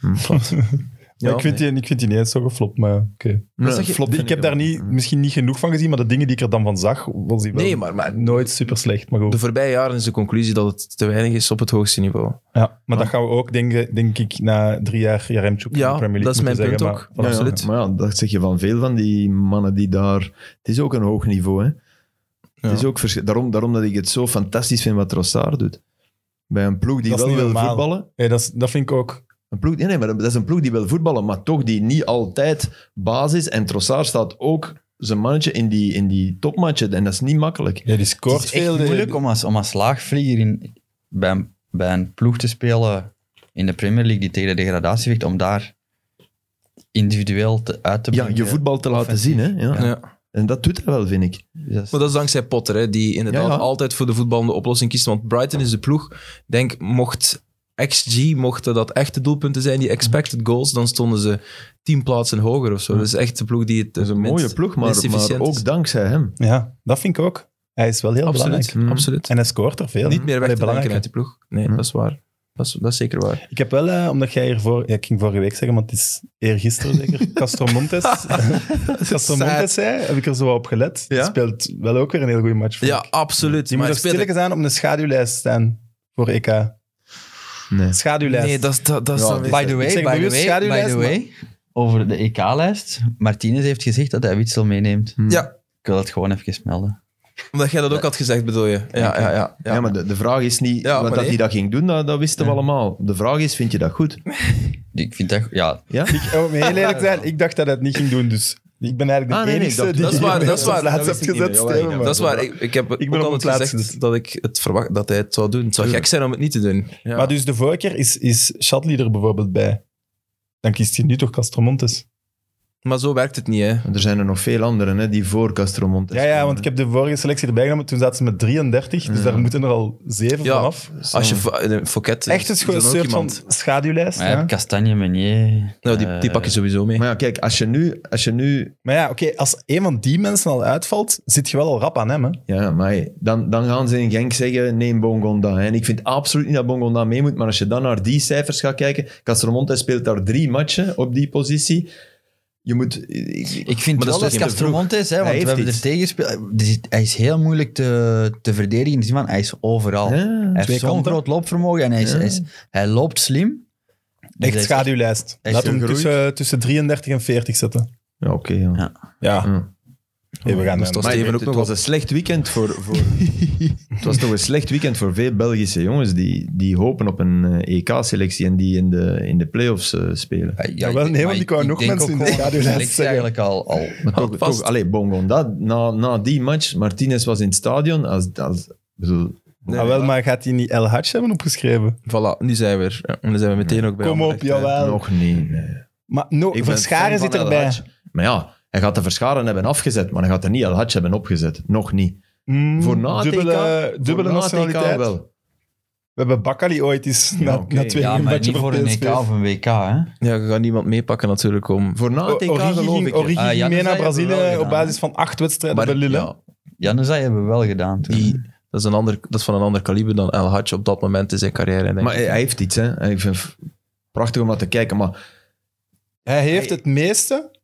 Speaker 3: Hm.
Speaker 2: Maar
Speaker 1: Ja,
Speaker 2: ik, vind die, ik vind die niet eens zo geflopt, maar oké.
Speaker 3: Nee,
Speaker 1: zeg je?
Speaker 3: flop vind
Speaker 2: Ik heb daar
Speaker 3: wel.
Speaker 2: niet, misschien niet genoeg van gezien, maar de dingen die ik er dan van zag, was die wel
Speaker 1: Nee, maar, maar
Speaker 2: nooit super slecht. Maar goed.
Speaker 1: de voorbije jaren is de conclusie dat het te weinig is op het hoogste niveau.
Speaker 2: Ja, maar dat gaan we ook, denk, denk ik, na drie jaar Jaremchuk in
Speaker 1: Ja,
Speaker 2: de Premier League
Speaker 1: dat is mijn
Speaker 2: moeten
Speaker 1: punt
Speaker 2: zeggen,
Speaker 1: ook.
Speaker 2: maar-
Speaker 1: Ja,
Speaker 2: voilà.
Speaker 1: absoluut.
Speaker 3: Maar ja, dat zeg je van veel van die mannen die daar... Het is ook een hoog niveau, hè.
Speaker 1: Ja.
Speaker 3: Het is ook verschil. Daarom, daarom dat ik het zo fantastisch vind wat Trossard doet. Bij een ploeg die
Speaker 2: Dat is
Speaker 3: wel
Speaker 2: niet
Speaker 3: wil
Speaker 2: normaal.
Speaker 3: voetballen.
Speaker 2: Hey, dat, is- dat vind ik ook.
Speaker 3: Een ploeg, nee, nee, maar dat is een ploeg die wil voetballen, maar toch die niet altijd basis. En Trossard staat ook zijn mannetje in die, in die topmatchen. En dat is niet makkelijk.
Speaker 2: Ja, die
Speaker 4: Het
Speaker 2: scoort
Speaker 4: is
Speaker 2: veel.
Speaker 4: echt
Speaker 2: die-
Speaker 4: moeilijk om als, om als laagvlieger in, bij, een, bij een ploeg te spelen in de Premier League die tegen de degradatie vecht, om daar individueel te, uit te
Speaker 3: Ja,
Speaker 4: brengen.
Speaker 3: je voetbal te laten
Speaker 4: offensief.
Speaker 3: zien, hè. Ja.
Speaker 1: Ja.
Speaker 3: En dat doet hij wel, vind ik.
Speaker 4: Dus-
Speaker 1: Maar dat is dankzij Potter, hè, die inderdaad
Speaker 3: Ja, ja.
Speaker 1: altijd voor de voetballende oplossing kiest. Want Brighton is de ploeg. Ik Denk, mocht XG, mochten dat echte doelpunten zijn, die expected goals, dan stonden ze tien plaatsen hoger of zo. Dat is echt de ploeg die het
Speaker 3: Hm. Dat is een
Speaker 1: minst-
Speaker 3: mooie ploeg, maar,
Speaker 1: minst
Speaker 3: maar
Speaker 1: efficiënt is.
Speaker 3: ook dankzij hem.
Speaker 2: Ja, dat vind ik ook. Hij is wel heel
Speaker 1: Absoluut,
Speaker 2: belangrijk.
Speaker 3: belangrijk. Mm.
Speaker 1: absoluut.
Speaker 2: En hij scoort er veel.
Speaker 1: Niet meer weg
Speaker 2: Mhm. Allee,
Speaker 1: te denken
Speaker 2: belangrijk, Mhm.
Speaker 1: uit die ploeg. Nee,
Speaker 3: Hm.
Speaker 1: dat is waar. Dat is, dat is zeker waar.
Speaker 2: Ik heb wel, eh, omdat jij hiervoor, ja, ik ging vorige week zeggen, want het is eergisteren zeker, Castromontes. Castromontes zei, heb ik er zo wat op gelet.
Speaker 1: Ja?
Speaker 2: Die speelt wel ook weer een heel goede match. vond
Speaker 1: Ja,
Speaker 2: ik.
Speaker 1: absoluut.
Speaker 2: die moet
Speaker 1: Maar
Speaker 2: er
Speaker 1: hij speelt-
Speaker 2: stilletjes aan op een schaduwlijst staan voor EK.
Speaker 3: Nee.
Speaker 2: Schaduwlijst.
Speaker 1: Nee, dat, is- dat, dat is
Speaker 3: Ja,
Speaker 1: dan weer-
Speaker 4: By the way,
Speaker 2: Ik zeg
Speaker 4: by the
Speaker 2: bewust
Speaker 4: way, by
Speaker 2: schaduwlijst,
Speaker 4: the way over de EK-lijst. Martinez heeft gezegd dat hij Witsel meeneemt.
Speaker 2: Mhm.
Speaker 1: Ja,
Speaker 4: Ik wil dat gewoon even melden.
Speaker 1: omdat jij dat ook had gezegd, bedoel je. Ja, ja, ja.
Speaker 3: Ja, maar de, de vraag is niet
Speaker 1: Ja, maar
Speaker 3: dat
Speaker 1: nee.
Speaker 3: hij dat ging doen, dat, dat wisten we allemaal. De vraag is, vind je dat goed?
Speaker 4: Ik vind dat... Ja,
Speaker 3: Ja?
Speaker 2: Ik, om heel eerlijk te zijn, ik dacht dat hij het niet ging doen, dus ik ben eigenlijk
Speaker 3: Ah,
Speaker 2: de
Speaker 3: nee, nee,
Speaker 2: enige
Speaker 3: dat-
Speaker 2: die
Speaker 1: dat is
Speaker 2: die
Speaker 1: waar,
Speaker 2: op
Speaker 1: dat is waar,
Speaker 2: het
Speaker 1: dat
Speaker 2: laatst
Speaker 3: wist
Speaker 2: heeft
Speaker 3: ik niet
Speaker 2: gezet.
Speaker 3: meer, jawel,
Speaker 2: Steven,
Speaker 3: ik
Speaker 2: maar-
Speaker 1: Dat is waar. Ik, ik heb
Speaker 2: ben
Speaker 1: ook
Speaker 2: op
Speaker 1: altijd
Speaker 2: het
Speaker 1: gezegd
Speaker 2: laatste.
Speaker 1: dat ik het verwacht dat hij het zou doen. Het zou gek zijn om het niet te doen. Ja.
Speaker 2: Maar dus de vorige keer is, is Shatley er bijvoorbeeld bij. Dan kiest hij nu toch Castromontes.
Speaker 1: Maar zo werkt het niet, hè.
Speaker 3: Er zijn er nog veel anderen hè, die voor Castromontes
Speaker 2: Ja, ja, want ik heb de vorige selectie erbij genomen. Toen zaten ze met 33, dus
Speaker 3: Ja.
Speaker 2: daar moeten er al 7
Speaker 1: Ja.
Speaker 2: vanaf.
Speaker 1: Als je fo- eh, Fouquet...
Speaker 2: Echt een
Speaker 1: is dan ook
Speaker 2: soort van
Speaker 1: iemand.
Speaker 2: schaduwlijst.
Speaker 4: maar ja.
Speaker 2: ja.
Speaker 4: eh, Castagne, Meunier...
Speaker 1: Nou, die,
Speaker 4: eh,
Speaker 1: die pak je sowieso mee.
Speaker 3: Maar ja, kijk, als je nu... Als je nu
Speaker 2: Maar ja, oké, als een van die mensen al uitvalt, zit je wel al rap aan hem. Hè?
Speaker 3: ja, maar hey, dan, dan gaan ze in Genk zeggen, neem Bongonda. hè. En ik vind absoluut niet dat Bongonda mee moet, maar als je dan naar die cijfers gaat kijken... Castromontes speelt daar drie matchen op die positie. Je moet...
Speaker 4: Ik vind
Speaker 3: Maar dat
Speaker 4: wel
Speaker 3: is
Speaker 4: dat
Speaker 3: toch geen
Speaker 4: Castromontes, hè, want
Speaker 3: heeft
Speaker 4: we hebben
Speaker 3: iets.
Speaker 4: er tegen Hij is heel moeilijk te, te verdedigen in de zin van, hij is overal.
Speaker 3: Ja.
Speaker 4: hij
Speaker 2: twee
Speaker 4: heeft zo'n
Speaker 2: kanten.
Speaker 4: groot loopvermogen en hij, is,
Speaker 3: Ja.
Speaker 4: hij, is- hij loopt slim. Dus hij
Speaker 2: Echt
Speaker 4: is
Speaker 2: schaduwlijst.
Speaker 4: echt
Speaker 2: Laat hem
Speaker 3: gegroeid.
Speaker 2: tussen, tussen 33 en 40 zetten.
Speaker 1: Hm.
Speaker 3: Ja, oké. ja.
Speaker 4: Ja.
Speaker 2: Ja,
Speaker 3: Ja.
Speaker 2: Hey, we gaan
Speaker 1: Dus dat
Speaker 2: maar-
Speaker 1: is Steven
Speaker 3: Maar het,
Speaker 1: ook
Speaker 3: het
Speaker 1: nog
Speaker 3: was een slecht weekend voor, voor het was toch een slecht weekend voor veel Belgische jongens die, die hopen op een eh, EK-selectie en die in de, in de play-offs eh, spelen.
Speaker 4: Ja,
Speaker 2: Jawel, nee, want ik wou nog mensen in de schaduw laten
Speaker 4: Ik
Speaker 2: zeggen.
Speaker 4: eigenlijk al, al
Speaker 3: Maar toch,
Speaker 1: vast.
Speaker 3: toch allee, Bongonda, na, na die match, Martinez was in het stadion, als, als, bedoel,
Speaker 2: Ah, wel, maar gaat hij niet El Hadj hebben opgeschreven?
Speaker 1: Voilà, nu zijn we er. Ja, En dan zijn we meteen ook bij eh,
Speaker 2: Kom op,
Speaker 1: Anderlecht, hè.
Speaker 2: jawel.
Speaker 3: nog niet. nee.
Speaker 2: Maar no,
Speaker 3: Ik ben
Speaker 2: Verscharen
Speaker 3: fan
Speaker 2: zit
Speaker 3: van El
Speaker 2: erbij.
Speaker 3: Hadj. Maar ja, hij gaat de Verscharen hebben afgezet, maar hij gaat er niet El Hadj hebben opgezet. Nog niet.
Speaker 2: Mm,
Speaker 3: Voor na het
Speaker 2: dubbele,
Speaker 3: EK, voor
Speaker 2: dubbele
Speaker 3: na het
Speaker 2: nationaliteit.
Speaker 3: EK wel.
Speaker 2: We hebben Bakali ooit eens na,
Speaker 3: oké.
Speaker 2: na twee
Speaker 4: Ja,
Speaker 2: uur een
Speaker 4: maar
Speaker 2: beetje
Speaker 4: niet voor een EK of een WK, hè?
Speaker 1: Ja, je gaat niemand meepakken natuurlijk om...
Speaker 3: Voor na het EK
Speaker 2: Origi
Speaker 3: geloof
Speaker 2: ging,
Speaker 3: ik. het.
Speaker 2: Origi
Speaker 4: Ah,
Speaker 2: ging
Speaker 4: ja,
Speaker 2: mee
Speaker 4: dat
Speaker 2: naar
Speaker 4: zei je wel
Speaker 2: Brazilië
Speaker 4: gedaan,
Speaker 2: op basis van acht wedstrijden bij Lille.
Speaker 1: ja,
Speaker 4: Januzaj hebben we wel gedaan toen.
Speaker 1: die, dat, is een ander, dat is van een ander kaliber dan El Hadj op dat moment in zijn carrière.
Speaker 2: oh.
Speaker 1: Denk
Speaker 3: Maar
Speaker 1: ik.
Speaker 3: hij, hij heeft iets, hè. En ik vind het prachtig om naar te kijken, maar
Speaker 2: Hij heeft het meeste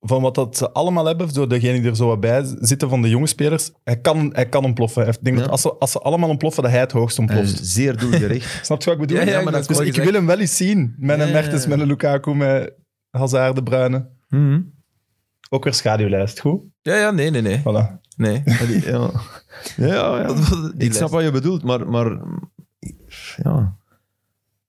Speaker 2: van wat dat ze allemaal hebben, door degenen die er zo wat bij zitten van de jonge spelers. Hij kan, hij kan ontploffen. Ik denk
Speaker 3: Ja. Eh,
Speaker 2: dat als ze, als ze allemaal ontploffen, dat hij het hoogst
Speaker 3: hij is
Speaker 2: ontploft.
Speaker 3: zeer doelgericht.
Speaker 2: Snap je wat ik bedoel?
Speaker 1: Ja, ja, ik
Speaker 2: dus
Speaker 1: ben het wel
Speaker 2: ik
Speaker 1: gezegd.
Speaker 2: wil hem wel eens zien. Met een
Speaker 3: Ja.
Speaker 2: Mertens, met een Lukaku, met Hazard, de Bruyne.
Speaker 3: Mhm.
Speaker 2: Ook weer schaduwlijst, goed?
Speaker 1: Ja, ja, nee, nee, nee.
Speaker 2: Voilà.
Speaker 1: nee.
Speaker 3: Maar die- Ja, ja. ja.
Speaker 1: Die
Speaker 3: Ik snap wat je bedoelt, maar... maar ja.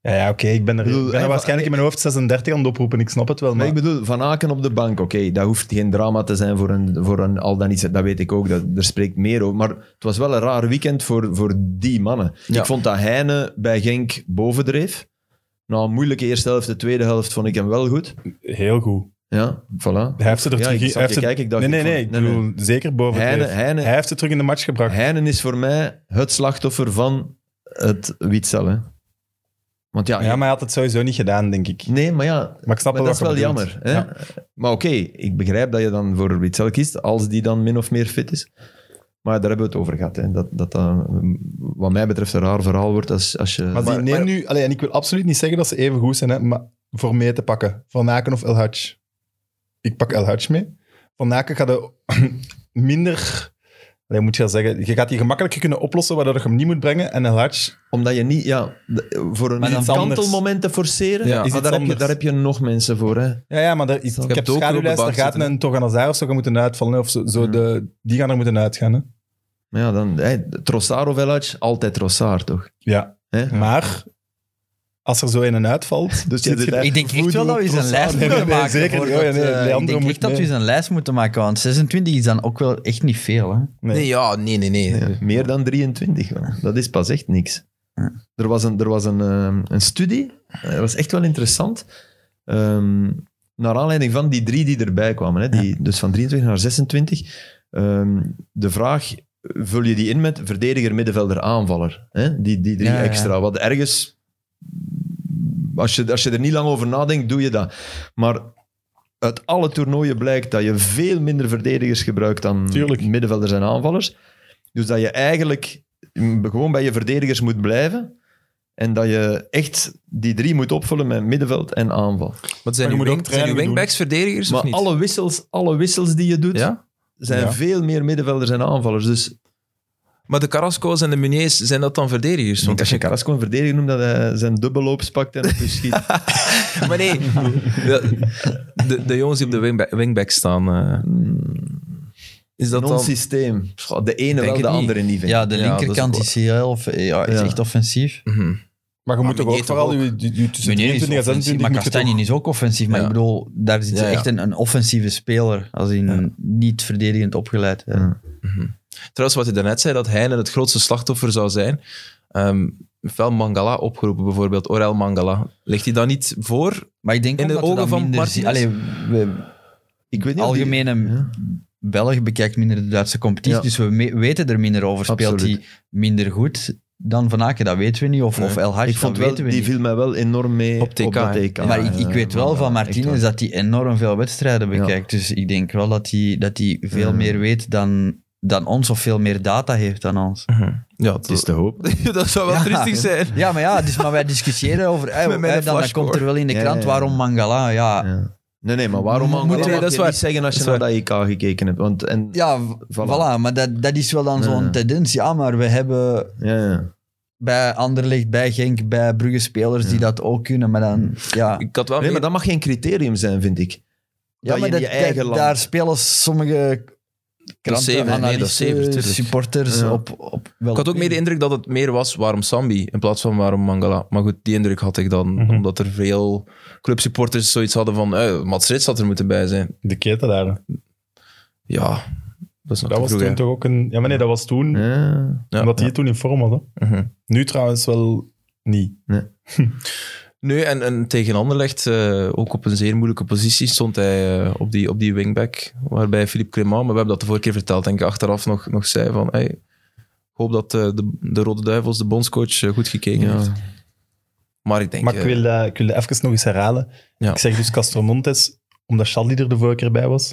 Speaker 2: Ja, ja oké, ik ben er,
Speaker 3: bedoel,
Speaker 2: ik ben er
Speaker 3: hij-
Speaker 2: waarschijnlijk in mijn hoofd 36 aan het oproepen, ik snap het wel.
Speaker 3: Maar ik
Speaker 2: Maar
Speaker 3: bedoel, Van Aken op de bank, oké, dat hoeft geen drama te zijn voor een, voor een al dan iets. Dat weet ik ook, dat, er spreekt meer over. Maar het was wel een raar weekend voor, voor die mannen.
Speaker 1: Ja.
Speaker 3: Ik vond dat Heine bij Genk bovendreef. Na een moeilijke eerste helft, de tweede helft vond ik hem wel goed.
Speaker 2: heel goed.
Speaker 3: Ja, voilà.
Speaker 2: Hij heeft ze er
Speaker 3: Ja,
Speaker 2: terug
Speaker 3: ik
Speaker 2: in.
Speaker 3: zat
Speaker 2: hij heeft
Speaker 3: te
Speaker 2: ze-
Speaker 3: kijken, ik dacht,
Speaker 2: nee, nee,
Speaker 3: ik
Speaker 2: nee,
Speaker 3: vond-
Speaker 2: ik bedoel,
Speaker 3: nee,
Speaker 2: zeker boven het
Speaker 3: Heine,
Speaker 2: leven.
Speaker 3: Heine,
Speaker 2: Hij heeft ze terug in de match gebracht.
Speaker 3: Heinen is voor mij het slachtoffer van het Witzel. Hè. Want ja,
Speaker 2: ja, maar hij had het sowieso niet gedaan, denk ik.
Speaker 3: nee, maar ja,
Speaker 2: Maar ik snap wel
Speaker 3: maar dat is wel
Speaker 2: wat je bedoelt.
Speaker 3: jammer. Hè?
Speaker 2: Ja.
Speaker 3: Maar oké, ik begrijp dat je dan voor Witzel kiest, als die dan min of meer fit is. Maar daar hebben we het over gehad. Hè? Dat, dat dat, wat mij betreft een raar verhaal wordt als, als je...
Speaker 2: Maar, die neemt nu... Allee, en ik wil absoluut niet zeggen dat ze even goed zijn, hè, maar voor mee te pakken. Van Aken of El Hadj. Ik pak El Hadj mee. Van Aken gaat er minder... Allee, moet je wel zeggen, je gaat die gemakkelijker kunnen oplossen, waardoor je hem niet moet brengen. En El Hadj...
Speaker 3: Omdat je niet... Ja, d- voor een
Speaker 4: Maar dan-
Speaker 3: kantelmoment te forceren,
Speaker 1: Ja.
Speaker 3: is
Speaker 2: Is iets
Speaker 3: daar, heb je,
Speaker 2: anders.
Speaker 3: daar heb je nog mensen voor. Hè?
Speaker 2: Ja, ja, maar daar is, ik
Speaker 1: hebt
Speaker 2: heb
Speaker 1: ook
Speaker 2: schaduwlijst,
Speaker 1: op de
Speaker 2: daar
Speaker 1: bank
Speaker 2: gaat
Speaker 1: zitten,
Speaker 2: een Torganazar of zo gaan moeten uitvallen. hè, Of zo, zo
Speaker 3: Hmm.
Speaker 2: de, die gaan er moeten uitgaan. Hè.
Speaker 3: Maar ja, dan... Hè, Trossard of Elhaj, altijd Trossard, toch?
Speaker 2: Ja.
Speaker 3: Hè?
Speaker 2: Maar als er zo in en uitvalt, dus
Speaker 3: je zit
Speaker 4: Ik denk echt wel dat we eens een lijst
Speaker 2: Nee,
Speaker 4: moeten
Speaker 2: nee,
Speaker 4: maken.
Speaker 2: zeker.
Speaker 4: voor
Speaker 2: Oh,
Speaker 4: dat,
Speaker 2: ja, nee,
Speaker 4: eh, ik
Speaker 2: Leandro
Speaker 4: denk
Speaker 2: moet
Speaker 4: echt dat we
Speaker 2: mee.
Speaker 4: eens een lijst moeten maken, want 26 is dan ook wel echt niet veel. Hè?
Speaker 1: Nee, ja, nee, nee, nee.
Speaker 3: Ja, meer dan 23. wel. Dat is pas echt niks.
Speaker 4: Ja.
Speaker 3: Er was een, er was een, ehm, een studie, eh, dat was echt wel interessant, ehm, naar aanleiding van die drie die erbij kwamen. Hè, die, Dus van 23 naar 26. Ehm, de vraag, vul je die in met verdediger, middenvelder, aanvaller? Hè? Die, die drie
Speaker 4: Ja, ja, ja.
Speaker 3: extra. Wat ergens, als je, als je er niet lang over nadenkt, doe je dat. Maar uit alle toernooien blijkt dat je veel minder verdedigers gebruikt dan
Speaker 2: Tuurlijk.
Speaker 3: middenvelders en aanvallers. Dus dat je eigenlijk gewoon bij je verdedigers moet blijven. En dat je echt die drie moet opvullen met middenveld en aanval.
Speaker 1: Wat zijn,
Speaker 2: Maar je
Speaker 1: uw wing-
Speaker 2: moet ook
Speaker 1: zijn uw
Speaker 2: trainingen doen.
Speaker 1: wingbacks verdedigers of
Speaker 3: Maar
Speaker 1: niet?
Speaker 3: alle wissels, alle wissels die je doet,
Speaker 1: Ja?
Speaker 3: zijn
Speaker 2: Ja.
Speaker 3: veel meer middenvelders en aanvallers. Dus
Speaker 1: Maar de Carrasco's en de Muniers, zijn dat dan verdedigers?
Speaker 3: want
Speaker 1: Want
Speaker 3: als je Carrasco een verdediger noemt, dat hij zijn dubbelloops pakt en op je schiet.
Speaker 1: Maar nee, de- de, de jongens die op de wingback, wingback staan, eh, is dat dan...
Speaker 3: Non-systeem. Goh, De ene
Speaker 1: Denk
Speaker 3: wel,
Speaker 1: het
Speaker 3: de
Speaker 1: niet.
Speaker 3: andere niet. vind ik.
Speaker 4: Ja, de
Speaker 1: Ja, dat is
Speaker 4: linkerkant
Speaker 1: ook
Speaker 4: is, heel, of- ja, is
Speaker 3: Ja.
Speaker 4: echt offensief.
Speaker 1: Mhm.
Speaker 2: Maar je
Speaker 1: Maar
Speaker 2: moet toch ook
Speaker 1: Meunier
Speaker 2: vooral
Speaker 1: toch ook?
Speaker 2: je, je, je tussen
Speaker 4: Meunier is
Speaker 2: 23 en
Speaker 4: offensief,
Speaker 2: 26
Speaker 4: maar
Speaker 2: moet je toch...
Speaker 4: Castagne is ook offensief. Maar
Speaker 1: Ja.
Speaker 4: ik bedoel, daar zit
Speaker 1: Ja, ja.
Speaker 4: echt een, een offensieve speler als in een niet verdedigend opgeleid. hè.
Speaker 3: Ja.
Speaker 1: Trouwens, wat je daarnet zei, dat Heine het grootste slachtoffer zou zijn. Ehm fel Mangala opgeroepen, bijvoorbeeld. Orel Mangala. Ligt hij dan niet voor?
Speaker 4: Maar ik denk
Speaker 1: In
Speaker 4: ook
Speaker 1: de
Speaker 4: dat we
Speaker 1: ogen
Speaker 4: dat
Speaker 1: van
Speaker 4: minder zien. Allee,
Speaker 1: Martinez?
Speaker 4: we,
Speaker 3: Ik weet niet of die-
Speaker 4: algemene
Speaker 3: Ja.
Speaker 4: Belg bekijkt minder de Duitse competitie,
Speaker 3: Ja.
Speaker 4: dus we me- weten er minder over. Speelt
Speaker 3: Absoluut.
Speaker 4: hij minder goed dan Van Aken? Dat weten we niet. Of, of El Hadj,
Speaker 3: Ik
Speaker 4: dat
Speaker 3: vond wel,
Speaker 4: weten we
Speaker 3: die
Speaker 4: niet.
Speaker 3: viel mij wel enorm mee
Speaker 1: Op
Speaker 3: op,
Speaker 1: TK,
Speaker 3: dat
Speaker 1: hè?
Speaker 3: TK.
Speaker 4: maar ik, ik
Speaker 3: Eh,
Speaker 4: weet wel
Speaker 3: maar,
Speaker 4: van
Speaker 3: eh, echt
Speaker 4: Martinez
Speaker 3: waar.
Speaker 4: dat hij enorm veel wedstrijden
Speaker 3: Ja.
Speaker 4: bekijkt. Dus ik denk wel dat hij, dat hij veel
Speaker 3: Ja.
Speaker 4: meer weet dan, dan ons, of veel meer data heeft dan ons.
Speaker 1: Ja,
Speaker 3: Het is te hoop.
Speaker 1: dat zou wel
Speaker 4: Ja.
Speaker 1: triestig zijn.
Speaker 4: Ja, maar ja, dus, maar wij discussiëren over... eh,
Speaker 1: Met mijn
Speaker 4: eh, dan, dan
Speaker 1: flashscore.
Speaker 4: komt er wel in de
Speaker 3: Ja,
Speaker 4: krant
Speaker 3: ja, ja.
Speaker 4: waarom Mangala, ja... Ja,
Speaker 3: Ja. Nee, nee, maar waarom
Speaker 4: Moet-
Speaker 3: Angola
Speaker 1: moet- nee,
Speaker 3: mag
Speaker 1: dat is
Speaker 3: je
Speaker 1: waar.
Speaker 3: niet zeggen als je
Speaker 1: Dat
Speaker 3: naar
Speaker 1: is
Speaker 3: dat EK gekeken hebt? Want, en, ja.
Speaker 4: v- voilà.
Speaker 3: Voilà.
Speaker 4: Maar dat, dat is wel dan zo'n
Speaker 3: Ja.
Speaker 4: tendens. Ja, maar we hebben
Speaker 3: Ja, ja.
Speaker 4: bij Anderlecht, bij Genk, bij Brugge spelers die dat ook kunnen. Maar dan, ja.
Speaker 1: Ik had wel
Speaker 3: Nee, maar
Speaker 1: meer-
Speaker 3: dat mag geen criterium zijn, vind ik.
Speaker 4: ja,
Speaker 3: je
Speaker 4: maar
Speaker 3: in je eigen land-
Speaker 4: daar spelen sommige
Speaker 1: is zeven, nee, dat is
Speaker 4: analisten,
Speaker 1: zeven, tuurlijk.
Speaker 4: supporters
Speaker 1: Ja.
Speaker 4: op, op wel
Speaker 1: Ik had ook meer de indruk dat het meer was waarom Sambi in plaats van waarom Mangala. Maar goed, die indruk had ik dan.
Speaker 2: Mhm.
Speaker 1: Omdat er veel clubsupporters zoiets hadden van eh Mats Rits had er moeten bij zijn.
Speaker 2: De keten daar. hè.
Speaker 1: Ja, dat is nog
Speaker 2: Dat
Speaker 1: te
Speaker 2: was
Speaker 1: vroeg.
Speaker 2: toen toch ook een... Ja, maar nee, dat was toen,
Speaker 5: Ja.
Speaker 1: hè. Ja,
Speaker 2: omdat die
Speaker 1: ja.
Speaker 2: het toen in vorm hadden.
Speaker 1: Mhm.
Speaker 2: Nu trouwens wel niet.
Speaker 1: Nee, en, en tegen Anderlecht, eh, ook op een zeer moeilijke positie, stond hij eh, op, die, op die wingback. Waarbij Philippe Clément, maar we hebben dat de vorige keer verteld, denk ik, achteraf nog, nog zei van... Hey, ik hoop dat eh, de, de Rode Duivels, de bondscoach, eh, goed gekeken heeft. Maar ik denk...
Speaker 2: Maar ik
Speaker 1: eh,
Speaker 2: wil, eh, ik wil dat even nog eens herhalen.
Speaker 1: Ja.
Speaker 2: Ik zeg dus Castromontes, omdat Charlie er de vorige keer bij was.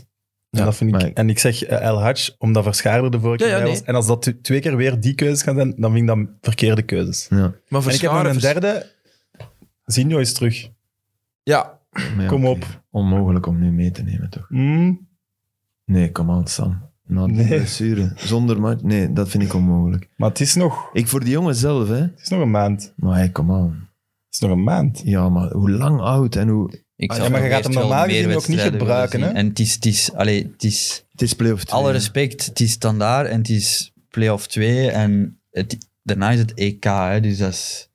Speaker 2: En,
Speaker 1: Ja,
Speaker 2: dat vind
Speaker 5: maar-
Speaker 2: ik, en ik zeg eh, El Hadj, omdat Verschaar er de vorige
Speaker 1: Ja,
Speaker 2: keer
Speaker 1: ja,
Speaker 2: bij
Speaker 1: nee.
Speaker 2: was. En als dat t- twee keer weer die keuzes gaan zijn, dan vind ik dat verkeerde keuzes.
Speaker 1: maar
Speaker 2: en ik heb nog
Speaker 1: Verscharen-
Speaker 2: een derde. Zinho is terug.
Speaker 1: Ja,
Speaker 5: Maar ja,
Speaker 2: Kom
Speaker 5: oké.
Speaker 2: op.
Speaker 5: Onmogelijk om nu mee te nemen, toch?
Speaker 2: Mm.
Speaker 5: Nee, kom aan, Sam. Na die
Speaker 2: Nee.
Speaker 5: blessure. Zonder match. Nee, dat vind ik onmogelijk.
Speaker 2: Maar het is, nog,
Speaker 5: Ik voor die jongen zelf, hè.
Speaker 2: het is nog een maand. Het
Speaker 5: Maar hey, kom aan.
Speaker 2: is nog een maand.
Speaker 5: Ja, maar hoe lang oud en hoe...
Speaker 4: Ik
Speaker 2: Ah,
Speaker 4: zou
Speaker 2: ja, maar je
Speaker 4: nog
Speaker 2: gaat hem
Speaker 4: eerst wel
Speaker 2: normaal
Speaker 4: meer
Speaker 2: gezien ook niet
Speaker 4: wedstrijden
Speaker 2: gebruiken,
Speaker 4: willen
Speaker 2: hè?
Speaker 4: zien. En het is, het is, allee, het is
Speaker 5: Het is play-off twee,
Speaker 4: alle
Speaker 5: hè.
Speaker 4: respect, het is standaard en het is play-off 2 en het, daarna is het EK, hè, dus dat is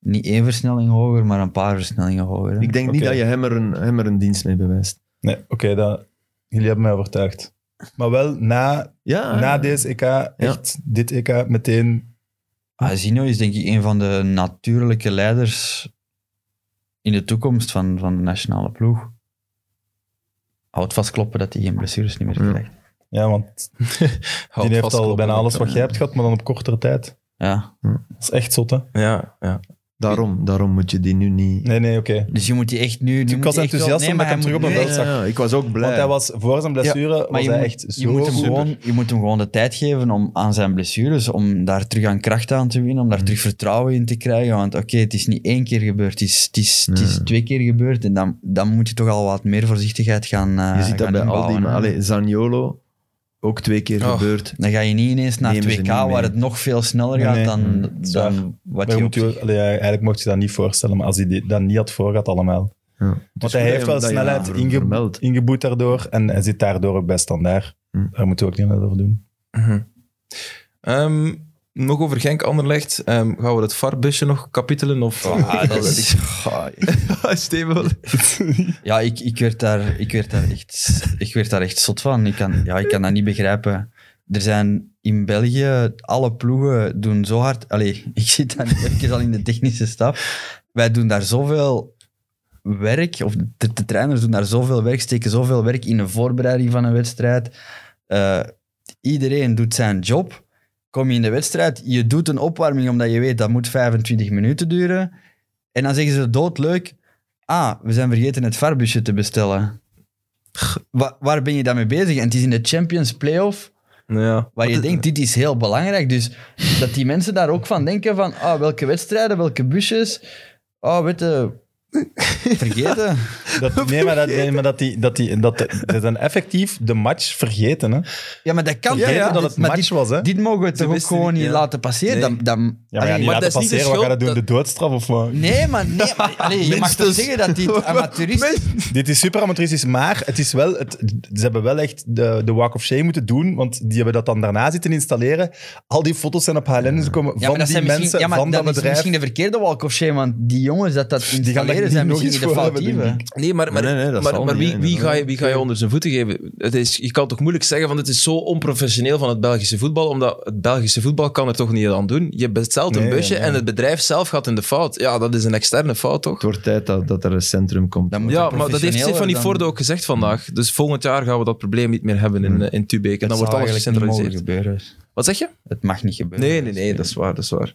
Speaker 4: niet één versnelling hoger, maar een paar versnellingen hoger. hè.
Speaker 5: Ik denk niet
Speaker 2: Oké.
Speaker 5: dat je hem er, een, hem er een dienst mee bewijst.
Speaker 2: Nee, oké, dat- jullie hebben mij overtuigd. Maar wel na,
Speaker 1: Ah.
Speaker 5: Ja,
Speaker 2: na deze EK, echt dit EK, meteen
Speaker 4: Azino is denk ik een van de natuurlijke leiders in de toekomst van, van de nationale ploeg. Houd vastkloppen dat hij geen blessures niet meer
Speaker 5: Ja.
Speaker 4: krijgt.
Speaker 2: Ja, want
Speaker 1: houd
Speaker 2: die heeft
Speaker 1: vast,
Speaker 2: al
Speaker 1: klopt,
Speaker 2: bijna
Speaker 1: dat
Speaker 2: alles
Speaker 1: kan,
Speaker 2: wat jij hebt gehad, maar dan op kortere tijd.
Speaker 4: Ja.
Speaker 2: Dat is echt zot, hè?
Speaker 1: Ja, ja.
Speaker 5: daarom, daarom moet je die nu niet...
Speaker 2: Nee, nee, oké.
Speaker 4: Dus je moet die echt nu... nu
Speaker 2: Ik
Speaker 4: moet
Speaker 2: was
Speaker 4: die echt wel-
Speaker 2: enthousiast omdat
Speaker 4: maar
Speaker 2: ik
Speaker 4: hij
Speaker 2: hem
Speaker 4: moet
Speaker 2: terug op
Speaker 4: nu
Speaker 2: een
Speaker 5: Ja,
Speaker 2: veld
Speaker 4: echt-
Speaker 2: zag.
Speaker 5: ja, ik was ook blij.
Speaker 2: Want hij was voor zijn blessure was
Speaker 4: Maar je
Speaker 2: hij
Speaker 4: moet,
Speaker 2: echt zo
Speaker 4: je, moet hem
Speaker 2: goed.
Speaker 4: gewoon, je moet hem gewoon de tijd geven om aan zijn blessures, om daar terug aan kracht aan te winnen, om
Speaker 5: Mhm.
Speaker 4: daar terug vertrouwen in te krijgen. Want oké, het is niet één keer gebeurd, het is, het is, het is
Speaker 5: Nee.
Speaker 4: twee keer gebeurd. En dan, dan moet je toch al wat meer voorzichtigheid gaan eh,
Speaker 5: je
Speaker 3: Ah,
Speaker 5: ziet dat
Speaker 4: gaan
Speaker 5: bij al die...
Speaker 4: inbouwen,
Speaker 5: Maar,
Speaker 4: hè.
Speaker 5: allee, Zaniolo, ook twee keer
Speaker 1: Oh.
Speaker 5: gebeurd.
Speaker 4: Dan ga je niet ineens naar
Speaker 5: Nemen ze
Speaker 4: 2K,
Speaker 5: niet mee.
Speaker 4: waar het nog veel sneller
Speaker 2: Nee,
Speaker 4: gaat
Speaker 2: nee.
Speaker 4: dan,
Speaker 5: Mm,
Speaker 2: waar.
Speaker 4: dan
Speaker 2: Maar
Speaker 4: wat
Speaker 2: je
Speaker 4: je op
Speaker 2: moet je, allee, eigenlijk mocht je dat niet voorstellen, maar als hij die- dat niet had voorgehad allemaal.
Speaker 5: Ja.
Speaker 4: Dus
Speaker 2: Want hij heeft wel snelheid inge-
Speaker 5: ingemeld.
Speaker 2: ingeboet daardoor en hij zit daardoor ook bij standaard.
Speaker 5: Hm.
Speaker 2: Daar moeten we ook niet meer over doen.
Speaker 1: Mhm. Ehm, nog over Genk Anderlecht. Ehm, gaan we het VAR-busje nog kapitelen? Of...
Speaker 4: Ah, dat is- Goh,
Speaker 5: Steven.
Speaker 4: Ja, ik, ik, werd daar, ik, werd daar echt, ik werd daar echt zot van. Ik kan, ja, ik kan dat niet begrijpen. Er zijn in België, alle ploegen doen zo hard... Allee, ik zit daar nu even al in de technische stap. Wij doen daar zoveel werk, of de, de trainers doen daar zoveel werk, steken zoveel werk in de voorbereiding van een wedstrijd. Eh, iedereen doet zijn job. Kom je in de wedstrijd, je doet een opwarming omdat je weet dat moet 25 minuten duren. En dan zeggen ze doodleuk, Ah, we zijn vergeten het varbusje te bestellen. Wa- waar ben je daarmee bezig? En het is in de Champions Playoff,
Speaker 1: Ja.
Speaker 4: waar je denkt, dit is heel belangrijk. Dus dat die mensen daar ook van denken van, ah, welke wedstrijden, welke busjes. Ah, weet je, vergeten.
Speaker 2: Dat, nee, maar, dat, nee, maar dat, die, dat, die, dat ze zijn effectief de match vergeten. Hè?
Speaker 4: Ja, maar dat kan
Speaker 2: Vergeten
Speaker 4: toch?
Speaker 2: dat het
Speaker 4: maar
Speaker 2: match
Speaker 4: dit,
Speaker 2: was. Hè?
Speaker 4: dit mogen we toch ook
Speaker 1: wisten
Speaker 4: gewoon
Speaker 1: niet,
Speaker 4: niet
Speaker 1: ja.
Speaker 4: laten passeren?
Speaker 1: Nee.
Speaker 4: Dan, dan,
Speaker 2: Ja, maar ja,
Speaker 4: Allee,
Speaker 2: niet
Speaker 1: maar
Speaker 2: laten
Speaker 1: dat is niet de
Speaker 2: passeren. Wat ga je
Speaker 1: schuld
Speaker 2: doen? De doodstraf of wat?
Speaker 4: Nee, maar, nee, maar allee, je mag
Speaker 2: dus-
Speaker 4: toch zeggen dat dit amateuristisch...
Speaker 2: Dit is super amateuristisch, maar het is wel het, ze hebben wel echt de, de walk of shame moeten doen, want die hebben dat dan daarna zitten installeren. Al die foto's zijn op HLN gekomen
Speaker 4: Ja,
Speaker 2: van
Speaker 4: maar dat
Speaker 2: die
Speaker 4: zijn misschien-
Speaker 2: mensen,
Speaker 4: ja, maar
Speaker 2: van dat
Speaker 4: dat is
Speaker 2: bedrijf.
Speaker 4: misschien de verkeerde walk of shame, want die jongens dat dat
Speaker 2: die
Speaker 4: installeren
Speaker 2: niet
Speaker 4: zijn
Speaker 2: nog
Speaker 4: misschien
Speaker 2: eens
Speaker 4: niet de
Speaker 2: voor hebben, denk
Speaker 4: foutieven.
Speaker 5: Nee, maar, maar, dat
Speaker 1: maar
Speaker 5: zal
Speaker 1: maar
Speaker 5: niet,
Speaker 1: wie,
Speaker 5: hè,
Speaker 1: wie, ga je,
Speaker 5: inderdaad.
Speaker 1: wie ga je onder zijn voeten geven? Het is, je kan toch moeilijk zeggen van het is zo onprofessioneel van het Belgische voetbal, omdat het Belgische voetbal kan er toch niet aan doen. Je bestelt een
Speaker 2: Nee,
Speaker 1: busje
Speaker 2: nee.
Speaker 1: en het bedrijf zelf gaat in de fout. Ja, dat is een externe fout, toch?
Speaker 5: Het wordt tijd dat, dat er een centrum komt.
Speaker 4: Dan moet
Speaker 1: Ja,
Speaker 4: het
Speaker 1: maar dat heeft
Speaker 4: professioneler
Speaker 1: Stefanie
Speaker 4: dan-
Speaker 1: Voorde ook gezegd vandaag. Dus volgend jaar gaan we dat probleem niet meer hebben in, eh, in Tubeke. En dan wordt alles gecentraliseerd.
Speaker 4: gebeuren.
Speaker 1: Wat zeg je?
Speaker 4: Het mag niet gebeuren. dus
Speaker 1: Nee, nee, nee, dat is waar, dat is waar.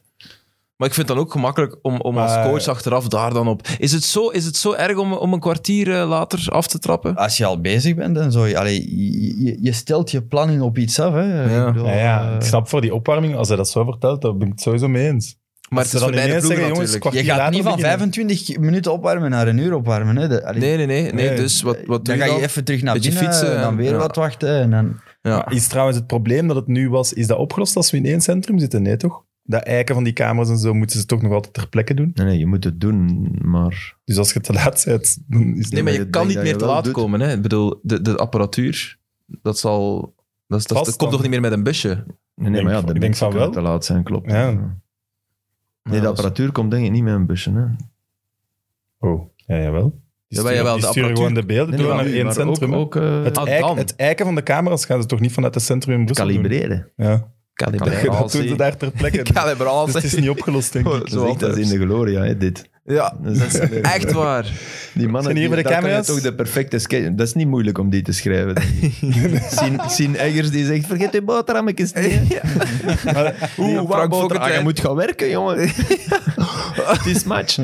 Speaker 1: Maar ik vind het dan ook gemakkelijk om, om als
Speaker 2: Maar-
Speaker 1: coach achteraf daar dan op... Is het zo, is het zo erg om, om een kwartier eh, later af te trappen?
Speaker 4: Als je al bezig bent en zo, je- allee, je, je, je stelt je planning op iets af. Hè.
Speaker 1: Ja.
Speaker 4: Ik bedoel,
Speaker 2: Ja, ja,
Speaker 4: eh,
Speaker 2: ik snap voor die opwarming, als hij dat zo vertelt, daar ben ik het sowieso mee eens.
Speaker 1: Maar het
Speaker 2: Als
Speaker 1: is
Speaker 2: ze
Speaker 1: voor
Speaker 2: dan
Speaker 1: beide
Speaker 2: ineens
Speaker 1: ploegen natuurlijk.
Speaker 2: zeggen, jongens,
Speaker 4: je
Speaker 2: kwartier
Speaker 4: gaat
Speaker 2: later
Speaker 4: niet van
Speaker 2: beginnen.
Speaker 4: 25 minuten opwarmen naar een uur opwarmen. Hè. De- allee,
Speaker 1: Nee, nee, nee, nee.
Speaker 2: Nee.
Speaker 1: Dus wat, wat doe
Speaker 4: dan
Speaker 1: je
Speaker 4: ga je
Speaker 1: dan?
Speaker 4: even terug naar
Speaker 1: Beetje
Speaker 4: binnen
Speaker 1: fietsen
Speaker 4: en
Speaker 1: en-
Speaker 4: dan weer
Speaker 1: ja.
Speaker 4: wat wachten. En dan,
Speaker 1: Ja.
Speaker 2: Maar Is trouwens het probleem dat het nu was, is dat opgelost als we in één centrum zitten? Nee, toch? Dat eiken van die camera's en zo moeten ze toch nog altijd ter plekke doen.
Speaker 5: Nee, nee, je moet het doen, maar...
Speaker 2: Dus als je te laat bent, dan is het...
Speaker 1: Nee, maar
Speaker 5: maar
Speaker 1: je
Speaker 5: ik denk
Speaker 1: kan niet
Speaker 5: dat
Speaker 1: meer
Speaker 5: je
Speaker 1: te
Speaker 5: wel
Speaker 1: laat
Speaker 5: doet.
Speaker 1: komen. Hè. Ik bedoel, de, de apparatuur, dat zal... Dat, is- dat,
Speaker 2: Vast
Speaker 1: dat
Speaker 2: dan.
Speaker 1: komt toch niet meer met een busje?
Speaker 3: Nee, nee,
Speaker 2: Denk-
Speaker 3: maar ja,
Speaker 2: ik
Speaker 3: de
Speaker 2: denk
Speaker 3: mensen
Speaker 2: van
Speaker 3: kunnen
Speaker 2: wel.
Speaker 3: te laat zijn, klopt.
Speaker 2: Ja.
Speaker 3: Nee, de apparatuur komt denk ik niet met een busje. Hè.
Speaker 2: Oh, ja, jawel. Die
Speaker 1: Jawel,
Speaker 2: sturen,
Speaker 1: jawel,
Speaker 2: die
Speaker 1: de
Speaker 2: sturen gewoon de
Speaker 1: apparatuur-
Speaker 2: beelden
Speaker 3: Nee,
Speaker 2: door
Speaker 3: maar-
Speaker 2: naar één
Speaker 3: maar
Speaker 2: centrum.
Speaker 3: Ook, ook eh,
Speaker 2: het,
Speaker 1: Ah,
Speaker 2: eik-
Speaker 1: dan.
Speaker 2: het eiken van de camera's gaan ze toch niet vanuit het centrum in Brussel doen?
Speaker 3: kalibreren.
Speaker 2: Ja.
Speaker 1: Kan niet
Speaker 2: Dat, dat doen ze daar ter plekke. Dus het is niet opgelost, denk ik.
Speaker 3: Dat is echt als in de gloria, hè, dit.
Speaker 1: Ja,
Speaker 3: Dat is
Speaker 1: echt waar.
Speaker 3: Die mannen,
Speaker 2: Zijn hier
Speaker 3: die-
Speaker 2: bij de
Speaker 3: daar kan je
Speaker 2: camera's?
Speaker 3: toch de perfecte sketch... Dat is niet moeilijk om die te schrijven. denk ik. Sien- Sien Eggers die zegt, vergeet je boterhammetjes niet. Ja.
Speaker 1: Oeh, Frank
Speaker 3: Ah, je
Speaker 1: Fokkentijn.
Speaker 3: moet gaan werken, jongen. Het is match.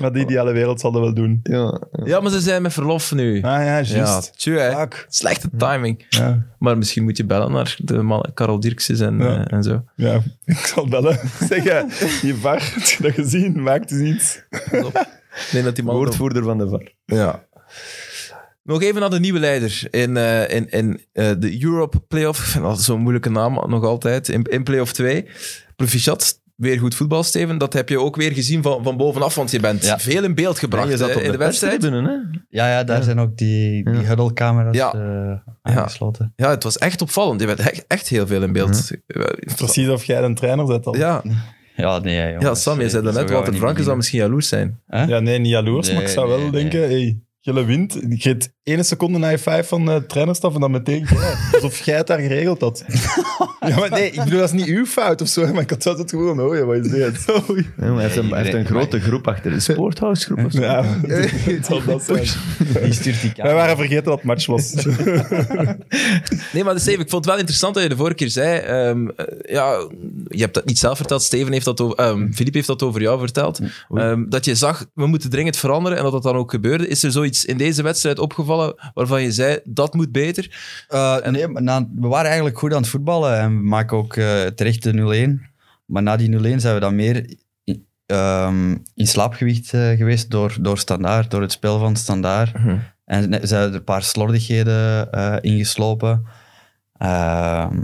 Speaker 2: Maar die ideale wereld zal dat wel doen.
Speaker 3: Ja.
Speaker 1: Ja, maar ze zijn met verlof nu.
Speaker 2: Ah ja,
Speaker 1: Ja,
Speaker 2: juist.
Speaker 1: tjoe, hè.
Speaker 2: Fuck.
Speaker 1: Slechte timing.
Speaker 2: Ja.
Speaker 1: Maar misschien moet je bellen naar de man, Karel Dirkses en,
Speaker 2: Ja.
Speaker 1: eh, en zo.
Speaker 2: ja, ik zal bellen. Zeg, eh, je var, heb je dat gezien? Maakt eens iets.
Speaker 1: Nee, dat die man
Speaker 3: Woordvoerder van de VAR.
Speaker 1: Ja. Nog even naar de nieuwe leider in, eh, in, in eh, de Europe Playoff. Ik vind dat zo'n moeilijke naam nog altijd. In, in Playoff 2. Proficiat, weer goed voetbal, Steven. Dat heb je ook weer gezien van, van bovenaf, want je bent
Speaker 4: Ja.
Speaker 1: veel in beeld gebracht
Speaker 3: En je zat
Speaker 1: hè,
Speaker 3: op
Speaker 1: eh, in de wedstrijd.
Speaker 3: perstribune, hè?
Speaker 4: Ja, ja daar zijn ook die, die huddle-camera's
Speaker 1: Ja.
Speaker 4: eh, aangesloten.
Speaker 1: Ja, het was echt opvallend. Je bent echt, echt heel veel in beeld.
Speaker 2: Precies of jij een trainer zet al.
Speaker 1: Ja,
Speaker 4: Ja, nee, jongens,
Speaker 1: ja, Sam, je
Speaker 4: eh,
Speaker 1: zei dat net.
Speaker 4: zo gaan we
Speaker 1: Walter
Speaker 4: niet
Speaker 1: Franke zou
Speaker 4: beginnen.
Speaker 1: misschien jaloers zijn.
Speaker 2: Ja, nee, niet jaloers, maar ik zou
Speaker 4: Nee,
Speaker 2: wel
Speaker 4: nee,
Speaker 2: denken, hey, Gille wint. Je geeft ene seconde na je vijf van de trainerstaf en dan meteen Gille. Alsof jij het daar geregeld had. ja, maar nee, ik bedoel, dat is niet uw fout of zo, maar ik had wel het gewoon, oh ja, wat is dit?
Speaker 3: Ja, maar Hij heeft een, hij heeft een
Speaker 4: Iedereen-
Speaker 3: grote groep achter. Een sporthuisgroep of zo.
Speaker 2: ja, het zal dat zijn.
Speaker 4: Wie stuurt die
Speaker 2: Wij
Speaker 4: camera?
Speaker 2: waren vergeten dat het match was.
Speaker 1: Nee, maar Steven, ik vond het wel interessant dat je de vorige keer zei. ehm, eh, ja, je hebt dat niet zelf verteld. Steven heeft dat over, ehm, Filip heeft dat over jou verteld. Ehm, dat je zag, we moeten dringend veranderen en dat dat dan ook gebeurde. Is er zoiets in deze wedstrijd opgevallen waarvan je zei, dat moet beter?
Speaker 4: Eh, nee, maar na- we waren eigenlijk goed aan het voetballen en we maken ook eh, terecht de 0-1. Maar na die 0-1 zijn we dan meer i- ehm, in slaapgewicht eh, geweest door, door standaard, door het spel van standaard.
Speaker 1: Mhm.
Speaker 4: En ne- zijn er een paar slordigheden eh, ingeslopen. Ehm,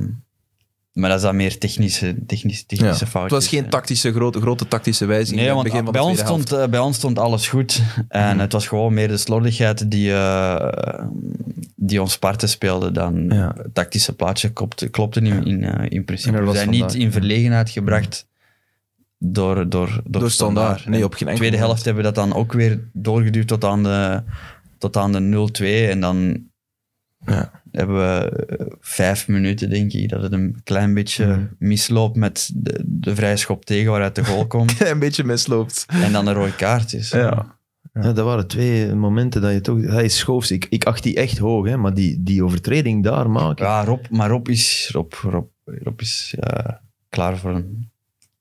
Speaker 4: maar dat is dan meer technische, technische,
Speaker 1: Ja.
Speaker 4: technische
Speaker 1: Het
Speaker 4: fouten.
Speaker 1: was geen tactische, grote, grote tactische wijziging
Speaker 4: Nee,
Speaker 1: in het
Speaker 4: want
Speaker 1: begin van de
Speaker 4: bij ons,
Speaker 1: tweede helft. Mhm.
Speaker 4: stond, eh, bij ons stond alles goed. En het was gewoon meer de slordigheid die, eh, die ons parten speelde dan
Speaker 1: Ja.
Speaker 4: het tactische plaatje klopte, klopte in, in, eh, in
Speaker 3: En
Speaker 4: principe.
Speaker 3: er
Speaker 4: We
Speaker 3: was
Speaker 4: zijn
Speaker 3: vandaag-
Speaker 4: niet in verlegenheid gebracht door, door, door,
Speaker 1: Door standaard. Nee,
Speaker 4: En
Speaker 1: op geen
Speaker 4: de
Speaker 1: enkele
Speaker 4: tweede helft hebben we dat dan ook weer doorgeduwd tot aan de, tot aan de 0-2. En dan
Speaker 1: Ja.
Speaker 4: hebben we eh, vijf minuten, denk ik, dat het een klein beetje
Speaker 1: Mhm.
Speaker 4: misloopt met de, de vrije schop tegen waaruit de goal komt.
Speaker 1: een beetje misloopt.
Speaker 4: En dan een rode kaart is.
Speaker 1: Ja.
Speaker 3: Ja, dat waren twee momenten dat je toch... Hij schoof zich. Ik, ik acht die echt hoog, hè, maar die, die overtreding daar maken...
Speaker 4: Ja, Rob, maar Rob is, Rob, Rob, Rob is ja, klaar voor een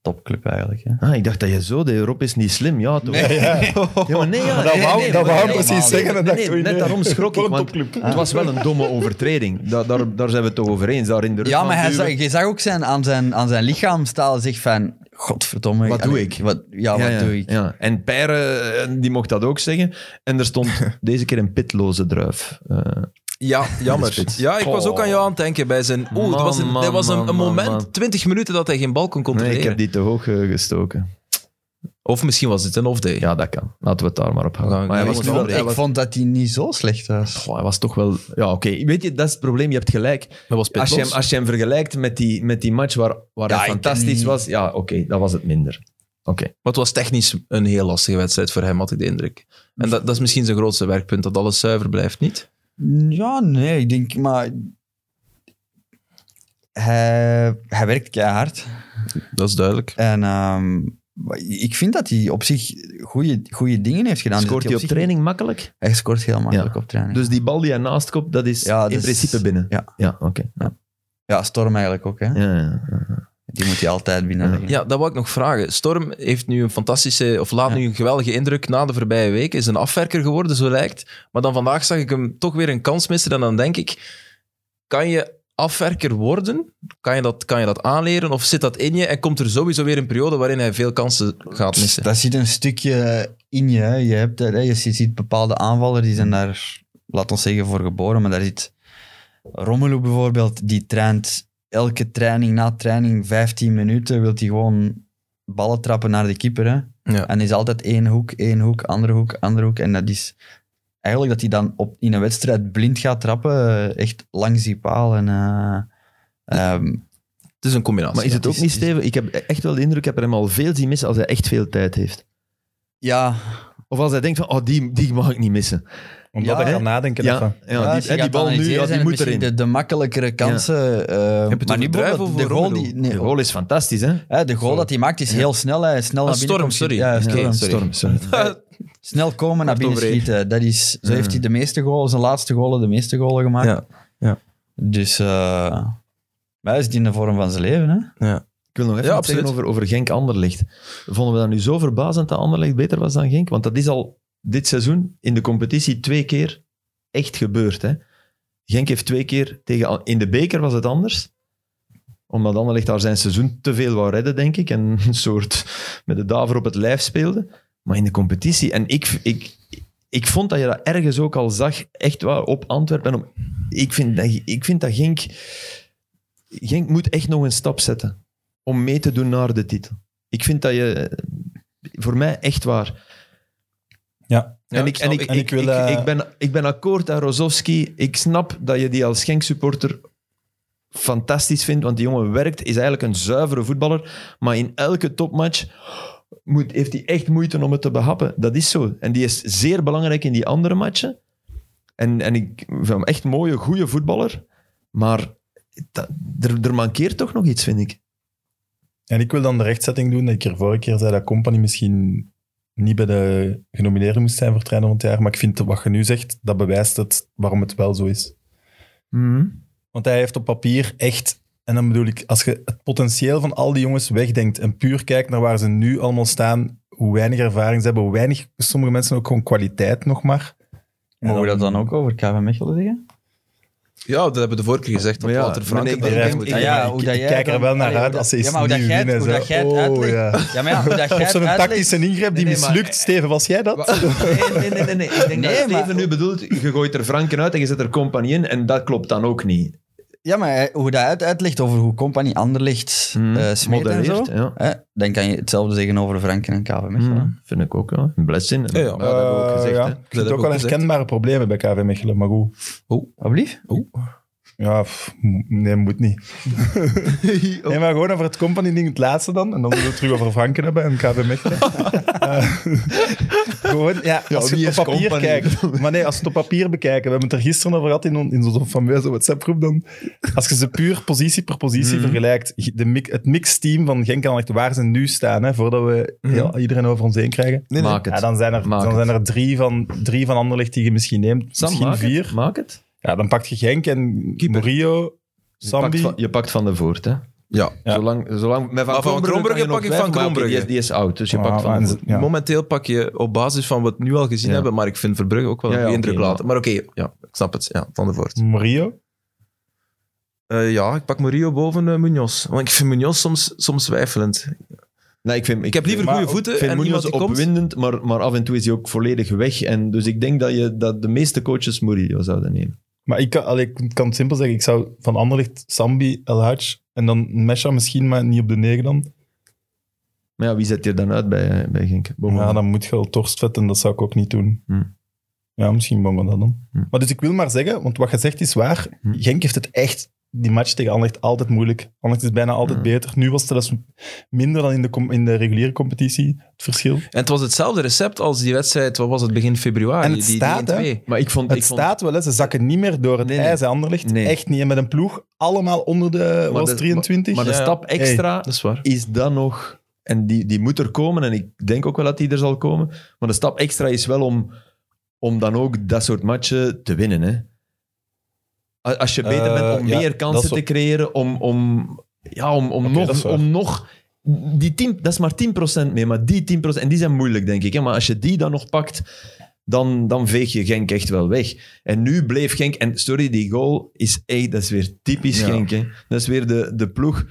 Speaker 4: topclub eigenlijk. Hè.
Speaker 3: Ah, ik dacht dat je zo deed. Rob is niet slim. Ja, toch?
Speaker 2: ja.
Speaker 3: Ja, maar nee, ja,
Speaker 2: Dat
Speaker 3: nee,
Speaker 2: wou-
Speaker 3: nee,
Speaker 2: dat
Speaker 3: maar
Speaker 2: wou
Speaker 3: nee,
Speaker 2: precies
Speaker 3: maar-
Speaker 2: zeggen, dat
Speaker 3: nee,
Speaker 2: dacht
Speaker 3: nee,
Speaker 2: ik,
Speaker 3: net
Speaker 2: nee.
Speaker 3: daarom schrok
Speaker 2: Voor
Speaker 3: ik,
Speaker 2: een
Speaker 3: want
Speaker 2: topclub.
Speaker 3: het was wel een domme overtreding. Daar, daar, daar zijn we het toch over eens, daar in de rug
Speaker 4: Ja, maar hij
Speaker 3: aanduwen.
Speaker 4: zag, je zag ook zijn, aan, zijn, aan zijn lichaamstaal zich van... Godverdomme.
Speaker 3: Wat doe
Speaker 4: allee,
Speaker 3: ik?
Speaker 4: Wat, ja,
Speaker 3: Ja,
Speaker 4: wat
Speaker 3: ja,
Speaker 4: doe ik?
Speaker 3: ja. En Peire, eh, die mocht dat ook zeggen. En er stond deze keer een pitloze druif. Eh,
Speaker 1: Ja, jammer. Ja, ik was ook aan jou aan het denken bij zijn... Oeh, dat was een,
Speaker 3: Man,
Speaker 1: dat was een,
Speaker 3: man,
Speaker 1: een
Speaker 3: man,
Speaker 1: moment,
Speaker 3: man.
Speaker 1: 20 minuten, dat hij geen bal kon
Speaker 3: nee,
Speaker 1: controleren.
Speaker 3: ik heb die te hoog eh, gestoken.
Speaker 1: Of misschien was het een off-day.
Speaker 3: Ja, dat kan. Laten we het daar maar op houden.
Speaker 1: Ja,
Speaker 3: Maar hij
Speaker 1: ik
Speaker 3: was,
Speaker 1: wil-
Speaker 3: wel,
Speaker 4: ik
Speaker 3: hij, was,
Speaker 4: vond dat hij niet zo slecht was.
Speaker 3: Goh, hij was toch wel... Ja, oké. Weet je, dat is het probleem. Je hebt gelijk.
Speaker 1: Dat was
Speaker 3: Als je,
Speaker 1: pitloos.
Speaker 3: hem, als je hem vergelijkt met die, met die match waar, waar
Speaker 4: Ja,
Speaker 3: hij
Speaker 4: ik-
Speaker 3: fantastisch was, ja, oké, dat was het minder. Oké.
Speaker 1: Maar het was technisch een heel lastige wedstrijd voor hem, had ik de indruk. En dat, dat is misschien zijn grootste werkpunt, dat alles zuiver blijft, niet?
Speaker 4: Ja, nee, ik denk... Maar hij, hij werkt keihard.
Speaker 1: Dat is duidelijk.
Speaker 4: En ehm, maar ik vind dat hij op zich goede, goede dingen heeft gedaan. Dus
Speaker 3: Scoort
Speaker 4: dat
Speaker 3: hij op
Speaker 4: zich-
Speaker 3: training makkelijk?
Speaker 4: Hij scoort heel makkelijk op training.
Speaker 3: Dus die bal die hij naast kopt, dat is
Speaker 4: Ja,
Speaker 3: in
Speaker 4: dus-
Speaker 3: principe binnen.
Speaker 4: ja.
Speaker 3: oké.
Speaker 4: Ja, Storm eigenlijk ook. Hè?
Speaker 3: Ja, ja, ja.
Speaker 4: Die moet je altijd binnenleggen.
Speaker 1: Ja, dat wou ik nog vragen. Storm heeft nu een fantastische, of laat
Speaker 4: Ja.
Speaker 1: nu een geweldige indruk na de voorbije week. Is een afwerker geworden, zo lijkt. Maar dan vandaag zag ik hem toch weer een kans missen. En dan denk ik, kan je afwerker worden? Kan je dat, kan je dat aanleren? Of zit dat in je? En komt er sowieso weer een periode waarin hij veel kansen gaat missen?
Speaker 4: Dus Dat zit een stukje in je. hè. Je, hebt, dat, hè. je ziet- ziet bepaalde aanvallers, die zijn daar, laat ons zeggen, voor geboren. Maar daar zit Romelu bijvoorbeeld, die traint elke training na training 15 minuten, wil hij gewoon ballen trappen naar de keeper. Hè?
Speaker 1: Ja.
Speaker 4: En er is altijd één hoek, één hoek, andere hoek, andere hoek. En dat is eigenlijk dat hij dan op, in een wedstrijd blind gaat trappen, eh, echt langs die paal. En, eh, Ehm,
Speaker 1: Het is een combinatie.
Speaker 3: Maar is
Speaker 1: ja.
Speaker 3: het ook niet stevig? Ik heb echt wel de indruk, ik heb er hem al veel zien missen als hij echt veel tijd heeft.
Speaker 4: ja,
Speaker 3: Of als hij denkt van, oh, die, die mag ik niet missen.
Speaker 2: Omdat
Speaker 4: Ja,
Speaker 2: hij
Speaker 4: hè?
Speaker 2: gaat nadenken.
Speaker 3: Ja,
Speaker 2: even.
Speaker 3: ja,
Speaker 4: als
Speaker 3: die,
Speaker 4: je
Speaker 3: hè, die
Speaker 4: gaat
Speaker 3: bal nu,
Speaker 4: analyseren,
Speaker 3: ja,
Speaker 4: zijn
Speaker 3: die
Speaker 4: het
Speaker 3: moet
Speaker 4: misschien
Speaker 3: erin.
Speaker 4: de, de makkelijkere kansen. eh,
Speaker 1: het over
Speaker 4: maar
Speaker 1: Druiven
Speaker 4: nu bijvoorbeeld
Speaker 1: of
Speaker 4: de
Speaker 1: over
Speaker 4: goal
Speaker 1: Romelu?
Speaker 4: die,
Speaker 3: De
Speaker 4: nee,
Speaker 3: goal is fantastisch, hè?
Speaker 4: hè, de goal dat hij maakt is heel snel. Hè, snel naar binnen
Speaker 1: Storm,
Speaker 4: komt
Speaker 1: sorry.
Speaker 4: Ja,
Speaker 1: Ja,
Speaker 4: storm,
Speaker 1: oké,
Speaker 4: Storm.
Speaker 3: Storm, sorry.
Speaker 4: Snel komen naar binnen
Speaker 1: overheen.
Speaker 4: schieten. Dat is, zo heeft hij de meeste goals, zijn laatste goalen, de meeste goalen gemaakt.
Speaker 1: Ja, ja.
Speaker 4: Dus eh maar hij is in de vorm van zijn leven. Hè?
Speaker 3: Ik wil nog even
Speaker 1: Ja,
Speaker 3: iets zeggen
Speaker 1: absoluut.
Speaker 3: over, over Genk-Anderlecht. Vonden we dat nu zo verbazend dat Anderlecht beter was dan Genk? Want dat is al dit seizoen in de competitie twee keer echt gebeurd. Hè? Genk heeft twee keer tegen... In de beker was het anders. Omdat Anderlecht daar zijn seizoen te veel wou redden, denk ik. En een soort met de daver op het lijf speelde. Maar in de competitie... En ik, ik, ik vond dat je dat ergens ook al zag, echt waar, op Antwerpen. En Om, ik, vind dat, ik vind dat Genk... Genk moet echt nog een stap zetten om mee te doen naar de titel. Ik vind dat je, eh, voor mij echt waar.
Speaker 2: Ja.
Speaker 1: Ja,
Speaker 3: en ik,
Speaker 1: snap
Speaker 3: en ik,
Speaker 1: ik.
Speaker 3: ik,
Speaker 2: En ik wil,
Speaker 3: ik-
Speaker 2: eh,
Speaker 3: ik ben, ik ben akkoord aan Rozovski. Ik snap dat je die als Genk-supporter fantastisch vindt, want die jongen werkt, is eigenlijk een zuivere voetballer, maar in elke topmatch moet, heeft hij echt moeite om het te behappen. Dat is zo. En die is zeer belangrijk in die andere matchen. En, en ik vind hem echt mooie, goede voetballer, maar dat- er, er mankeert toch nog iets, vind ik.
Speaker 2: En ik wil dan de rechtzetting doen dat ik er vorige keer zei dat Company misschien niet bij de genomineerden moest zijn voor trainer van het jaar. Maar ik vind dat wat je nu zegt, dat bewijst het waarom het wel zo is. Want hij heeft op papier echt, en dan bedoel ik, als je het potentieel van al die jongens wegdenkt en puur kijkt naar waar ze nu allemaal staan, hoe weinig ervaring ze hebben, hoe weinig, sommige mensen ook gewoon kwaliteit nog maar. En
Speaker 4: Mogen we dat dan ook over KV Mechelen zeggen?
Speaker 1: Ja, dat hebben we de vorige keer gezegd. Dat
Speaker 3: Maar ja,
Speaker 1: Wouter Franke...
Speaker 3: meneer,
Speaker 1: dat
Speaker 2: ik-
Speaker 1: moet-
Speaker 2: Ja, ja, ik- ik kijk er wel naar
Speaker 4: allee, hoe
Speaker 2: uit
Speaker 4: dat-
Speaker 2: als ze eens
Speaker 4: ja, maar hoe dat
Speaker 2: nieuw
Speaker 4: jij het-
Speaker 2: winnen,
Speaker 4: hoe
Speaker 2: zo.
Speaker 4: dat jij het
Speaker 2: Oh,
Speaker 4: uitlegt.
Speaker 2: ja.
Speaker 4: Ja, maar ja, hoe dat jij
Speaker 2: Op
Speaker 4: het
Speaker 2: zo'n
Speaker 4: uitlegt-
Speaker 2: tactische ingreep die
Speaker 4: Nee, nee, maar-
Speaker 2: mislukt. Steven, was jij dat?
Speaker 3: Nee, nee, nee, nee, nee. Ik denk
Speaker 4: Nee,
Speaker 3: dat Steven
Speaker 4: maar-
Speaker 3: nu bedoelt, je gooit er Franken uit en je zet er Compagnie in en dat klopt dan ook niet.
Speaker 4: Ja, maar hij- hoe dat uit- uitlegt over hoe Company Anderlicht
Speaker 3: Hmm.
Speaker 4: eh smeet en zo,
Speaker 3: Modereert, ja. Hmm.
Speaker 4: hè, Mm. dan kan je hetzelfde zeggen over Franken en KV Mechelen.
Speaker 3: Vind ik ook, ja. Een blessing.
Speaker 1: Ja, ja.
Speaker 3: Maar dat hebben we ook
Speaker 2: Eh,
Speaker 3: gezegd, Oh.
Speaker 2: ja.
Speaker 3: hè.
Speaker 2: Ik vind
Speaker 1: heb
Speaker 2: ook
Speaker 1: ik
Speaker 2: wel
Speaker 1: ook gezegd.
Speaker 2: herkenbare problemen bij KV Mechelen, maar goed.
Speaker 4: Wat blieft?
Speaker 2: Ja, pff, m- nee, moet niet. Nee, maar gewoon over het company-ding het laatste dan. En dan zullen we het terug over Franken hebben en KV Mechelen. Eh, gewoon, ja, als je
Speaker 3: wie
Speaker 2: het op
Speaker 3: is
Speaker 2: papier
Speaker 3: company?
Speaker 2: kijkt. Maar nee, als we het op papier bekijken. We hebben het er gisteren over gehad in, on- in zo'n fameuze WhatsApp-groep dan. Als je ze puur positie per positie
Speaker 3: Hmm.
Speaker 2: vergelijkt. De, mi- het mixteam van Genk en Anderlecht, waar ze nu staan, hè, voordat we
Speaker 3: Hmm.
Speaker 2: heel- iedereen over ons heen krijgen.
Speaker 1: Nee, nee.
Speaker 3: Maak het.
Speaker 2: Ja, dan zijn er,
Speaker 3: Maak
Speaker 2: dan
Speaker 3: het.
Speaker 2: zijn er drie, van, drie van Anderlecht die je misschien neemt.
Speaker 3: Sam,
Speaker 2: misschien
Speaker 3: maak het.
Speaker 2: vier.
Speaker 3: Maak het.
Speaker 2: Ja, dan pakt je Genk en Murillo,
Speaker 3: Je pakt,
Speaker 2: Sambi.
Speaker 3: van, je pakt Van de Voort, hè.
Speaker 1: Ja.
Speaker 2: Ja.
Speaker 3: Zolang, zolang, met
Speaker 1: Maar Van Krombrugge
Speaker 3: kan je nog
Speaker 1: pak ik
Speaker 3: blijven
Speaker 1: Van
Speaker 3: maken.
Speaker 1: Krombrugge.
Speaker 3: Die is, die is oud, dus je
Speaker 2: Ah,
Speaker 3: pakt Van de Voort.
Speaker 2: ja.
Speaker 1: Momenteel pak je op basis van wat we nu al gezien
Speaker 3: Ja.
Speaker 1: hebben, maar ik vind Verbrugge ook wel
Speaker 3: Ja,
Speaker 1: een
Speaker 3: ja,
Speaker 1: goede
Speaker 3: oké,
Speaker 1: indruk
Speaker 3: maar-
Speaker 1: laten. Maar oké, ja, ik snap het. Ja, Van de Voort.
Speaker 2: Mm. Murillo.
Speaker 1: Eh, ja, ik pak Murillo boven eh, Munoz. Want ik vind Munoz soms, soms twijfelend.
Speaker 3: Nee, ik, vind, ik,
Speaker 1: Ik heb liever
Speaker 2: Maar
Speaker 1: goede
Speaker 2: ook-
Speaker 1: voeten
Speaker 3: Ik vind
Speaker 1: en iemand
Speaker 3: Munoz
Speaker 1: die komt...
Speaker 3: opwindend, maar, maar af en toe is hij ook volledig weg. En dus ik denk dat, je, dat de meeste coaches Murillo zouden nemen.
Speaker 2: Maar ik kan, allee, ik kan het simpel zeggen. Ik zou van Anderlecht, Sambi, El Hadj en dan Mesha misschien, maar niet op de negen dan.
Speaker 3: Maar ja, wie zet je dan uit bij, eh, bij Genk? Bommel.
Speaker 2: Ja, dan moet je wel Torstvet en dat zou ik ook niet doen.
Speaker 3: Hmm.
Speaker 2: Ja, misschien Bongo dat dan.
Speaker 3: Hmm.
Speaker 2: Maar dus ik wil maar zeggen, want wat gezegd is waar.
Speaker 3: Hmm.
Speaker 2: Genk heeft het echt, die match tegen Anderlecht, altijd moeilijk. Anderlecht is bijna altijd
Speaker 3: Hmm.
Speaker 2: beter. Nu was het zelfs minder dan in de, com- in de reguliere competitie, het verschil.
Speaker 1: En het was hetzelfde recept als die wedstrijd, wat was het, begin februari?
Speaker 2: En het
Speaker 1: die- die,
Speaker 2: staat, hè?
Speaker 1: 1-2.
Speaker 3: Maar ik vond...
Speaker 2: Het
Speaker 3: ik vond-
Speaker 2: staat wel, hè. ze zakken niet meer door het
Speaker 3: Nee, nee.
Speaker 2: ijs, hè, Anderlecht.
Speaker 3: Nee.
Speaker 2: Echt niet. En met een ploeg allemaal onder de
Speaker 3: Maar
Speaker 2: was
Speaker 3: de-
Speaker 2: 23.
Speaker 3: Maar de
Speaker 1: Ja, ja.
Speaker 3: stap extra
Speaker 1: Dat is waar.
Speaker 3: is dan nog... En die, die moet er komen, en ik denk ook wel dat die er zal komen. Maar de stap extra is wel om, om dan ook dat soort matchen te winnen. Hè? A- Als je beter
Speaker 2: Eh,
Speaker 3: bent om
Speaker 2: ja,
Speaker 3: meer
Speaker 2: dat
Speaker 3: kansen
Speaker 2: is
Speaker 3: te
Speaker 2: wel-
Speaker 3: creëren, om, om, ja, om, om,
Speaker 2: Oké, dat is
Speaker 3: nog,
Speaker 2: waar.
Speaker 3: om nog... Die 10, dat is maar 10% mee, maar die 10%... En die zijn moeilijk, denk ik. Hè? Maar als je die dan nog pakt, dan, dan veeg je Genk echt wel weg. En nu bleef Genk... En sorry, die goal is echt... Dat is weer typisch
Speaker 1: Ja.
Speaker 3: Genk. Hè? Dat is weer de, de ploeg.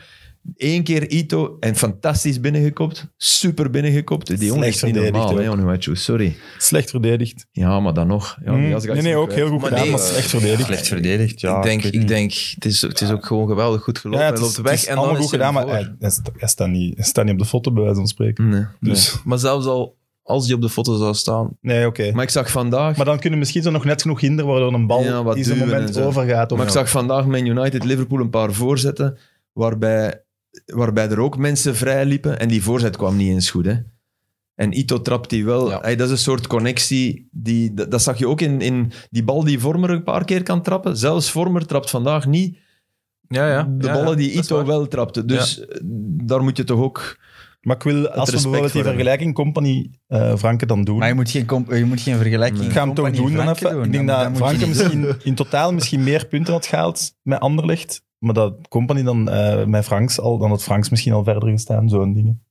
Speaker 3: Eén keer Ito en fantastisch binnengekopt. Super binnengekopt. Die jongen
Speaker 2: Slecht
Speaker 3: is niet
Speaker 2: verdedigd
Speaker 3: normaal, hè,
Speaker 2: ook.
Speaker 3: Onuachu. Sorry.
Speaker 2: Slecht verdedigd.
Speaker 3: Ja, maar dan nog. Ja,
Speaker 2: Mm.
Speaker 3: die Asga is
Speaker 2: Nee, nee,
Speaker 3: nog
Speaker 2: ook
Speaker 3: kwijt.
Speaker 2: heel goed
Speaker 1: Maar
Speaker 2: gedaan,
Speaker 1: nee,
Speaker 2: maar
Speaker 1: eh,
Speaker 2: slecht verdedigd.
Speaker 4: Slecht verdedigd, ja.
Speaker 1: ik denk,
Speaker 4: weet
Speaker 1: ik
Speaker 4: niet.
Speaker 1: denk het, is, het is ook gewoon geweldig goed
Speaker 2: Ja,
Speaker 1: gelopen.
Speaker 2: het
Speaker 1: hij
Speaker 2: is,
Speaker 1: loopt
Speaker 2: het
Speaker 1: weg
Speaker 2: is
Speaker 1: en dan
Speaker 2: allemaal
Speaker 1: is
Speaker 2: goed
Speaker 1: hij
Speaker 2: gedaan, maar
Speaker 1: ervoor.
Speaker 2: hij, hij sta- hij staat niet, hij staat niet op de foto, bij wijze van spreken.
Speaker 3: Nee.
Speaker 2: Dus
Speaker 1: Maar zelfs al, als die op de foto zou staan.
Speaker 2: Nee, oké.
Speaker 3: Maar ik zag vandaag...
Speaker 2: Maar dan kunnen misschien zo nog net genoeg hinder waardoor een bal
Speaker 3: Ja, wat
Speaker 2: in zo'n
Speaker 3: duwen
Speaker 2: moment
Speaker 3: en zo.
Speaker 2: overgaat. Of
Speaker 3: Maar ik zag vandaag Man United Liverpool een paar voorzetten waarbij, waarbij er ook mensen vrij liepen en die voorzet kwam niet eens goed. Hè? En Ito trapt die wel.
Speaker 1: Ja.
Speaker 3: Hey, dat is een soort connectie. Die, dat, dat zag je ook in, in die bal die Vormer een paar keer kan trappen. Zelfs Vormer trapt vandaag niet
Speaker 1: Ja, ja.
Speaker 3: de
Speaker 1: Ja, ja,
Speaker 3: ballen die
Speaker 1: dat is
Speaker 3: Ito
Speaker 1: waar.
Speaker 3: wel trapte. Dus eh, daar moet je toch ook...
Speaker 2: Maar ik wil, als we
Speaker 3: respect
Speaker 2: bijvoorbeeld die
Speaker 3: voor hem.
Speaker 2: vergelijking Company eh Franke dan doen.
Speaker 4: Maar je moet geen, comp- je moet geen vergelijking.
Speaker 2: ik ga hem toch
Speaker 4: Company
Speaker 2: doen dan
Speaker 4: Franke
Speaker 2: even. Ik denk
Speaker 4: Dan-
Speaker 2: dat
Speaker 4: dan moet je
Speaker 2: Franke
Speaker 4: niet
Speaker 2: misschien in totaal misschien meer punten had gehaald met Anderlecht. Maar dat Company dan eh, met Franks al, dan had Franks misschien al verder gestaan, zo'n dingen.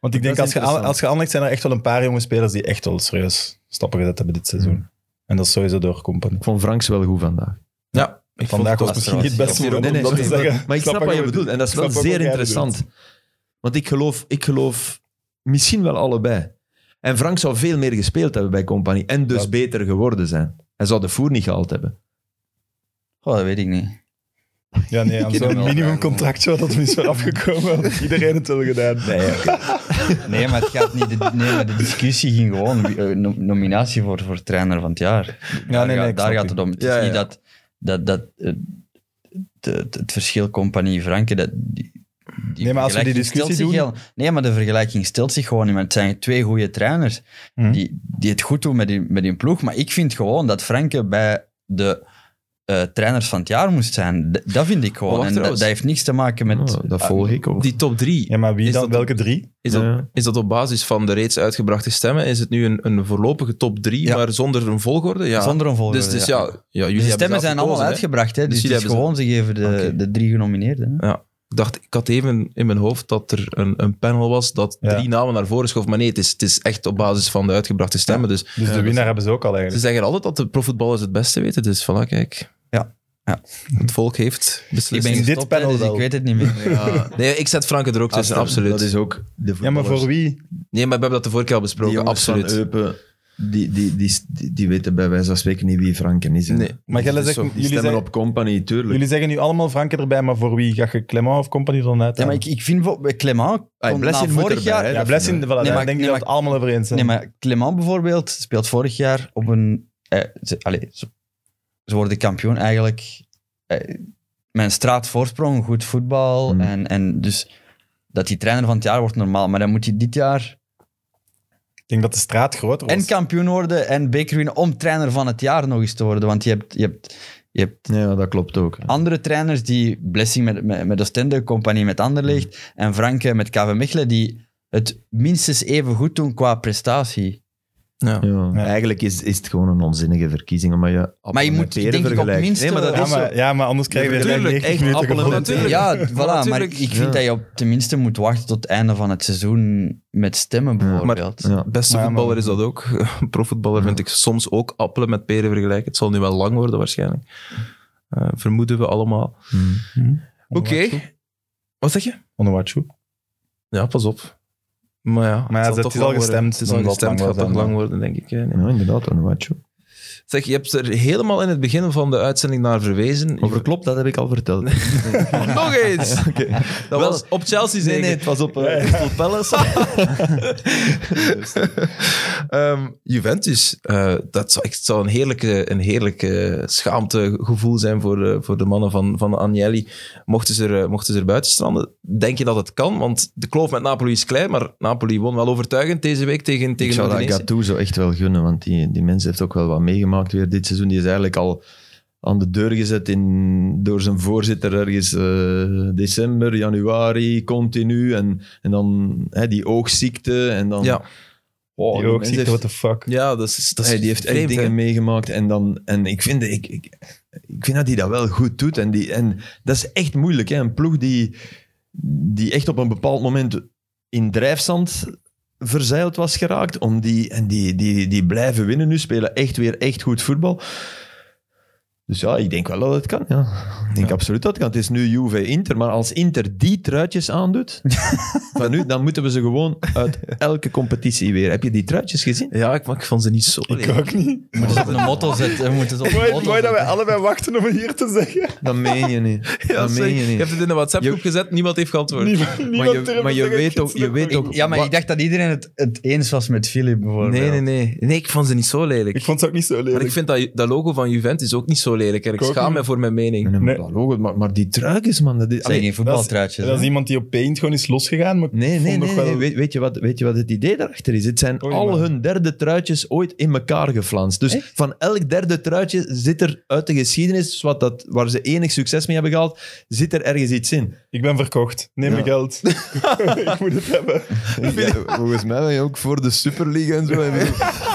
Speaker 2: Want ik denk,
Speaker 3: is
Speaker 2: als je, Al-
Speaker 3: interessant.
Speaker 2: als je Anderlecht zijn er echt wel een paar jonge spelers die echt wel serieus stappen gezet hebben dit seizoen.
Speaker 4: Hmm.
Speaker 2: En dat is sowieso door Company.
Speaker 3: Ik vond Franks wel goed vandaag.
Speaker 1: Ja, ik vond
Speaker 2: Vandaag
Speaker 1: het
Speaker 2: was
Speaker 1: ook-
Speaker 2: misschien niet het beste
Speaker 1: Ik vond
Speaker 2: moment
Speaker 1: het
Speaker 3: Nee, nee,
Speaker 2: om dat te
Speaker 3: nee, maar-
Speaker 2: zeggen.
Speaker 3: Maar ik snap wat je bedoelt. En dat is
Speaker 2: ik
Speaker 3: wel
Speaker 2: snap ook
Speaker 3: zeer
Speaker 2: wat jij
Speaker 3: interessant. Want ik geloof, ik geloof misschien wel allebei. En Frank zou veel meer gespeeld hebben bij Compagnie. En dus
Speaker 2: Ja.
Speaker 3: beter geworden zijn. Hij zou de voer niet gehaald hebben.
Speaker 4: Oh, dat weet ik niet.
Speaker 2: Ja, nee, aan
Speaker 4: Ik
Speaker 2: zo'n
Speaker 4: ben wel
Speaker 2: minimumcontract zou dat hem is wel afgekomen. had Iedereen het wel gedaan.
Speaker 4: Nee, maar het gaat niet. De, nee, maar de discussie ging gewoon wie- eh, no- nominatie voor, voor trainer van het
Speaker 2: Ja,
Speaker 4: jaar. daar
Speaker 2: nee,
Speaker 4: gaat-
Speaker 2: nee, ik
Speaker 4: daar
Speaker 2: snap
Speaker 4: gaat
Speaker 2: u.
Speaker 4: het om. Het
Speaker 3: Ja,
Speaker 4: is niet
Speaker 3: ja.
Speaker 4: dat, dat, dat eh, de- de- het verschil compagnie Franke. Dat, die, die
Speaker 2: Nee, maar als we die
Speaker 4: vergelijking
Speaker 2: discussie
Speaker 4: stelt zich
Speaker 2: doen-
Speaker 4: heel- nee, maar de vergelijking stelt zich gewoon niet. Maar het zijn twee goede trainers
Speaker 2: Mhm.
Speaker 4: die, die het goed doen met hun, met hun ploeg. Maar ik vind gewoon dat Franke bij de eh, trainers van het jaar moest zijn. D- dat vind ik gewoon.
Speaker 1: Oh, wacht
Speaker 4: en dat,
Speaker 1: trouwens.
Speaker 4: dat heeft niks te maken met. Ah,
Speaker 3: Oh, dat volg ik ook.
Speaker 1: Die top drie,
Speaker 2: Ja, maar wie
Speaker 1: Is
Speaker 2: dan?
Speaker 1: dat-
Speaker 2: Welke drie?
Speaker 1: is dat,
Speaker 3: Ja.
Speaker 1: is dat op basis van de reeds uitgebrachte stemmen? Is het nu een, een voorlopige top drie,
Speaker 4: Ja.
Speaker 1: maar zonder een volgorde? Ja.
Speaker 4: Zonder een volgorde,
Speaker 1: Dus, dus ja, ja. jullie
Speaker 4: de
Speaker 1: hebben
Speaker 4: stemmen
Speaker 1: zelf
Speaker 4: zijn allemaal
Speaker 1: gekozen, hè?
Speaker 4: uitgebracht, hè?
Speaker 1: Dus
Speaker 4: dus het
Speaker 1: jullie
Speaker 4: is gewoon,
Speaker 1: hebben
Speaker 4: ze geven de,
Speaker 1: Oké.
Speaker 4: de drie genomineerden. hè.
Speaker 1: Ik dacht, ik had even in mijn hoofd dat er een, een panel was dat
Speaker 2: Ja.
Speaker 1: drie namen naar voren schoof. Maar nee, het is, het is echt op basis van de uitgebrachte stemmen. Dus
Speaker 2: Dus de winnaar hebben ze ook al
Speaker 1: ze
Speaker 2: eigenlijk.
Speaker 1: zeggen altijd dat de profvoetballers het beste weten. Dus voilà, kijk.
Speaker 4: Ja. Ja.
Speaker 1: Het volk heeft
Speaker 4: Ik ben
Speaker 1: beslist.
Speaker 2: In dit
Speaker 4: gestopt, hè,
Speaker 2: panel
Speaker 4: dus
Speaker 2: wel.
Speaker 4: ik weet het niet meer.
Speaker 1: Nee, ik zet Franke er ook tussen, absoluut.
Speaker 3: Ah, Dat is ook de
Speaker 2: Ja, maar voor wie?
Speaker 1: Nee, maar we hebben dat de vorige keer al
Speaker 3: Die
Speaker 1: besproken,
Speaker 3: jongens
Speaker 1: absoluut.
Speaker 3: van Eupen, die, die, die, die, die weten bij wijze van spreken niet wie Franken is. hè.
Speaker 1: Nee.
Speaker 2: Maar jij
Speaker 3: Dus
Speaker 2: zegt-
Speaker 3: zo, die
Speaker 2: jullie
Speaker 3: stemmen
Speaker 2: zeggen-
Speaker 3: op Compagnie, tuurlijk.
Speaker 2: Jullie zeggen nu allemaal Franke erbij, maar voor wie? Ga je Clement of Company dan uit?
Speaker 4: Ja, maar ik, ik vind bijvoorbeeld- Clement
Speaker 3: Ah,
Speaker 4: komt
Speaker 3: Blessing
Speaker 4: na
Speaker 3: moet
Speaker 4: vorig
Speaker 3: erbij,
Speaker 4: jaar...
Speaker 3: hè.
Speaker 2: ja, Blessing, voilà, daar
Speaker 4: maar-
Speaker 2: denk ik
Speaker 4: nee,
Speaker 2: dat
Speaker 4: maar-
Speaker 2: we het allemaal over eens zijn.
Speaker 4: Nee, maar Clement bijvoorbeeld speelt vorig jaar op een... Eh, ze, allee, ze, ze worden kampioen eigenlijk. Eh, mijn straatvoorsprong, goed voetbal.
Speaker 3: Hmm.
Speaker 4: En, en dus dat die trainer van het jaar wordt normaal. Maar dan moet hij dit jaar
Speaker 2: Ik denk dat de straat groter was.
Speaker 4: en kampioen worden en beker winnen om trainer van het jaar nog eens te worden. Want je hebt, je hebt, je hebt
Speaker 3: Ja, dat klopt ook.
Speaker 4: andere trainers die Blessing met, met, met Oostende, Compagnie met Anderlecht
Speaker 3: Mm.
Speaker 4: en Franke met KV Mechelen, die het minstens even goed doen qua prestatie.
Speaker 1: Ja.
Speaker 3: Ja.
Speaker 2: Ja.
Speaker 3: Eigenlijk is, is het gewoon een onzinnige verkiezing. Maar je, appel
Speaker 4: Maar je
Speaker 3: met
Speaker 4: moet,
Speaker 3: peren
Speaker 4: denk ik, op
Speaker 3: vergelijken.
Speaker 4: minste-
Speaker 3: Nee, maar dat
Speaker 2: ja,
Speaker 3: is zo.
Speaker 2: maar, ja, maar anders krijgen we
Speaker 1: Natuurlijk,
Speaker 2: gelijk 90
Speaker 1: echt
Speaker 2: minuten
Speaker 1: appelen en
Speaker 2: gevonden.
Speaker 1: natuurlijk.
Speaker 4: Ja, voilà, maar
Speaker 1: natuurlijk.
Speaker 4: ik vind
Speaker 3: Ja.
Speaker 4: dat je op tenminste moet wachten tot het einde van het seizoen met stemmen bijvoorbeeld.
Speaker 3: Ja.
Speaker 1: Beste
Speaker 2: Ja, maar-
Speaker 1: voetballer is dat ook. Profvoetballer vind ik soms ook appelen met peren vergelijken. Het zal nu wel lang worden waarschijnlijk. Eh, vermoeden we allemaal.
Speaker 3: Mm.
Speaker 1: Oké. Wat zeg je?
Speaker 2: Onuachu.
Speaker 1: Ja, pas op. Maar ja,
Speaker 2: Maar ja,
Speaker 1: zal
Speaker 2: het
Speaker 1: toch
Speaker 2: is al
Speaker 1: lang worden.
Speaker 2: gestemd,
Speaker 1: Het is
Speaker 2: dan
Speaker 1: al
Speaker 2: zal het
Speaker 1: gestemd,
Speaker 2: lang
Speaker 1: gaat toch
Speaker 2: worden,
Speaker 1: lang worden, denk ik. hè. Nee.
Speaker 3: Ja, nou, inderdaad, een watje.
Speaker 1: Zeg, je hebt er helemaal in het begin van de uitzending naar verwezen.
Speaker 3: Over klopt, dat heb ik al verteld.
Speaker 1: Nog eens! Dat was op Chelsea
Speaker 3: Nee,
Speaker 1: zeker.
Speaker 3: nee, het was op eh, Crystal Palace.
Speaker 1: Ehm, Juventus, eh, dat zou, echt- zou een heerlijke, een heerlijke schaamtegevoel zijn voor, eh, voor de mannen van, van Agnelli. Mochten ze, er, eh, mochten ze er buiten stranden, denk je dat het kan? Want de kloof met Napoli is klein, maar Napoli won wel overtuigend deze week tegen,
Speaker 3: ik
Speaker 1: tegen
Speaker 3: zou dat
Speaker 1: Udinese.
Speaker 3: Gattuso zo echt wel gunnen, want die, die mens heeft ook wel wat meegemaakt weer dit seizoen. Die is eigenlijk al aan de deur gezet in, door zijn voorzitter ergens eh, december, januari, continu. En, en dan hè, die oogziekte en dan...
Speaker 1: Ja,
Speaker 3: Wow,
Speaker 2: Die
Speaker 3: die
Speaker 2: ook
Speaker 3: mens
Speaker 2: ziet,
Speaker 3: heeft-
Speaker 2: what the fuck.
Speaker 1: ja dat is, dat is
Speaker 3: Hey, die heeft echt
Speaker 1: vreemd, hè?
Speaker 3: dingen meegemaakt. En, dan, en ik, vind, ik, ik, ik vind dat hij dat wel goed doet. En, die, en dat is echt moeilijk. Hè? Een ploeg die, die echt op een bepaald moment in drijfzand verzeild was geraakt. Om die, en die, die, die blijven winnen nu, spelen echt weer echt goed voetbal. Dus ja, ik denk wel dat het kan. Ja. Ik denk absoluut dat het kan. Het is nu Juve-Inter, maar als Inter die truitjes aandoet, van nu, dan moeten we ze gewoon uit elke competitie weer. Heb je die truitjes gezien?
Speaker 1: Ja, ik, maar ik vond ze niet zo
Speaker 2: Ik ook niet.
Speaker 4: We moeten het op een motto zetten. We moeten het op een
Speaker 2: Mooi,
Speaker 4: motto
Speaker 2: mooi dat wij
Speaker 4: zetten.
Speaker 2: allebei wachten om het hier te zeggen.
Speaker 3: Dat meen je niet.
Speaker 1: Ja,
Speaker 3: dat
Speaker 1: sorry.
Speaker 3: meen je
Speaker 1: Je
Speaker 3: niet.
Speaker 1: hebt het in de WhatsApp-groep gezet, niemand heeft geantwoord.
Speaker 2: Niemand, niemand
Speaker 3: Maar je,
Speaker 2: durft
Speaker 3: maar je
Speaker 2: zeggen,
Speaker 3: weet ook... Je
Speaker 2: kidselijk
Speaker 3: weet
Speaker 2: voor
Speaker 3: ook
Speaker 4: Ik- Ja, maar
Speaker 3: wat-
Speaker 4: ik dacht dat iedereen het, het eens was met Philip bijvoorbeeld.
Speaker 1: Nee, nee, nee. Nee, ik vond ze niet zo lelijk.
Speaker 2: Ik vond het ook niet zo
Speaker 1: maar ik
Speaker 2: lelijk.
Speaker 1: vind dat, dat logo van Juventus ook niet zo lelijk. En ik
Speaker 2: Ik ook
Speaker 1: schaam
Speaker 2: niet.
Speaker 1: me voor mijn mening.
Speaker 3: Nee, maar
Speaker 2: Nee.
Speaker 3: dat logo, maar, maar die truitjes, man. Dat is,
Speaker 4: Het zijn
Speaker 3: Allee,
Speaker 4: geen voetbaltruitjes.
Speaker 2: Dat is
Speaker 4: hè.
Speaker 2: iemand die op paint gewoon is losgegaan. Maar ik
Speaker 3: nee, nee,
Speaker 2: vond
Speaker 3: nee.
Speaker 2: nog wel-
Speaker 3: nee. Weet, weet je wat, weet je wat het idee daarachter is? Het zijn
Speaker 2: Oei,
Speaker 3: al
Speaker 2: man.
Speaker 3: hun derde truitjes ooit in elkaar geflanst. Dus van elk derde truitje zit er uit de geschiedenis, wat dat, waar ze enig succes mee hebben gehaald, zit er ergens iets in.
Speaker 2: Ik ben verkocht. Neem
Speaker 3: Ja.
Speaker 2: mijn geld. ik moet het hebben.
Speaker 3: volgens mij ben je ook voor de Superliga en zo.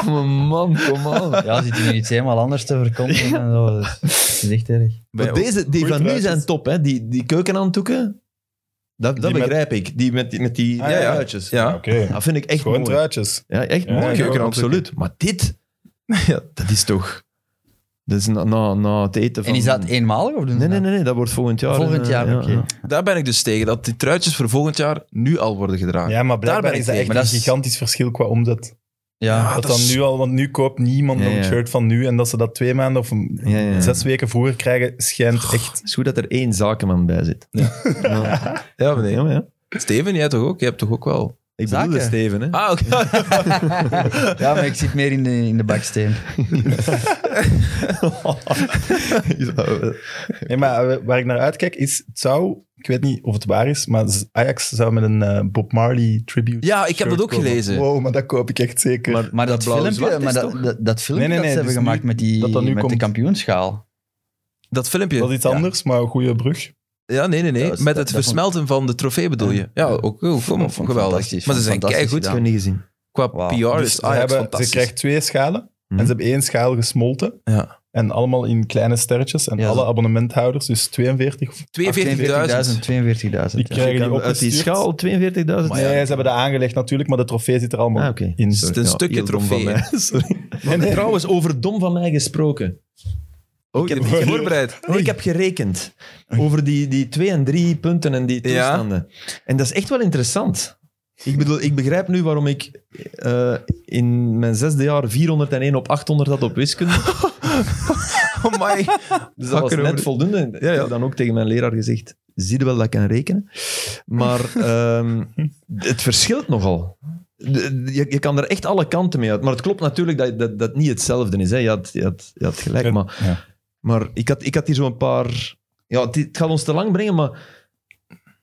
Speaker 3: Man, kom aan.
Speaker 4: Ja, zit hij nu iets helemaal anders te verkondigen en zo. Dus, dat is echt erg.
Speaker 1: Bij-
Speaker 3: Maar deze, die
Speaker 2: Goeie
Speaker 3: van nu
Speaker 2: truitjes.
Speaker 3: zijn top, hè? Die, die keukenhanddoeken, dat, dat
Speaker 2: Die met-
Speaker 3: begrijp ik. Die met, die- met die
Speaker 2: Ah, ja, ja.
Speaker 3: truitjes.
Speaker 1: ja.
Speaker 2: Oké.
Speaker 3: Dat vind ik echt
Speaker 2: Gewoon
Speaker 3: Ah, mooi.
Speaker 2: truitjes.
Speaker 3: Ja, echt
Speaker 2: Ja,
Speaker 3: mooi.
Speaker 2: ja,
Speaker 3: Keuken,
Speaker 1: ja,
Speaker 3: absoluut. Maar dit,
Speaker 1: Ja.
Speaker 3: dat is toch... Dat is na, na, na het eten van...
Speaker 4: En is dat eenmalig of doen ze
Speaker 3: Nee, nee,
Speaker 4: dat?
Speaker 3: nee, nee, dat wordt volgend jaar.
Speaker 4: Volgend
Speaker 3: eh,
Speaker 4: jaar,
Speaker 3: ja,
Speaker 4: oké.
Speaker 3: ja.
Speaker 1: Daar ben ik dus tegen, dat die truitjes voor volgend jaar nu al worden gedragen.
Speaker 2: Ja, maar blijkbaar
Speaker 1: ben Ah, ik
Speaker 2: is dat
Speaker 1: tegen.
Speaker 2: echt
Speaker 4: Maar
Speaker 2: een
Speaker 4: dat is-
Speaker 2: gigantisch verschil qua omzet.
Speaker 4: Ja,
Speaker 1: Ah,
Speaker 2: dat
Speaker 1: dat
Speaker 2: dan
Speaker 1: is-
Speaker 2: nu al, want nu koopt niemand
Speaker 3: Ja,
Speaker 2: nog een
Speaker 3: ja.
Speaker 2: shirt van nu. En dat ze dat twee maanden of een-
Speaker 3: Ja, ja, ja.
Speaker 2: zes weken vroeger krijgen, schijnt echt...
Speaker 3: Het is goed dat er één zakenman bij zit. Ja, ja.
Speaker 1: Ja, meneer.
Speaker 3: maar ja.
Speaker 1: Steven, jij toch ook? Jij hebt toch ook wel...
Speaker 3: Ik
Speaker 4: Zaken.
Speaker 3: bedoelde Steven, hè.
Speaker 1: Ah, oké.
Speaker 4: ja, maar ik zit meer in de, in de baksteen.
Speaker 2: Nee, maar eh, waar ik naar uitkijk is, het zou... Ik weet niet of het waar is, maar Ajax zou met een eh, Bob Marley tribute
Speaker 1: Ja, ik heb
Speaker 2: shirt
Speaker 1: dat ook
Speaker 2: komen.
Speaker 1: gelezen.
Speaker 2: Wow, maar dat koop ik echt zeker.
Speaker 4: Maar, maar dat,
Speaker 1: blauwe
Speaker 4: filmpje,
Speaker 1: zwart is
Speaker 4: maar dat,
Speaker 1: toch-
Speaker 4: dat, dat filmpje
Speaker 2: Nee, nee, nee,
Speaker 4: dat ze
Speaker 2: dus
Speaker 4: hebben gemaakt
Speaker 2: nu-
Speaker 4: met, die,
Speaker 2: dat dat nu
Speaker 4: met de
Speaker 2: komt.
Speaker 4: kampioenschaal.
Speaker 1: Dat filmpje.
Speaker 2: dat is iets
Speaker 4: ja.
Speaker 2: anders, maar een goede brug.
Speaker 1: Ja, nee, nee, nee.
Speaker 4: Dat is-
Speaker 1: Met
Speaker 4: dat-
Speaker 1: het
Speaker 4: dat
Speaker 1: versmelten van de trofee bedoel je. Ja, ook oh, kom,
Speaker 4: vond ik
Speaker 1: geweldig.
Speaker 4: fantastisch.
Speaker 1: Maar ze zijn
Speaker 4: Fantastisch
Speaker 1: keigoed.
Speaker 3: Ik heb niet gezien.
Speaker 1: Qua
Speaker 4: Wauw.
Speaker 1: PR
Speaker 2: Dus
Speaker 1: is
Speaker 2: ze,
Speaker 1: Ajax
Speaker 2: hebben- ze
Speaker 1: fantastisch.
Speaker 2: krijgt twee schalen
Speaker 3: Mhm.
Speaker 2: en ze hebben één schaal gesmolten.
Speaker 1: Ja.
Speaker 2: En allemaal in kleine sterretjes. En
Speaker 4: Ja,
Speaker 2: alle
Speaker 4: dat-
Speaker 2: abonnementhouders, dus 42 of
Speaker 1: 42.000.
Speaker 4: 42.000.
Speaker 2: Die krijgen die
Speaker 4: ja.
Speaker 3: Kan uit die
Speaker 2: opgestuurd.
Speaker 3: schaal 42.000?
Speaker 2: Nee, ze hebben dat aangelegd natuurlijk, maar de trofee zit er allemaal
Speaker 3: Ah, oké.
Speaker 2: in.
Speaker 1: Het is een stukje
Speaker 3: heel dom
Speaker 1: trofee.
Speaker 3: van mij. Sorry. Trouwens, over dom van mij gesproken.
Speaker 1: Oh, ik heb het niet voorbereid.
Speaker 3: Nee, ik heb gerekend over die, die twee en drie punten en die
Speaker 1: Ja.
Speaker 3: toestanden. En dat is echt wel interessant. Ik bedoel, ik begrijp nu waarom ik eh, in mijn zesde jaar 401 op 800 had op wiskunde.
Speaker 1: Oh my.
Speaker 3: Dus dat was
Speaker 1: Hakker
Speaker 3: net
Speaker 1: over.
Speaker 3: voldoende. Ik
Speaker 1: Ja, ja.
Speaker 3: heb dan ook tegen mijn leraar gezegd, zie je wel dat ik kan rekenen? Maar ehm, het verschilt nogal. De- Je, je kan er echt alle kanten mee uit. Maar het klopt natuurlijk dat dat, dat niet hetzelfde is. Hè. Je, had, je, had, je had gelijk.
Speaker 2: Ja.
Speaker 3: Maar, maar ik, had, ik had hier zo'n paar... Ja, het, het gaat ons te lang brengen, maar...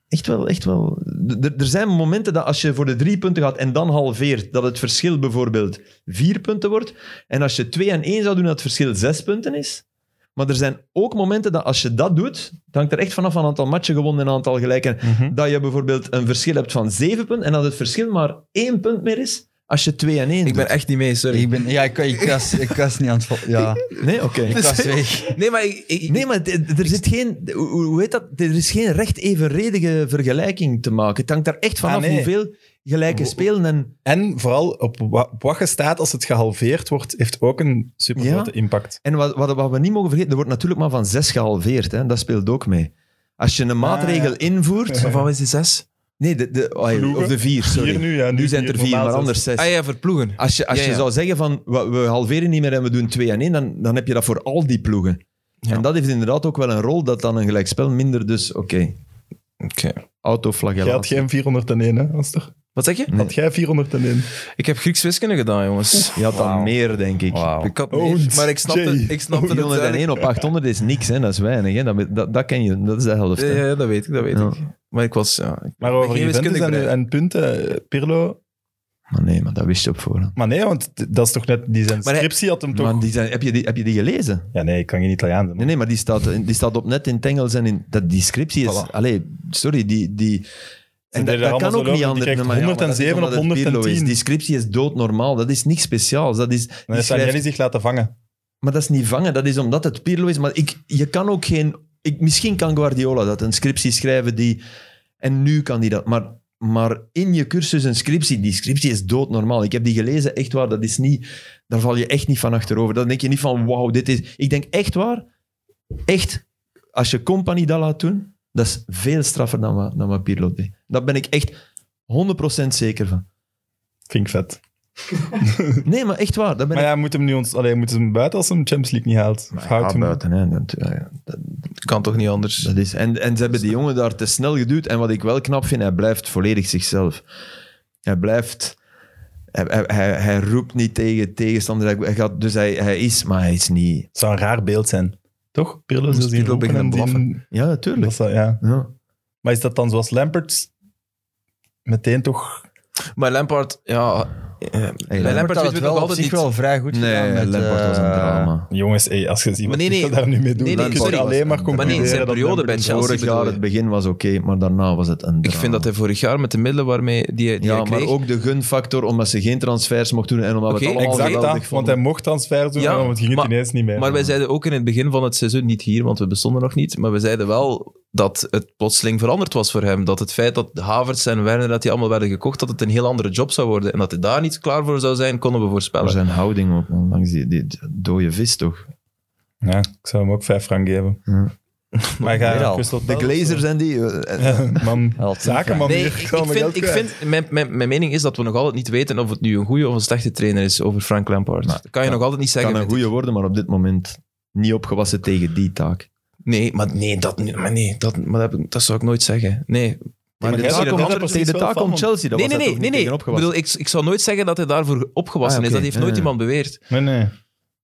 Speaker 3: Echt wel, echt wel. D- d- Er zijn momenten dat als je voor de drie punten gaat en dan halveert, dat het verschil bijvoorbeeld vier punten wordt. En als je twee en één zou doen, dat het verschil zes punten is. Maar er zijn ook momenten dat als je dat doet, het hangt er echt vanaf een aantal matchen gewonnen en een aantal gelijken,
Speaker 2: Mhm.
Speaker 3: dat je bijvoorbeeld een verschil hebt van zeven punten en dat het verschil maar één punt meer is als je twee en één
Speaker 1: Ik ben echt niet mee, sorry.
Speaker 4: Ik ben, ja, ik, ik, was, ik was niet aan het vol- Ja,
Speaker 3: doet. Nee, oké.
Speaker 4: ik was weg.
Speaker 1: Nee, maar ik, ik-
Speaker 3: Nee, maar het- er zit geen... Hoe hoe heet dat? Er is geen recht evenredige vergelijking te maken. Het hangt daar echt vanaf
Speaker 2: Ah, nee.
Speaker 3: hoeveel gelijke
Speaker 2: Wo-
Speaker 3: spelen en...
Speaker 2: En vooral op wa- op wat je staat als het gehalveerd wordt, heeft ook een supergrote impact.
Speaker 3: En wat, wat, wat we niet mogen vergeten, er wordt natuurlijk maar van zes gehalveerd. Hè? Dat speelt ook mee. Als je een maatregel
Speaker 2: Ah, ja.
Speaker 3: invoert...
Speaker 1: Maar van wat is die zes?
Speaker 3: Nee, de, de, oh,
Speaker 2: Ploegen.
Speaker 3: of de vier, sorry.
Speaker 2: Hier nu, ja,
Speaker 3: Nu
Speaker 2: nu
Speaker 3: zijn
Speaker 2: vier,
Speaker 3: er vier,
Speaker 2: normaal
Speaker 3: maar
Speaker 2: zes.
Speaker 3: anders zes.
Speaker 1: Ah ja, verploegen.
Speaker 3: Als je, als
Speaker 1: Ja,
Speaker 3: je
Speaker 1: ja.
Speaker 3: zou zeggen van we we halveren niet meer en we doen 2 en 1, dan, dan heb je dat voor al die ploegen.
Speaker 1: Ja.
Speaker 3: En dat heeft inderdaad ook wel een rol dat dan een gelijkspel minder dus, oké,
Speaker 1: Oké.
Speaker 2: Jij had
Speaker 3: autoflagellatie.
Speaker 2: geen 401, hè, Aster?
Speaker 1: Wat zeg je?
Speaker 3: Nee.
Speaker 2: Had jij 401?
Speaker 1: Ik heb Grieks wiskunde gedaan, jongens.
Speaker 3: Je had dan
Speaker 4: Wauw.
Speaker 3: meer, denk ik.
Speaker 4: Wauw.
Speaker 1: Ik had
Speaker 2: Oh,
Speaker 1: meer, maar ik snapte,
Speaker 2: Jay.
Speaker 1: ik snapte het duidelijk.
Speaker 3: 401 op 800 Oh, is niks, hè? dat is weinig. Hè? Dat, dat, dat ken je, dat is de helft.
Speaker 1: Ja,
Speaker 3: hè.
Speaker 1: ja, dat weet ik, dat weet
Speaker 3: Ja.
Speaker 1: ik. Maar ik was... Ja, ik-
Speaker 2: Maar over
Speaker 1: geen
Speaker 2: Juventus
Speaker 1: wiskundig
Speaker 2: en,
Speaker 1: brein.
Speaker 2: en punten, eh, Pirlo...
Speaker 3: Maar nee, maar dat wist je op voorhand.
Speaker 2: Maar nee, want d- dat is toch net... Die zijn
Speaker 1: Maar hij-
Speaker 2: scriptie had hem toch...
Speaker 3: Maar die zijn, heb, je die, heb je die gelezen?
Speaker 2: Ja, nee, ik kan geen Italiaan zijn.
Speaker 3: Nee, nee, maar die staat, die staat op net in Tengels en in, dat, die scriptie is...
Speaker 2: Voilà.
Speaker 3: Allee, sorry, die... die en
Speaker 2: deden
Speaker 3: dat,
Speaker 2: daar
Speaker 3: dat kan
Speaker 2: allemaal
Speaker 3: ook
Speaker 2: zo
Speaker 3: niet
Speaker 2: over, die
Speaker 3: anders.
Speaker 2: krijgt
Speaker 3: maar ja, maar dat is
Speaker 2: 107
Speaker 3: omdat
Speaker 2: op
Speaker 3: het Pirlo is.
Speaker 2: 110.
Speaker 3: Die scriptie is doodnormaal. Dat is niks speciaals. Dat is, die
Speaker 2: Dan heeft Danielli
Speaker 3: schrijft-
Speaker 2: zich laten vangen.
Speaker 3: Maar dat is niet vangen, dat is omdat het Pirlo is. Maar ik, je kan ook geen... Ik, misschien kan Guardiola dat, een scriptie schrijven die... En nu kan die dat. Maar, maar in je cursus een scriptie, die scriptie is doodnormaal. Ik heb die gelezen, echt waar, dat is niet... Daar val je echt niet van achterover. Dan denk je niet van, wauw, dit is... Ik denk echt waar, echt, als je Company dat laat doen, dat is veel straffer dan wat, dan wat Pirlo deed. Daar ben ik echt 100% zeker van.
Speaker 2: Vind ik vet.
Speaker 3: Nee, maar echt waar. Daar ben
Speaker 2: Maar
Speaker 3: ik
Speaker 2: ja, moet hem nu ons, alleen moeten ze hem buiten als hij hem Champions League niet haalt? Of houdt
Speaker 3: Ja,
Speaker 2: hem
Speaker 3: buiten. Hè. Dat, ja, ja, dat,
Speaker 1: kan toch niet anders?
Speaker 3: dat is, en, en ze hebben die jongen daar te snel geduwd. En wat ik wel knap vind, hij blijft volledig zichzelf. Hij blijft... Hij, hij, hij, hij roept niet tegen tegenstander. Hij- Hij gaat, dus hij, hij is, maar hij is niet...
Speaker 2: Het zou een raar beeld zijn. Toch? Pirlo
Speaker 1: Moest
Speaker 2: zou zien
Speaker 1: Pirlo
Speaker 2: roepen
Speaker 1: beginnen
Speaker 2: en die-
Speaker 1: blaffen.
Speaker 3: Ja, natuurlijk.
Speaker 2: dat zou- ja.
Speaker 3: Ja.
Speaker 2: Maar is dat dan zoals Lampert? Meteen toch...
Speaker 1: Maar Lampard, ja... eh, bij
Speaker 3: Lampard
Speaker 1: Lampard
Speaker 4: had
Speaker 1: weten
Speaker 4: het
Speaker 1: we
Speaker 4: wel
Speaker 1: nog
Speaker 4: op
Speaker 1: altijd
Speaker 4: zich
Speaker 1: niet.
Speaker 4: wel vrij goed
Speaker 3: Nee,
Speaker 4: gedaan. met,
Speaker 3: Lampard was een
Speaker 4: eh,
Speaker 3: drama.
Speaker 2: Jongens, hé, als je ziet wat
Speaker 1: Maar nee, nee.
Speaker 2: Pirlo daar nu mee doen,
Speaker 1: Nee, nee,
Speaker 2: dan kun je
Speaker 1: sorry.
Speaker 2: alleen maar
Speaker 3: Maar
Speaker 2: concluderen...
Speaker 3: nee, in
Speaker 1: zijn
Speaker 2: dat
Speaker 1: periode
Speaker 2: Lampert
Speaker 1: bij
Speaker 2: een
Speaker 1: Chelsea
Speaker 3: Vorig
Speaker 1: bedoel
Speaker 3: jaar,
Speaker 1: je?
Speaker 3: het begin was oké, maar daarna was het een
Speaker 1: Ik
Speaker 3: drama.
Speaker 1: vind dat hij vorig jaar met de middelen waarmee die, die
Speaker 3: Ja,
Speaker 1: hij
Speaker 3: maar
Speaker 1: kreeg...
Speaker 3: ook de gunfactor, omdat ze geen transfers mocht doen en omdat we
Speaker 1: Oké,
Speaker 3: het allemaal
Speaker 2: Exact
Speaker 3: geweldig
Speaker 2: dat, want
Speaker 3: vonden.
Speaker 2: hij mocht transfers doen,
Speaker 1: Ja,
Speaker 2: maar het ging het
Speaker 1: maar-
Speaker 2: ineens niet meer.
Speaker 1: Maar wij zeiden ook in het begin van het seizoen, niet hier, want we bestonden nog niet, maar we zeiden wel dat het plotseling veranderd was voor hem. Dat het feit dat Havertz en Werner, dat die allemaal werden gekocht, dat het een heel andere job zou worden. En dat hij daar niet klaar voor zou zijn, konden we
Speaker 3: Maar
Speaker 1: voorspellen.
Speaker 3: zijn houding ook, man, langs die, die dode vis toch.
Speaker 2: Ja, ik zou hem ook vijf frank geven.
Speaker 3: Ja.
Speaker 2: Maar
Speaker 4: Weer
Speaker 2: ga
Speaker 4: al.
Speaker 2: Crystal
Speaker 3: De
Speaker 2: Palace-
Speaker 3: glazers en die. eh, eh,
Speaker 2: Ja, man,
Speaker 4: Altijd,
Speaker 2: zakenman
Speaker 1: Nee,
Speaker 2: hier.
Speaker 1: ik, ik
Speaker 2: Kom, mijn
Speaker 1: vind,
Speaker 2: geld
Speaker 1: ik
Speaker 2: kwijt.
Speaker 1: vind mijn, mijn, mijn mening is dat we nog altijd niet weten of het nu een goede of een slechte trainer is over Frank Lampard.
Speaker 3: Maar-
Speaker 1: dat kan je nog altijd niet zeggen.
Speaker 3: kan een
Speaker 1: vind ik.
Speaker 3: goede worden, maar op dit moment niet opgewassen tegen die taak.
Speaker 1: Nee, maar nee, dat, niet- maar nee, dat, maar dat, heb ik- dat zou ik nooit zeggen. Nee,
Speaker 2: maar
Speaker 3: Tegen
Speaker 2: daar
Speaker 3: de taak
Speaker 2: komt-
Speaker 3: om-
Speaker 2: daar komt
Speaker 3: tegen de
Speaker 2: iets wel
Speaker 3: taak
Speaker 2: van,
Speaker 3: om
Speaker 2: man.
Speaker 3: Chelsea, daar
Speaker 1: nee,
Speaker 3: was
Speaker 1: nee,
Speaker 3: hij
Speaker 1: nee.
Speaker 3: toch niet
Speaker 1: nee.
Speaker 3: tegen
Speaker 1: Ik,
Speaker 3: opgewassen.
Speaker 1: bedoel, ik, ik zou nooit zeggen dat hij daarvoor opgewassen
Speaker 3: Ah, oké.
Speaker 1: is. Dat heeft nooit
Speaker 3: Ja, ja.
Speaker 1: iemand beweerd.
Speaker 2: Nee, nee.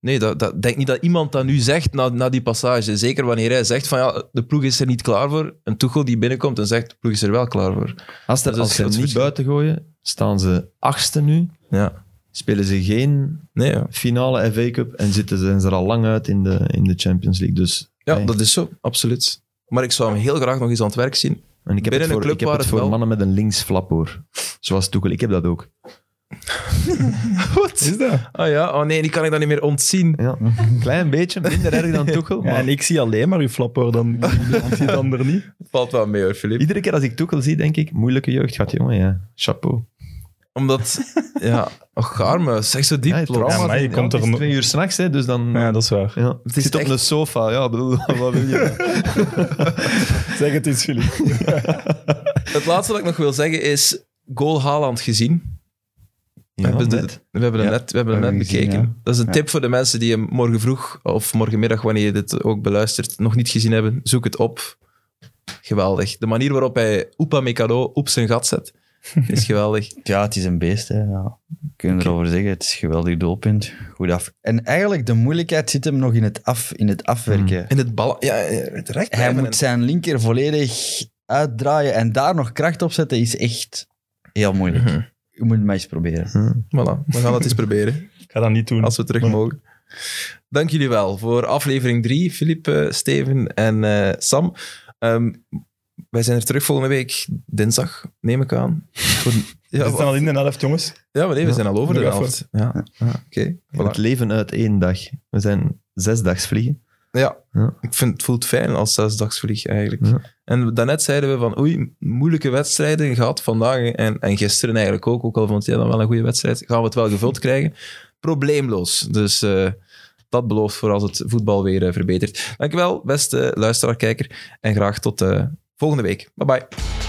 Speaker 1: Nee, dat, dat, denk niet dat iemand dat nu zegt na, na die passage. Zeker wanneer hij zegt van ja, de ploeg is er niet klaar voor. Een Tuchel die binnenkomt en zegt de ploeg is er wel klaar voor.
Speaker 3: Als,
Speaker 1: dat
Speaker 3: er,
Speaker 1: is
Speaker 3: als Dus
Speaker 1: het
Speaker 3: ze hem niet
Speaker 1: verschil.
Speaker 3: buiten gooien, staan ze achtste nu.
Speaker 1: Ja.
Speaker 3: Spelen ze geen
Speaker 1: Nee, ja.
Speaker 3: finale FA Cup en zitten ze, zijn ze er al lang uit in de, in de Champions League. Dus,
Speaker 1: ja,
Speaker 3: nee.
Speaker 1: dat is zo, absoluut. Maar ik zou hem heel graag nog eens aan het werk zien.
Speaker 3: en ik
Speaker 1: binnen
Speaker 3: heb het
Speaker 1: een
Speaker 3: voor,
Speaker 1: club
Speaker 3: ik heb
Speaker 1: waar
Speaker 3: het
Speaker 1: het
Speaker 3: voor
Speaker 1: wel-
Speaker 3: mannen met een linksflap hoor. Zoals Toekel, ik heb dat ook.
Speaker 2: Is dat?
Speaker 1: Ah ja, oh nee, die kan ik dan niet meer ontzien.
Speaker 3: Ja. Klein beetje, minder erg dan Tuchel.
Speaker 2: Ja,
Speaker 3: maar-
Speaker 2: en ik zie alleen maar uw flapper, dan ik zie het ander niet.
Speaker 1: Valt wel mee hoor, Filip.
Speaker 3: Iedere keer als ik Tuchel zie, denk ik, moeilijke jeugd gaat jongen, ja. Chapeau.
Speaker 1: Omdat, ja, och arme, zeg zo diep.
Speaker 3: ja,
Speaker 1: plots.
Speaker 3: trauma's,
Speaker 2: Ja, maar je
Speaker 3: ja,
Speaker 2: komt
Speaker 3: het is
Speaker 2: er no-
Speaker 3: twee uur s'nachts, dus dan...
Speaker 2: Ja, dat is waar.
Speaker 3: ja.
Speaker 1: Het is
Speaker 3: zit op
Speaker 1: echt-
Speaker 3: een sofa, ja, bedoel, wat wil je?
Speaker 2: Zeg het eens, Filip.
Speaker 1: Het laatste dat ik nog wil zeggen is, goal Haaland gezien.
Speaker 3: Ja, dus
Speaker 1: we, hebben
Speaker 3: net.
Speaker 1: het we hebben hem
Speaker 3: Ja,
Speaker 1: net, we hebben hem
Speaker 2: hebben
Speaker 1: net
Speaker 2: we gezien,
Speaker 1: bekeken.
Speaker 2: ja.
Speaker 1: Dat is een
Speaker 2: Ja.
Speaker 1: tip voor de mensen die hem morgen vroeg of morgenmiddag, wanneer je dit ook beluistert, nog niet gezien hebben. Zoek het op. Geweldig. De manier waarop hij Oepa Mikado op zijn gat zet, is geweldig.
Speaker 4: Ja, het is een beest. Hè. Ja. We kunnen erover zeggen, het is een geweldig doelpunt. Goed af. En eigenlijk, de moeilijkheid zit hem nog in het, af, in het afwerken.
Speaker 1: En het bal... Ja, het recht
Speaker 4: Hij moet zijn linker volledig uitdraaien en daar nog kracht op zetten is echt heel moeilijk.
Speaker 1: Mhm.
Speaker 4: Je moet het maar eens proberen.
Speaker 1: Voilà, we gaan het eens proberen,
Speaker 2: Ik ga dat niet doen.
Speaker 1: als we terug mogen. Dank jullie wel voor aflevering 3, Filip, eh, Steven en eh, Sam. Ehm, wij zijn er terug volgende week, dinsdag, neem ik aan. Voor-
Speaker 2: we
Speaker 1: Ja,
Speaker 2: zitten al in de helft, jongens.
Speaker 1: Ja, maar nee, we zijn al over de
Speaker 2: Nog
Speaker 1: helft. Ja, ja, oké.
Speaker 3: Het
Speaker 1: Voilà.
Speaker 3: leven uit één dag. We zijn zesdags vliegen.
Speaker 1: Ja,
Speaker 3: Ja.
Speaker 1: ik vind het voelt fijn als zesdagsvlieg eigenlijk.
Speaker 3: Ja.
Speaker 1: En daarnet zeiden we van, oei, moeilijke wedstrijden gehad vandaag en, en gisteren eigenlijk ook. Ook al vond jij dan wel een goede wedstrijd, gaan we het wel gevuld krijgen. Probleemloos. Dus eh, dat belooft voor als het voetbal weer eh, verbetert. Dankjewel, beste luisteraar, kijker. En graag tot eh, volgende week. Bye bye.